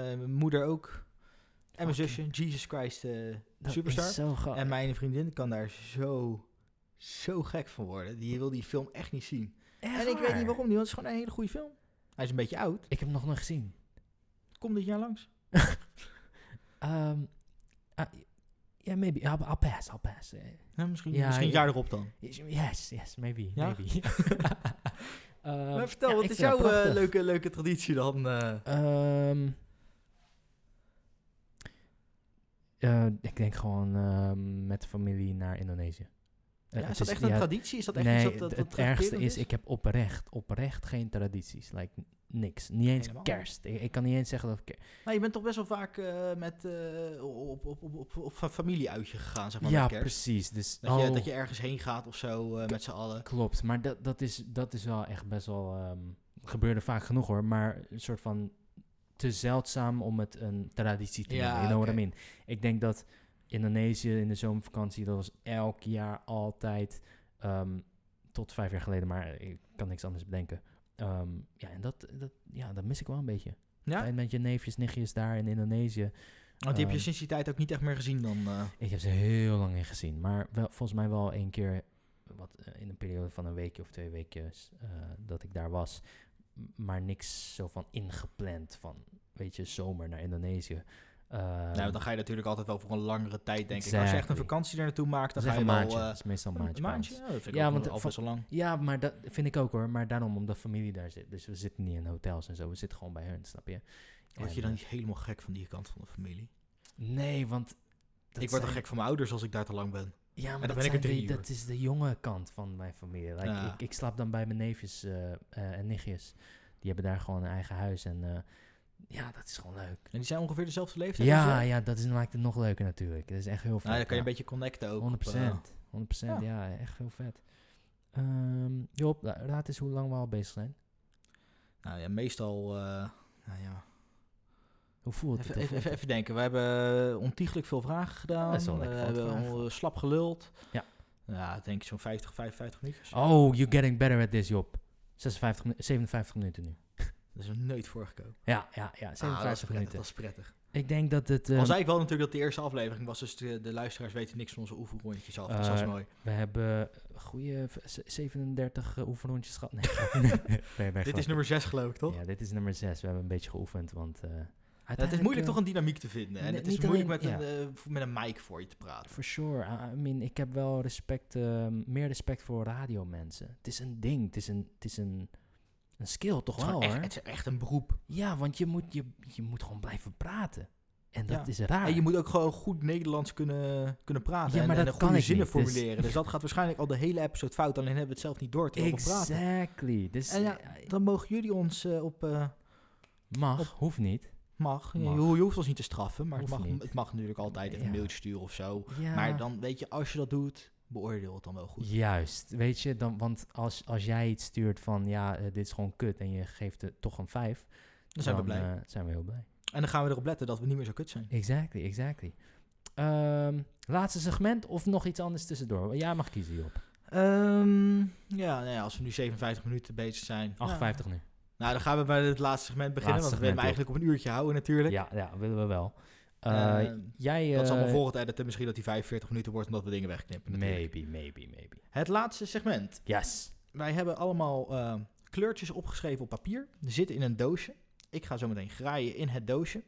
[SPEAKER 1] mijn moeder ook. En mijn
[SPEAKER 2] Fucking-
[SPEAKER 1] zusje, Jesus Christ eh,
[SPEAKER 2] Dat
[SPEAKER 1] Superstar.
[SPEAKER 2] is zo gaaf.
[SPEAKER 1] En mijn vriendin kan daar zo, zo gek van worden. Die wil die film echt niet zien.
[SPEAKER 2] Echt
[SPEAKER 1] en ik weet niet
[SPEAKER 2] waar?
[SPEAKER 1] waarom niet, want het is gewoon een hele goede film. Hij is een beetje oud.
[SPEAKER 2] Ik heb hem nog nooit gezien.
[SPEAKER 1] Kom dit jaar langs.
[SPEAKER 2] Um, uh, yeah, maybe. I'll, I'll pass, I'll pass. Eh,
[SPEAKER 1] Ja, misschien
[SPEAKER 2] Ja,
[SPEAKER 1] misschien een
[SPEAKER 2] ja.
[SPEAKER 1] jaar erop dan.
[SPEAKER 2] Yes, yes, maybe,
[SPEAKER 1] Ja?
[SPEAKER 2] maybe. Ehm,
[SPEAKER 1] maar vertel,
[SPEAKER 2] ja,
[SPEAKER 1] wat
[SPEAKER 2] ik
[SPEAKER 1] is
[SPEAKER 2] vind dat
[SPEAKER 1] jouw eh,
[SPEAKER 2] prachtig.
[SPEAKER 1] leuke, leuke traditie dan? eh?
[SPEAKER 2] Ehm, eh, ik denk gewoon ehm, met de familie naar Indonesië. Eh,
[SPEAKER 1] ja,
[SPEAKER 2] het
[SPEAKER 1] is dat
[SPEAKER 2] is-
[SPEAKER 1] echt een
[SPEAKER 2] ja,
[SPEAKER 1] traditie? Is dat echt
[SPEAKER 2] nee,
[SPEAKER 1] iets dat, dat,
[SPEAKER 2] het-
[SPEAKER 1] dat
[SPEAKER 2] het ergste
[SPEAKER 1] terugkerend
[SPEAKER 2] is, ik heb oprecht, oprecht geen tradities. Like, n- niks. Niet eens
[SPEAKER 1] Helemaal.
[SPEAKER 2] kerst. Ik, ik kan niet eens zeggen dat ik ke-
[SPEAKER 1] Nou, je bent toch best wel vaak eh, met, eh, op, op, op, op, op fa- familieuitje gegaan, zeg maar,
[SPEAKER 2] Ja,
[SPEAKER 1] met kerst.
[SPEAKER 2] precies. Dus,
[SPEAKER 1] Dat, je,
[SPEAKER 2] oh,
[SPEAKER 1] dat je ergens heen gaat of zo, eh, met z'n allen.
[SPEAKER 2] Klopt, maar dat, dat, is, dat is wel echt best wel... ehm, gebeurde vaak genoeg hoor, maar een soort van te zeldzaam om het een traditie te
[SPEAKER 1] Ja,
[SPEAKER 2] noemen. you know
[SPEAKER 1] oké.
[SPEAKER 2] what I mean? Ik denk dat Indonesië in de zomervakantie, dat was elk jaar altijd... ehm, tot vijf jaar geleden, maar ik kan niks anders bedenken. Ehm, ja, en dat, dat, ja, dat mis ik wel een beetje.
[SPEAKER 1] Ja?
[SPEAKER 2] Tijd met je neefjes, nichtjes daar in Indonesië.
[SPEAKER 1] Want die heb je
[SPEAKER 2] Ehm,
[SPEAKER 1] sinds die tijd ook niet echt meer gezien dan... eh.
[SPEAKER 2] Ik heb ze heel lang niet gezien. Maar wel, volgens mij wel één keer wat, eh, in een periode van een weekje of twee weekjes eh, dat ik daar was. M- Maar niks zo van ingepland van, weet je, zomer naar Indonesië. Eh,
[SPEAKER 1] nou, dan ga je natuurlijk altijd wel voor een langere tijd, denk ik. Als je echt een
[SPEAKER 2] Exactly.
[SPEAKER 1] vakantie daar naartoe maakt, dan
[SPEAKER 2] zeg
[SPEAKER 1] ga je
[SPEAKER 2] een
[SPEAKER 1] wel...
[SPEAKER 2] maandje.
[SPEAKER 1] eh,
[SPEAKER 2] dat is meestal een
[SPEAKER 1] een
[SPEAKER 2] maandje. bij
[SPEAKER 1] maandje?
[SPEAKER 2] ons.
[SPEAKER 1] Ja, dat vind ik
[SPEAKER 2] Ja,
[SPEAKER 1] ook
[SPEAKER 2] want
[SPEAKER 1] al
[SPEAKER 2] van-
[SPEAKER 1] best wel lang.
[SPEAKER 2] Ja, maar dat vind ik ook hoor. Maar daarom omdat familie daar zit. Dus we zitten niet in hotels en zo. We zitten gewoon bij hun, snap je?
[SPEAKER 1] Word
[SPEAKER 2] En,
[SPEAKER 1] je dan
[SPEAKER 2] eh,
[SPEAKER 1] niet helemaal gek van die kant van de familie?
[SPEAKER 2] Nee, want... dat
[SPEAKER 1] ik word er
[SPEAKER 2] zijn-
[SPEAKER 1] gek van mijn ouders als ik daar te lang ben.
[SPEAKER 2] Ja, maar
[SPEAKER 1] dan
[SPEAKER 2] dat,
[SPEAKER 1] ben ik er
[SPEAKER 2] zijn
[SPEAKER 1] drie
[SPEAKER 2] die-
[SPEAKER 1] uur.
[SPEAKER 2] dat is de jonge kant van mijn familie. Like,
[SPEAKER 1] Ja.
[SPEAKER 2] ik, ik slaap dan bij mijn neefjes eh, eh, en nichtjes. Die hebben daar gewoon een eigen huis. En eh, ja, dat is gewoon leuk.
[SPEAKER 1] En die zijn ongeveer dezelfde leeftijd? als
[SPEAKER 2] Ja,
[SPEAKER 1] jij?
[SPEAKER 2] ja, dat is, maakt het nog leuker natuurlijk. Dat is echt heel vet.
[SPEAKER 1] Nou, dan kan je een
[SPEAKER 2] ja.
[SPEAKER 1] beetje connecten ook. op,
[SPEAKER 2] 100%. 100%, ja.
[SPEAKER 1] Ja.
[SPEAKER 2] echt heel vet. Ehm Job, ra- raad eens hoe lang we al bezig zijn.
[SPEAKER 1] eh, nou ja, meestal... eh, nou ja.
[SPEAKER 2] Hoe voelt het?
[SPEAKER 1] even,
[SPEAKER 2] Hoe
[SPEAKER 1] even,
[SPEAKER 2] voelt
[SPEAKER 1] even,
[SPEAKER 2] het?
[SPEAKER 1] even denken. We hebben ontiegelijk veel vragen gedaan. Eh,
[SPEAKER 2] Dat is wel lekker
[SPEAKER 1] we
[SPEAKER 2] voor het
[SPEAKER 1] hebben
[SPEAKER 2] vragen.
[SPEAKER 1] on- slap geluld.
[SPEAKER 2] Ja.
[SPEAKER 1] Ja, ik denk zo'n 50, 55 minuutjes.
[SPEAKER 2] Oh, you're getting better at this, Job. 56, minu- 57 minuten nu.
[SPEAKER 1] Dat is nog nooit voorgekomen.
[SPEAKER 2] Ja, ja, ja,
[SPEAKER 1] Ah, dat, is
[SPEAKER 2] 57
[SPEAKER 1] prettig,
[SPEAKER 2] minuten.
[SPEAKER 1] dat is prettig.
[SPEAKER 2] Ik denk dat het...
[SPEAKER 1] Al
[SPEAKER 2] ehm,
[SPEAKER 1] zei ik wel natuurlijk dat de eerste aflevering was, dus de, de luisteraars weten niks van onze oefenrondjes af. dus dat is
[SPEAKER 2] Eh,
[SPEAKER 1] mooi.
[SPEAKER 2] We hebben goede 37 eh, oefenrondjes gehad. Nee, grapje. nee,
[SPEAKER 1] Dit
[SPEAKER 2] nee, grapje.
[SPEAKER 1] is nummer 6 geloof ik, toch?
[SPEAKER 2] Ja, dit is nummer 6. We hebben een beetje geoefend, want... eh,
[SPEAKER 1] Ja, het is
[SPEAKER 2] uiteindelijk,
[SPEAKER 1] moeilijk
[SPEAKER 2] eh,
[SPEAKER 1] toch een dynamiek te vinden. En
[SPEAKER 2] nee,
[SPEAKER 1] het is
[SPEAKER 2] niet
[SPEAKER 1] moeilijk met,
[SPEAKER 2] alleen-
[SPEAKER 1] een, eh, v- met een mic voor je te praten.
[SPEAKER 2] For sure. I- I mean, ik heb wel respect, eh, meer respect voor radiomensen. Het is een ding. Het is een, het is een, een skill, toch
[SPEAKER 1] Het is, gewoon
[SPEAKER 2] wel,
[SPEAKER 1] echt,
[SPEAKER 2] hoor?
[SPEAKER 1] het is echt een beroep.
[SPEAKER 2] Ja, want je moet, je, je moet gewoon blijven praten. En dat
[SPEAKER 1] Ja.
[SPEAKER 2] is raar.
[SPEAKER 1] En je moet ook gewoon goed Nederlands kunnen, kunnen praten.
[SPEAKER 2] Ja,
[SPEAKER 1] en-
[SPEAKER 2] maar
[SPEAKER 1] en
[SPEAKER 2] dat
[SPEAKER 1] een
[SPEAKER 2] kan
[SPEAKER 1] goede
[SPEAKER 2] ik
[SPEAKER 1] zinnen
[SPEAKER 2] niet, dus-
[SPEAKER 1] formuleren. Dus... dat gaat waarschijnlijk al de hele episode fout. Alleen hebben we het zelf niet door terwijl we praten.
[SPEAKER 2] exactly. Dus
[SPEAKER 1] En ja,
[SPEAKER 2] eh,
[SPEAKER 1] dan mogen jullie ons eh, op... eh,
[SPEAKER 2] mag, hoeft niet.
[SPEAKER 1] mag. Je-
[SPEAKER 2] Mag.
[SPEAKER 1] Je, ho- je hoeft ons niet te straffen. Maar het
[SPEAKER 2] Hoeft
[SPEAKER 1] mag,
[SPEAKER 2] niet.
[SPEAKER 1] het mag natuurlijk altijd even een
[SPEAKER 2] Ja.
[SPEAKER 1] mailtje sturen of zo.
[SPEAKER 2] Ja.
[SPEAKER 1] Maar dan weet je, als je dat doet, beoordeel het dan wel goed.
[SPEAKER 2] Juist, weet je, dan, want als, als jij iets stuurt van ja, eh, dit is gewoon kut en je geeft het toch een 5,
[SPEAKER 1] Dan zijn we blij.
[SPEAKER 2] eh, zijn we heel blij.
[SPEAKER 1] En dan gaan we erop letten dat we niet meer zo kut zijn.
[SPEAKER 2] Exactly, exactly. Ehm, laatste segment of nog iets anders tussendoor? Jij mag kiezen, Job.
[SPEAKER 1] Ehm, ja, nou ja, als we nu 57 minuten bezig zijn.
[SPEAKER 2] 58 nu.
[SPEAKER 1] Nou, dan gaan we bij het laatste segment beginnen.
[SPEAKER 2] Laatste
[SPEAKER 1] want we willen hem eigenlijk
[SPEAKER 2] segment,
[SPEAKER 1] op een uurtje houden natuurlijk.
[SPEAKER 2] Ja, ja, willen we wel. Eh,
[SPEAKER 1] Eh,
[SPEAKER 2] jij,
[SPEAKER 1] dat is allemaal
[SPEAKER 2] eh,
[SPEAKER 1] voor het editen. Misschien dat die 45 minuten wordt omdat we dingen wegknippen. natuurlijk.
[SPEAKER 2] Maybe, maybe, maybe.
[SPEAKER 1] Het laatste segment.
[SPEAKER 2] Yes.
[SPEAKER 1] Wij hebben allemaal eh, kleurtjes opgeschreven op papier. Die zitten in een doosje. Ik ga zo meteen graaien in het doosje.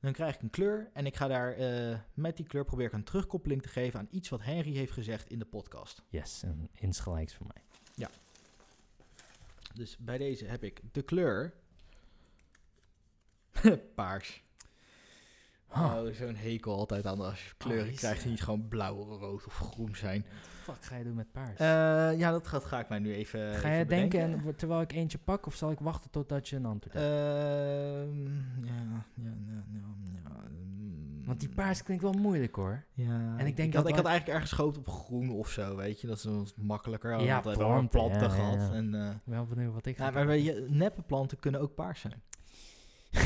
[SPEAKER 1] Dan krijg ik een kleur en ik ga daar eh, met die kleur probeer ik een terugkoppeling te geven aan iets wat Henry heeft gezegd in de podcast.
[SPEAKER 2] Yes, een insgelijks voor mij.
[SPEAKER 1] Dus bij deze heb ik de kleur paars.
[SPEAKER 2] Huh.
[SPEAKER 1] Oh, zo'n hekel altijd aan als je kleuren
[SPEAKER 2] is-
[SPEAKER 1] krijgt die niet gewoon blauw, rood of groen zijn.
[SPEAKER 2] Wat fuck ga je doen met paars?
[SPEAKER 1] Eh, ja, dat gaat, ga ik mij nu even.
[SPEAKER 2] ga
[SPEAKER 1] even
[SPEAKER 2] je denken
[SPEAKER 1] bedenken.
[SPEAKER 2] en, wo- terwijl ik eentje pak of zal ik wachten totdat je een antwoord hebt?
[SPEAKER 1] Ehm, ja, ja, ja, ja, ja, mm.
[SPEAKER 2] Want die paars klinkt wel moeilijk hoor.
[SPEAKER 1] Ja,
[SPEAKER 2] en ik denk
[SPEAKER 1] had,
[SPEAKER 2] dat
[SPEAKER 1] ik had
[SPEAKER 2] wij-
[SPEAKER 1] eigenlijk ergens gehoopt op groen of zo, weet je. Dat is dan wat makkelijker.
[SPEAKER 2] Ja,
[SPEAKER 1] Ja, planten,
[SPEAKER 2] planten,
[SPEAKER 1] planten
[SPEAKER 2] ja,
[SPEAKER 1] gehad.
[SPEAKER 2] ja.
[SPEAKER 1] En, eh,
[SPEAKER 2] Ik ben wel benieuwd wat ik ga
[SPEAKER 1] ja, maar weet je, neppe planten kunnen ook paars zijn.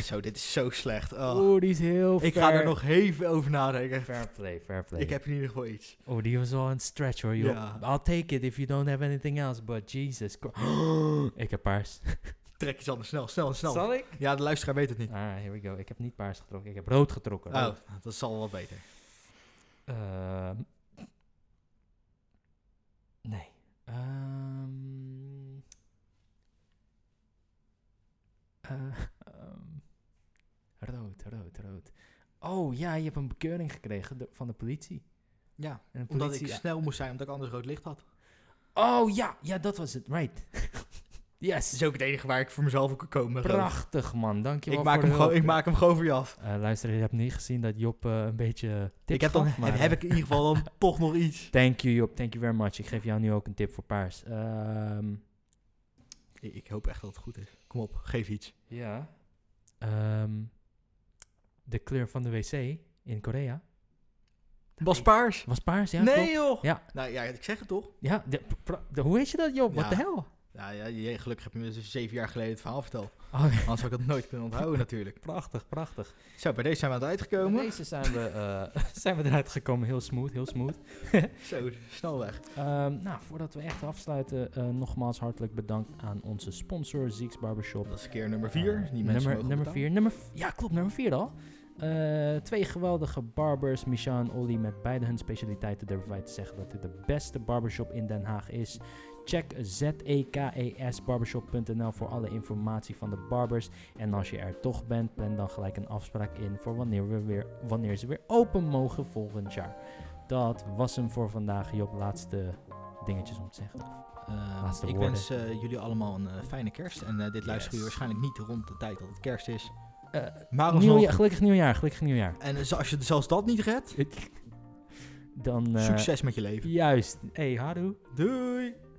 [SPEAKER 1] zo, dit is zo slecht.
[SPEAKER 2] doen.
[SPEAKER 1] Oh.
[SPEAKER 2] Oeh, die is heel
[SPEAKER 1] ik
[SPEAKER 2] ver-
[SPEAKER 1] ga er nog even over nadenken.
[SPEAKER 2] Fair play, fair play.
[SPEAKER 1] Ik heb in ieder geval iets.
[SPEAKER 2] Oeh, Oh, die was wel een stretch hoor, joh.
[SPEAKER 1] Ja.
[SPEAKER 2] I'll take it if you don't have anything else, but Jesus Christ. ik heb paars.
[SPEAKER 1] Trek iets anders. Snel, snel, snel.
[SPEAKER 2] Zal ik?
[SPEAKER 1] Ja, de luisteraar weet het niet.
[SPEAKER 2] Ah, here we go. Ik heb niet paars getrokken, ik heb rood getrokken.
[SPEAKER 1] Oh,
[SPEAKER 2] rood.
[SPEAKER 1] dat zal wel beter.
[SPEAKER 2] Ehm. nee. Ehm. Eh, ehm. Oh ja, je hebt een bekeuring gekregen do- van de politie.
[SPEAKER 1] Ja,
[SPEAKER 2] En de
[SPEAKER 1] omdat
[SPEAKER 2] politie-
[SPEAKER 1] ik snel moest zijn, omdat ik anders rood licht had.
[SPEAKER 2] Oh ja, ja, dat was het. Right.
[SPEAKER 1] Dat
[SPEAKER 2] yes.
[SPEAKER 1] is ook het enige waar ik voor mezelf op kan komen. rood.
[SPEAKER 2] Prachtig man, dankjewel
[SPEAKER 1] Ik maak,
[SPEAKER 2] voor
[SPEAKER 1] hem
[SPEAKER 2] de
[SPEAKER 1] gewoon,
[SPEAKER 2] hulp.
[SPEAKER 1] ik maak hem gewoon voor je af.
[SPEAKER 2] Eh, luister, je hebt niet gezien dat Job eh, een beetje tips
[SPEAKER 1] Ik heb, dan,
[SPEAKER 2] gaf, maar,
[SPEAKER 1] heb
[SPEAKER 2] eh,
[SPEAKER 1] ik in ieder geval dan toch nog iets.
[SPEAKER 2] Thank you Job, thank you very much. Ik geef jou nu ook een tip voor paars. Ehm,
[SPEAKER 1] Ik ik hoop echt dat het goed is. Kom op, geef iets.
[SPEAKER 2] ja. Ehm, de kleur van de wc in Korea
[SPEAKER 1] Was paars.
[SPEAKER 2] was paars, ja?
[SPEAKER 1] nee
[SPEAKER 2] klopt.
[SPEAKER 1] joh.
[SPEAKER 2] Ja.
[SPEAKER 1] Nou ja, ik zeg het toch.
[SPEAKER 2] Ja, de- pra- de- hoe heet je dat Job? Wat
[SPEAKER 1] Ja.
[SPEAKER 2] de hel?
[SPEAKER 1] Ja, ja, je- gelukkig heb je me dus zeven jaar geleden het verhaal verteld.
[SPEAKER 2] Oh,
[SPEAKER 1] Anders had ik dat nooit kunnen onthouden natuurlijk.
[SPEAKER 2] prachtig, prachtig.
[SPEAKER 1] Zo, bij deze zijn we aan het uitgekomen.
[SPEAKER 2] Bij Deze zijn we, eh, zijn we eruit gekomen. Heel smooth, heel smooth.
[SPEAKER 1] Zo, snel weg.
[SPEAKER 2] Ehm, nou, voordat we echt afsluiten, eh, nogmaals hartelijk bedankt aan onze sponsor, Zieks Barbershop.
[SPEAKER 1] Dat is keer nummer vier.
[SPEAKER 2] Eh,
[SPEAKER 1] Die mensen
[SPEAKER 2] nummer,
[SPEAKER 1] mogen
[SPEAKER 2] nummer
[SPEAKER 1] betalen.
[SPEAKER 2] vier. Nummer, v- ja, klopt, nummer vier al. Eh, twee geweldige barbers, Michel en Olly, met beide hun specialiteiten durven wij te zeggen dat dit de beste barbershop in Den Haag is. Check E zekesbarbershop.nl voor alle informatie van de barbers. En als je er toch bent, plan dan gelijk een afspraak in voor wanneer, we weer, wanneer ze weer open mogen volgend jaar. Dat was hem voor vandaag. Job, laatste dingetjes om te zeggen.
[SPEAKER 1] Eh,
[SPEAKER 2] Laatste
[SPEAKER 1] ik
[SPEAKER 2] woorden.
[SPEAKER 1] wens eh, jullie allemaal een eh, fijne kerst. En eh, dit luisteren jullie
[SPEAKER 2] Yes.
[SPEAKER 1] waarschijnlijk niet rond de tijd dat het kerst is.
[SPEAKER 2] Eh,
[SPEAKER 1] maar alsnog.
[SPEAKER 2] Nieuwjaar, gelukkig nieuwjaar, gelukkig nieuwjaar.
[SPEAKER 1] En eh, zo- als je zelfs dat niet redt,
[SPEAKER 2] Dan, eh,
[SPEAKER 1] succes met je leven.
[SPEAKER 2] Juist. Hey, Haru.
[SPEAKER 1] Doei!